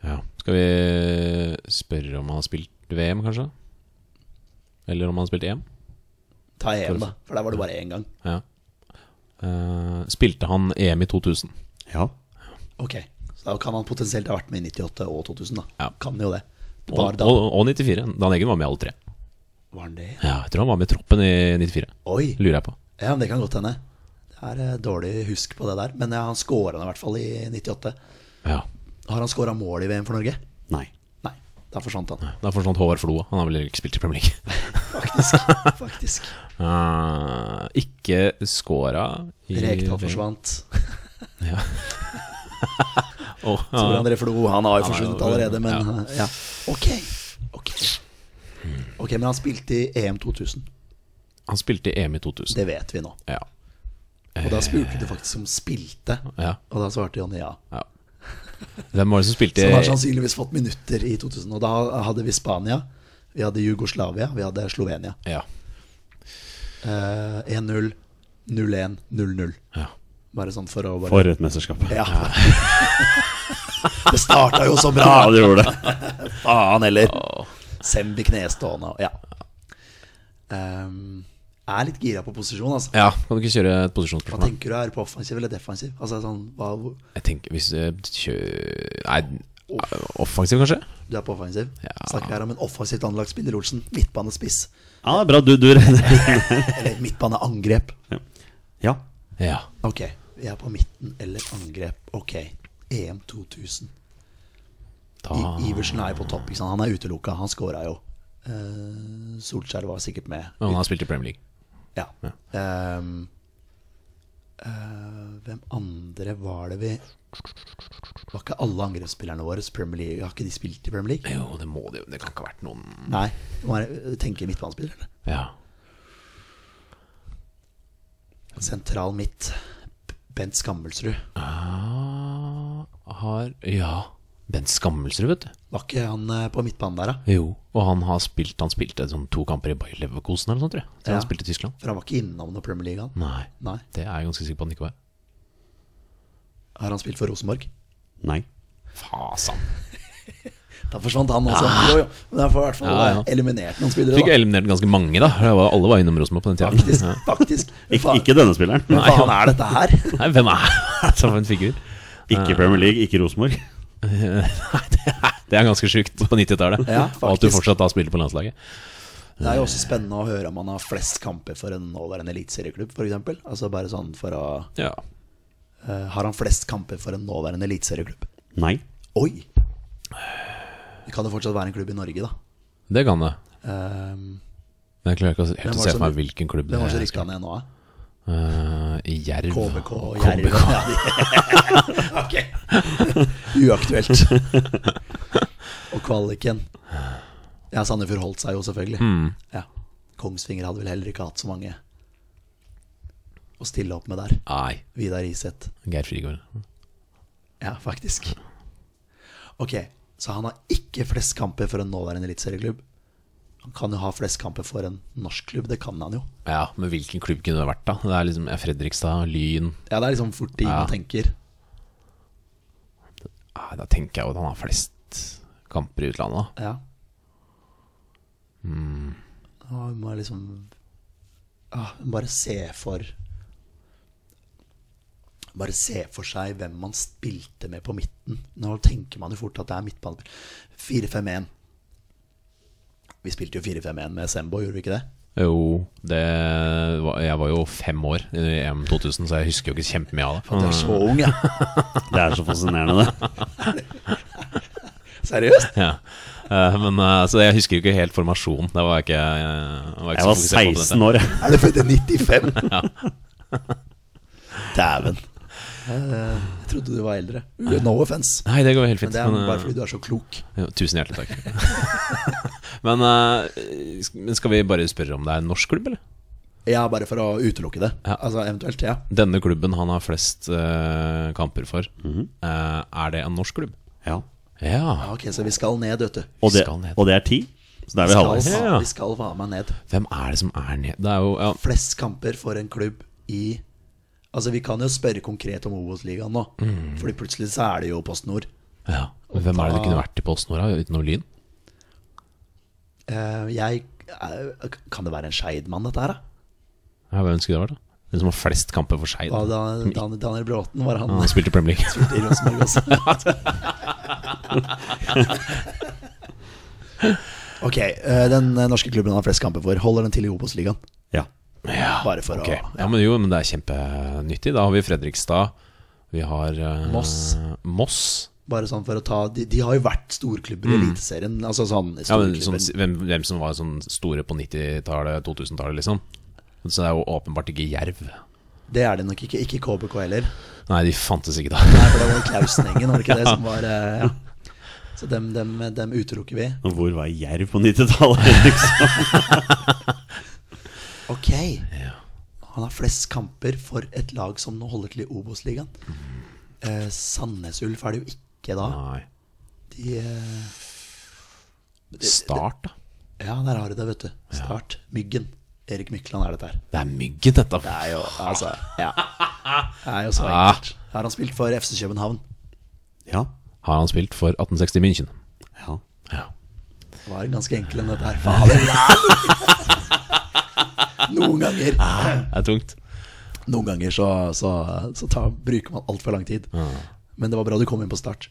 Speaker 1: Ja. Skal vi spørre om han har spilt VM, kanskje? Eller om han har spilt EM?
Speaker 3: ta EM, da. For der var det bare én gang.
Speaker 1: Ja. Eh, spilte han EM i 2000?
Speaker 2: Ja.
Speaker 3: Ok, Så da kan han potensielt ha vært med i 98 og 2000, da.
Speaker 1: Ja.
Speaker 3: Kan jo det.
Speaker 1: Og,
Speaker 3: Var, da,
Speaker 1: og, og 94. Dan Eggen var med i alle tre.
Speaker 3: var han det?
Speaker 1: Ja, jeg tror han var med i troppen i 94.
Speaker 3: Oi!
Speaker 1: Lurer jeg på.
Speaker 3: Ja, men det kan godt hende. Det er eh, dårlig husk på det der. Men ja, han scora i hvert fall i 98.
Speaker 1: Ja.
Speaker 3: Har han scora mål i VM for Norge?
Speaker 2: Nei.
Speaker 3: Nei. Da forsvant han,
Speaker 1: Da forsvant Håvard Flo. Han har vel ikke spilt i Premier League.
Speaker 3: faktisk. faktisk.
Speaker 1: Eh, ikke scora i
Speaker 3: Rekdal forsvant.
Speaker 1: Oh,
Speaker 3: Tor André Flo, han har jo
Speaker 1: Han er jo-
Speaker 3: forsvunnet allerede, men eh, ja. Ok. Ok,
Speaker 1: Hmm.
Speaker 3: Ok, men han spilte i EM 2000.
Speaker 1: Han spilte i EM i 2000.
Speaker 3: Det vet vi nå.
Speaker 1: Ja.
Speaker 3: Og da spurte du faktisk om spilte,
Speaker 1: Eh. ja.
Speaker 3: og da svarte Jonny ja.
Speaker 1: Hvem var det som spilte
Speaker 3: Så han har sannsynligvis fått minutter i 2000. Og da hadde vi Spania, vi hadde Jugoslavia, vi hadde Slovenia.
Speaker 1: ja.
Speaker 3: Eh, 1-0, 0-1, 0-0.
Speaker 1: ja.
Speaker 3: Bare sånn for å bare
Speaker 2: For et mesterskap.
Speaker 3: Ja. det starta jo så bra!
Speaker 2: Ja, det gjorde det.
Speaker 3: Faen heller. Sembi knestående og ja. Ehm, jeg er litt gira på posisjon, altså.
Speaker 1: ja. Kan du ikke kjøre et
Speaker 3: Hva
Speaker 1: posisjonsspørsmål?
Speaker 3: tenker du er på offensiv eller defensiv? Altså sånn, hva, hvor-
Speaker 1: Jeg tenker hvis eh, kjø... Nei, eh, offensiv, kanskje?
Speaker 3: Du er på offensiv?
Speaker 1: Ja.
Speaker 3: Snakker her om en offensivt anlagt spiller, Olsen. Midtbanespiss.
Speaker 2: Ja, det er bra. Du, du regner.
Speaker 3: Eller midtbaneangrep.
Speaker 2: Ja.
Speaker 1: Ja.
Speaker 3: Ok, vi er på midten eller angrep. Ok, EM 2000.
Speaker 1: Da
Speaker 2: Ah.
Speaker 3: I, Iversen er jo på topp. Ikke sant? Han er utelukka. Han scora jo. Eh, Solskjær var sikkert med.
Speaker 1: Men han har spilt i Premier League.
Speaker 3: Ja. Ehm, eh, hvem andre var det vi Var ikke alle angrepsspillerne våre Premier League? Har ikke de spilt i Premier League?
Speaker 1: Jo, det må det jo. Det kan ikke ha vært noen
Speaker 3: Nei. Bare tenker midtbanespiller, eller?
Speaker 1: Ja.
Speaker 3: Sentral midt. Bent Skammelsrud.
Speaker 1: Ah, har Ja. Bent Skammelsrud, vet du.
Speaker 3: Var ikke han eh, på midtbanen der, da?
Speaker 1: Jo. Og han har spilt Han spilte sånn to kamper i Bayer Leverkosen eller noe sånt, tror jeg. jeg. tror
Speaker 3: Ja.
Speaker 1: Han spilte i Tyskland.
Speaker 3: For han var ikke innom noe Premier League, han.
Speaker 1: Nei.
Speaker 3: Nei.
Speaker 1: Det er jeg ganske sikker på at han ikke var.
Speaker 3: Har han spilt for Rosenborg?
Speaker 2: Nei.
Speaker 1: Fasan.
Speaker 3: Da forsvant han også. Jo, jo. Men da får i hvert fall
Speaker 1: Ja, ja.
Speaker 3: eh, eliminert noen spillere,
Speaker 1: Fikk
Speaker 3: da.
Speaker 1: eliminert ganske mange, da. Det var- Alle var innom Rosenborg på den tida.
Speaker 3: Faktisk.
Speaker 1: Ja.
Speaker 3: faktisk.
Speaker 2: Ik ikke denne spilleren.
Speaker 3: Hva faen er dette her?
Speaker 1: Nei, hvem er det som en figur?
Speaker 2: Ikke Premier League, ikke Rosenborg.
Speaker 1: Nei, det er, det er ganske sjukt på 90-tallet.
Speaker 3: Ja,
Speaker 1: og at du
Speaker 3: faktisk.
Speaker 1: fortsatt da spiller på landslaget.
Speaker 3: Det er jo også spennende å høre om han har flest kamper for en nåværende eliteserieklubb, f.eks. Altså bare sånn for å
Speaker 1: Ja.
Speaker 3: eh, Har han flest kamper for en nåværende eliteserieklubb?
Speaker 2: Nei.
Speaker 3: Oi! Det kan jo fortsatt være en klubb i Norge, da.
Speaker 1: Det kan det.
Speaker 3: Um,
Speaker 1: Men jeg klarer ikke å-
Speaker 3: Hvem
Speaker 1: helt å
Speaker 3: var
Speaker 1: se
Speaker 3: det
Speaker 1: for
Speaker 3: som-
Speaker 1: meg hvilken klubb det
Speaker 3: Hvem var det som
Speaker 1: er.
Speaker 3: rykka ned nå, da?
Speaker 1: Eh, Jerv.
Speaker 3: KBK og
Speaker 1: KBK.
Speaker 3: Jerv? Ja, de- ok. Uaktuelt. Og kvaliken. Ja, Sandefjord holdt seg jo, selvfølgelig. Ja. Kongsvinger hadde vel heller ikke hatt så mange å stille opp med der.
Speaker 1: Nei.
Speaker 3: Vidar Iseth.
Speaker 1: Geir Frigård.
Speaker 3: Ja, faktisk. Ok, så han har ikke flest kamper for en nåværende eliteserieklubb. Han kan jo ha flest kamper for en norsk klubb, det kan han jo.
Speaker 1: Ja, men hvilken klubb kunne det vært, da? Det er liksom ja, Fredrikstad, Lyn
Speaker 3: Ja, det er liksom fort de
Speaker 1: Ja.
Speaker 3: man tenker.
Speaker 1: Nei, Da tenker jeg jo at han har flest kamper i utlandet, da.
Speaker 3: Ja. Ja, vi må liksom ja, vi må Bare se for Bare se for seg hvem man spilte med på midten. Nå tenker man jo fort at det er midtbane 4-5-1. Vi spilte jo 4-5-1 med Sembo, gjorde vi ikke det?
Speaker 1: Jo, det var, Jeg var jo fem år i EM 2000, så jeg husker jo ikke kjempemye av det.
Speaker 3: Du er så ung, ja.
Speaker 2: Det er så fascinerende, det.
Speaker 3: Seriøst?
Speaker 1: Ja. Eh, Men eh, Så jeg husker jo ikke helt formasjon. Det var jeg ikke, jeg, var ikke
Speaker 2: Jeg var
Speaker 1: så fokusert på dette.
Speaker 2: 16 år. jeg.
Speaker 3: Er du født i 95? Dæven. Jeg trodde du var eldre. No offense.
Speaker 1: Nei, det går helt
Speaker 3: Men
Speaker 1: fint.
Speaker 3: det er
Speaker 1: men, eh,
Speaker 3: bare fordi du er så klok.
Speaker 1: jo, tusen hjertelig takk. men, eh, sk- men skal vi bare spørre om det er en norsk klubb, eller?
Speaker 3: Ja, bare for å utelukke det.
Speaker 1: Ja.
Speaker 3: Altså eventuelt, ja.
Speaker 1: Denne klubben han har flest eh, kamper for,
Speaker 2: Mhm.
Speaker 1: eh, er det en norsk klubb?
Speaker 2: Ja.
Speaker 1: Ja.
Speaker 3: Ja, Ok, så vi skal ned, vet du.
Speaker 2: Og, det,
Speaker 1: Skal ned.
Speaker 2: og det er ti, så da er
Speaker 3: Vi
Speaker 2: vi
Speaker 3: skal,
Speaker 2: halvveis.
Speaker 1: Ja.
Speaker 3: vi skal faen meg ned.
Speaker 1: Hvem er det som er ned? Det er jo ja.
Speaker 3: Flest kamper for en klubb i Altså, vi kan jo spørre konkret om Obos-ligaen nå. Fordi plutselig så er det jo Post Nord.
Speaker 1: ja. Hvem er det det kunne vært i Post Nord, da, utenom Lyn?
Speaker 3: Eh, jeg eh, Kan det være en Skeid-mann, dette her, da?
Speaker 1: Ja, hvem skulle det vært, da? Den som har flest kamper for Skeid.
Speaker 3: da? Dan- Dan- Daniel Bråten var han
Speaker 1: Han spilte i Premier League.
Speaker 3: i Rosenborg også. ok, eh, den eh, norske klubben han har flest kamper for, holder den til i Obos-ligaen?
Speaker 2: Ja.
Speaker 3: Bare for
Speaker 1: Ok,
Speaker 3: å
Speaker 1: ja, men jo, men det er kjempenyttig. Da har vi Fredrikstad, vi har eh,
Speaker 3: Moss.
Speaker 1: Moss.
Speaker 3: Bare sånn for å ta De, de har jo vært storklubber i Eliteserien. Altså sånn
Speaker 1: Mm. Ja, men sånn,
Speaker 3: storklubber.
Speaker 1: hvem, hvem som var sånn store på 90-tallet, 2000-tallet, liksom. Så det er jo åpenbart ikke Jerv.
Speaker 3: Det er det nok ikke. Ikke KBK heller.
Speaker 1: Nei, de fantes ikke da.
Speaker 3: Nei, for det var Klausenengen, var det ikke det som var eh, ja. Så dem, dem, dem utelukker vi.
Speaker 2: Og hvor var Jerv på 90-tallet? Liksom?
Speaker 3: Ok. Han har flest kamper for et lag som nå holder til i Obos-ligaen.
Speaker 1: Mm.
Speaker 3: Eh, Sandnes Ulf er det jo ikke da.
Speaker 1: Nei.
Speaker 3: De, eh,
Speaker 1: Start, da.
Speaker 3: ja, der har du det, vet du. Start. Myggen. Erik Mykland er dette her.
Speaker 1: Det er myggen, dette.
Speaker 3: Det er jo altså Ja. Det er jo så enkelt. Her har han spilt for FC København.
Speaker 2: Ja.
Speaker 1: Har han spilt for 1860 München?
Speaker 2: ja.
Speaker 1: Ja.
Speaker 3: Det var ganske enkelt enn dette her. Fader! Noen ganger
Speaker 1: Det er tungt.
Speaker 3: Noen ganger så, så, så tar, bruker man altfor lang tid. Men det var bra du kom inn på start.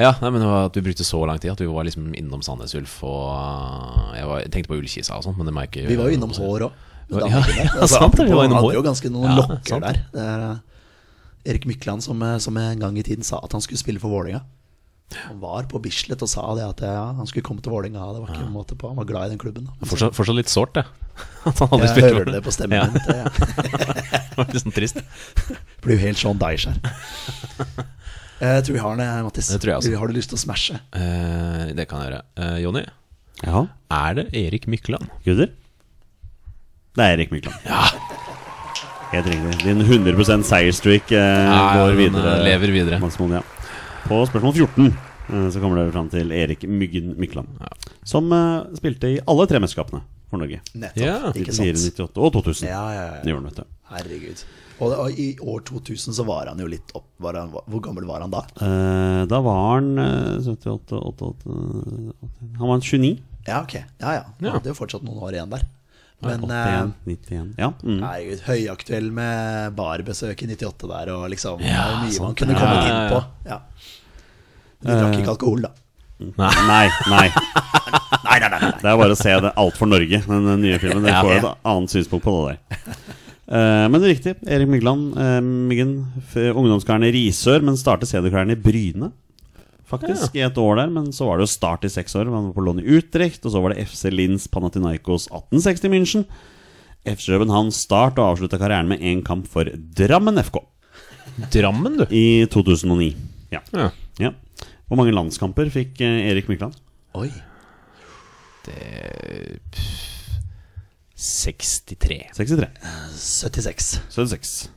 Speaker 1: Ja, nei, men det var at vi brukte så lang tid at vi var liksom innom Sandnes Ulf og eh, Jeg, var, jeg tenkte på Ullkisa og sånn, men det må jeg ikke
Speaker 3: Vi var jo innom hår òg.
Speaker 1: Ja, ja, sant det, vi var innom hår.
Speaker 3: hadde jo ganske noen
Speaker 1: Ja,
Speaker 3: lokker
Speaker 1: sant
Speaker 3: der. Det er eh, Erik Mykland som, eh, som en gang i tiden sa at han skulle spille for Vålinga. Han var på Bislett og sa det at eh, ja, han skulle komme til Vålinga. Det var ikke en måte på. Han var glad i den klubben. Da. Men så-
Speaker 1: Fortsatt, fortsatt litt sårt, det. At han aldri
Speaker 3: Jeg
Speaker 1: spilte
Speaker 3: hører
Speaker 1: for-
Speaker 3: det på stemmen
Speaker 1: Ja,
Speaker 3: min. Det er-
Speaker 1: det var litt sånn trist.
Speaker 3: blir jo helt sånn Daish her. Eh, Jeg tror vi har den, eh, Mattis.
Speaker 1: Det tror jeg altså. også.
Speaker 3: Har du lyst til å smashe?
Speaker 1: Eh, det kan jeg gjøre. Eh, Jonny,
Speaker 2: ja.
Speaker 1: er det Erik Mykland?
Speaker 2: Gutter? Det er Erik Mykland. Helt riktig. Din 100 seierstreak eh,
Speaker 1: Ja, ja,
Speaker 2: går
Speaker 1: den,
Speaker 2: videre.
Speaker 1: eh, lever videre.
Speaker 2: Mads Moen, ja. På spørsmål 14 eh, så kommer det fram til Erik Myggen Mykland. Som eh, spilte i alle tre mesterskapene for Norge.
Speaker 3: Nettopp.
Speaker 1: Ja.
Speaker 3: Ikke
Speaker 2: 94,
Speaker 3: sant?
Speaker 2: 98 og 2000.
Speaker 3: Ja, ja, ja.
Speaker 2: Det gjorde han, vet du.
Speaker 3: Herregud. Og, det- og i år 2000 så var han jo litt opp var han, Hvor gammel var han da?
Speaker 2: Eh, da var han eh, 78, 88 Han var 29.
Speaker 3: Ja, ok. Ja, ja. Han hadde jo fortsatt noen år igjen der. Men
Speaker 2: 81,
Speaker 3: eh,
Speaker 2: 91. Ja. Mm.
Speaker 3: herregud, høyaktuell med barbesøk i 98 der, og liksom Det er jo mye man
Speaker 1: sant.
Speaker 3: kunne kommet
Speaker 1: Ja, ja,
Speaker 3: inn på. Ja. Du drakk ikke alkohol, da?
Speaker 2: Nei, nei.
Speaker 3: Nei, nei, nei. nei.
Speaker 2: Det er bare å se det alt for Norge, den nye filmen. Dere får jo et annet synspunkt på det der. Eh, men riktig. Erik Mygland. eh, Myggen. f- Ungdomskaren i Risør, men startet seniorkaren i Bryne. Faktisk, i et år der, men så var det jo start i seks år. Man var på lån i Utrecht, og så var det FC Linz Panathinaikos 1860 München. FC København start og avslutta karrieren med én kamp for Drammen FK
Speaker 1: Drammen, du.
Speaker 2: i 2009. Ja.
Speaker 1: Ja.
Speaker 2: ja. Hvor mange landskamper fikk eh, Erik Mykland?
Speaker 3: Oi.
Speaker 1: 63.
Speaker 2: 63.
Speaker 3: 76.
Speaker 2: 76.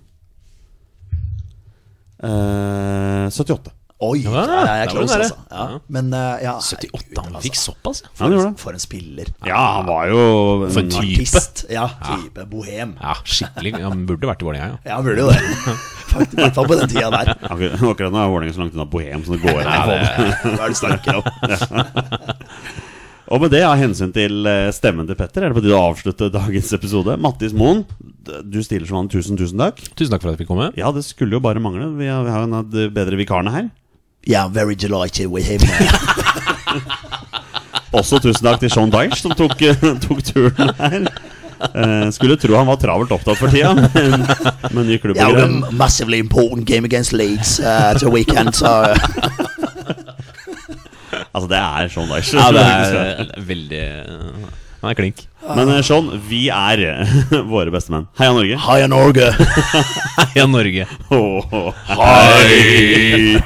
Speaker 2: Eh, 78.
Speaker 3: Oi! Ja,
Speaker 1: Ja,
Speaker 3: jeg er
Speaker 1: der var den
Speaker 3: close,
Speaker 1: der,
Speaker 3: altså. Ja.
Speaker 1: ja.
Speaker 3: Men eh, ja
Speaker 1: 78, han
Speaker 3: herregud,
Speaker 1: fikk såpass? ja.
Speaker 2: Ja, han gjorde
Speaker 3: altså.
Speaker 2: det.
Speaker 3: For en spiller.
Speaker 2: Ja, han var jo
Speaker 1: For en type.
Speaker 3: Artist. Ja, type. Bohem.
Speaker 1: Ja, skikkelig. Han burde vært i Vålerenga, ja.
Speaker 3: Ja, han burde jo det. Faktisk, I hvert fall på den tida der.
Speaker 2: Akkurat, akkurat nå er Vålerenga så langt unna bohem som det går an.
Speaker 3: Hva er det du snakker om?
Speaker 2: Og med det, av hensyn til eh, stemmen til Petter, er det på tide å avslutte dagens episode. Mattis Moen, d- du stiller som han. Tusen, tusen takk.
Speaker 1: Tusen takk for at jeg fikk komme.
Speaker 2: Ja, det skulle jo bare mangle. Vi har, vi har jo en av de bedre vikarene her.
Speaker 3: Yeah, I'm very delighted with him.
Speaker 2: Også tusen takk til Sean Dyche, som tok, tok turen her. Eh, skulle tro han var travelt opptatt for tida, men med ny klubb og
Speaker 3: Yeah, we've got
Speaker 2: greier.
Speaker 3: a massively important game against Leeds uh, it's a weekend, so uh,
Speaker 2: Altså, det er Sean Dyche.
Speaker 1: Ja, det er veldig eh, Han er klink.
Speaker 2: Men eh, Sean, vi er våre beste menn. Heia Norge.
Speaker 3: Hiya Norge.
Speaker 1: Heia Norge.
Speaker 2: Åh, hei!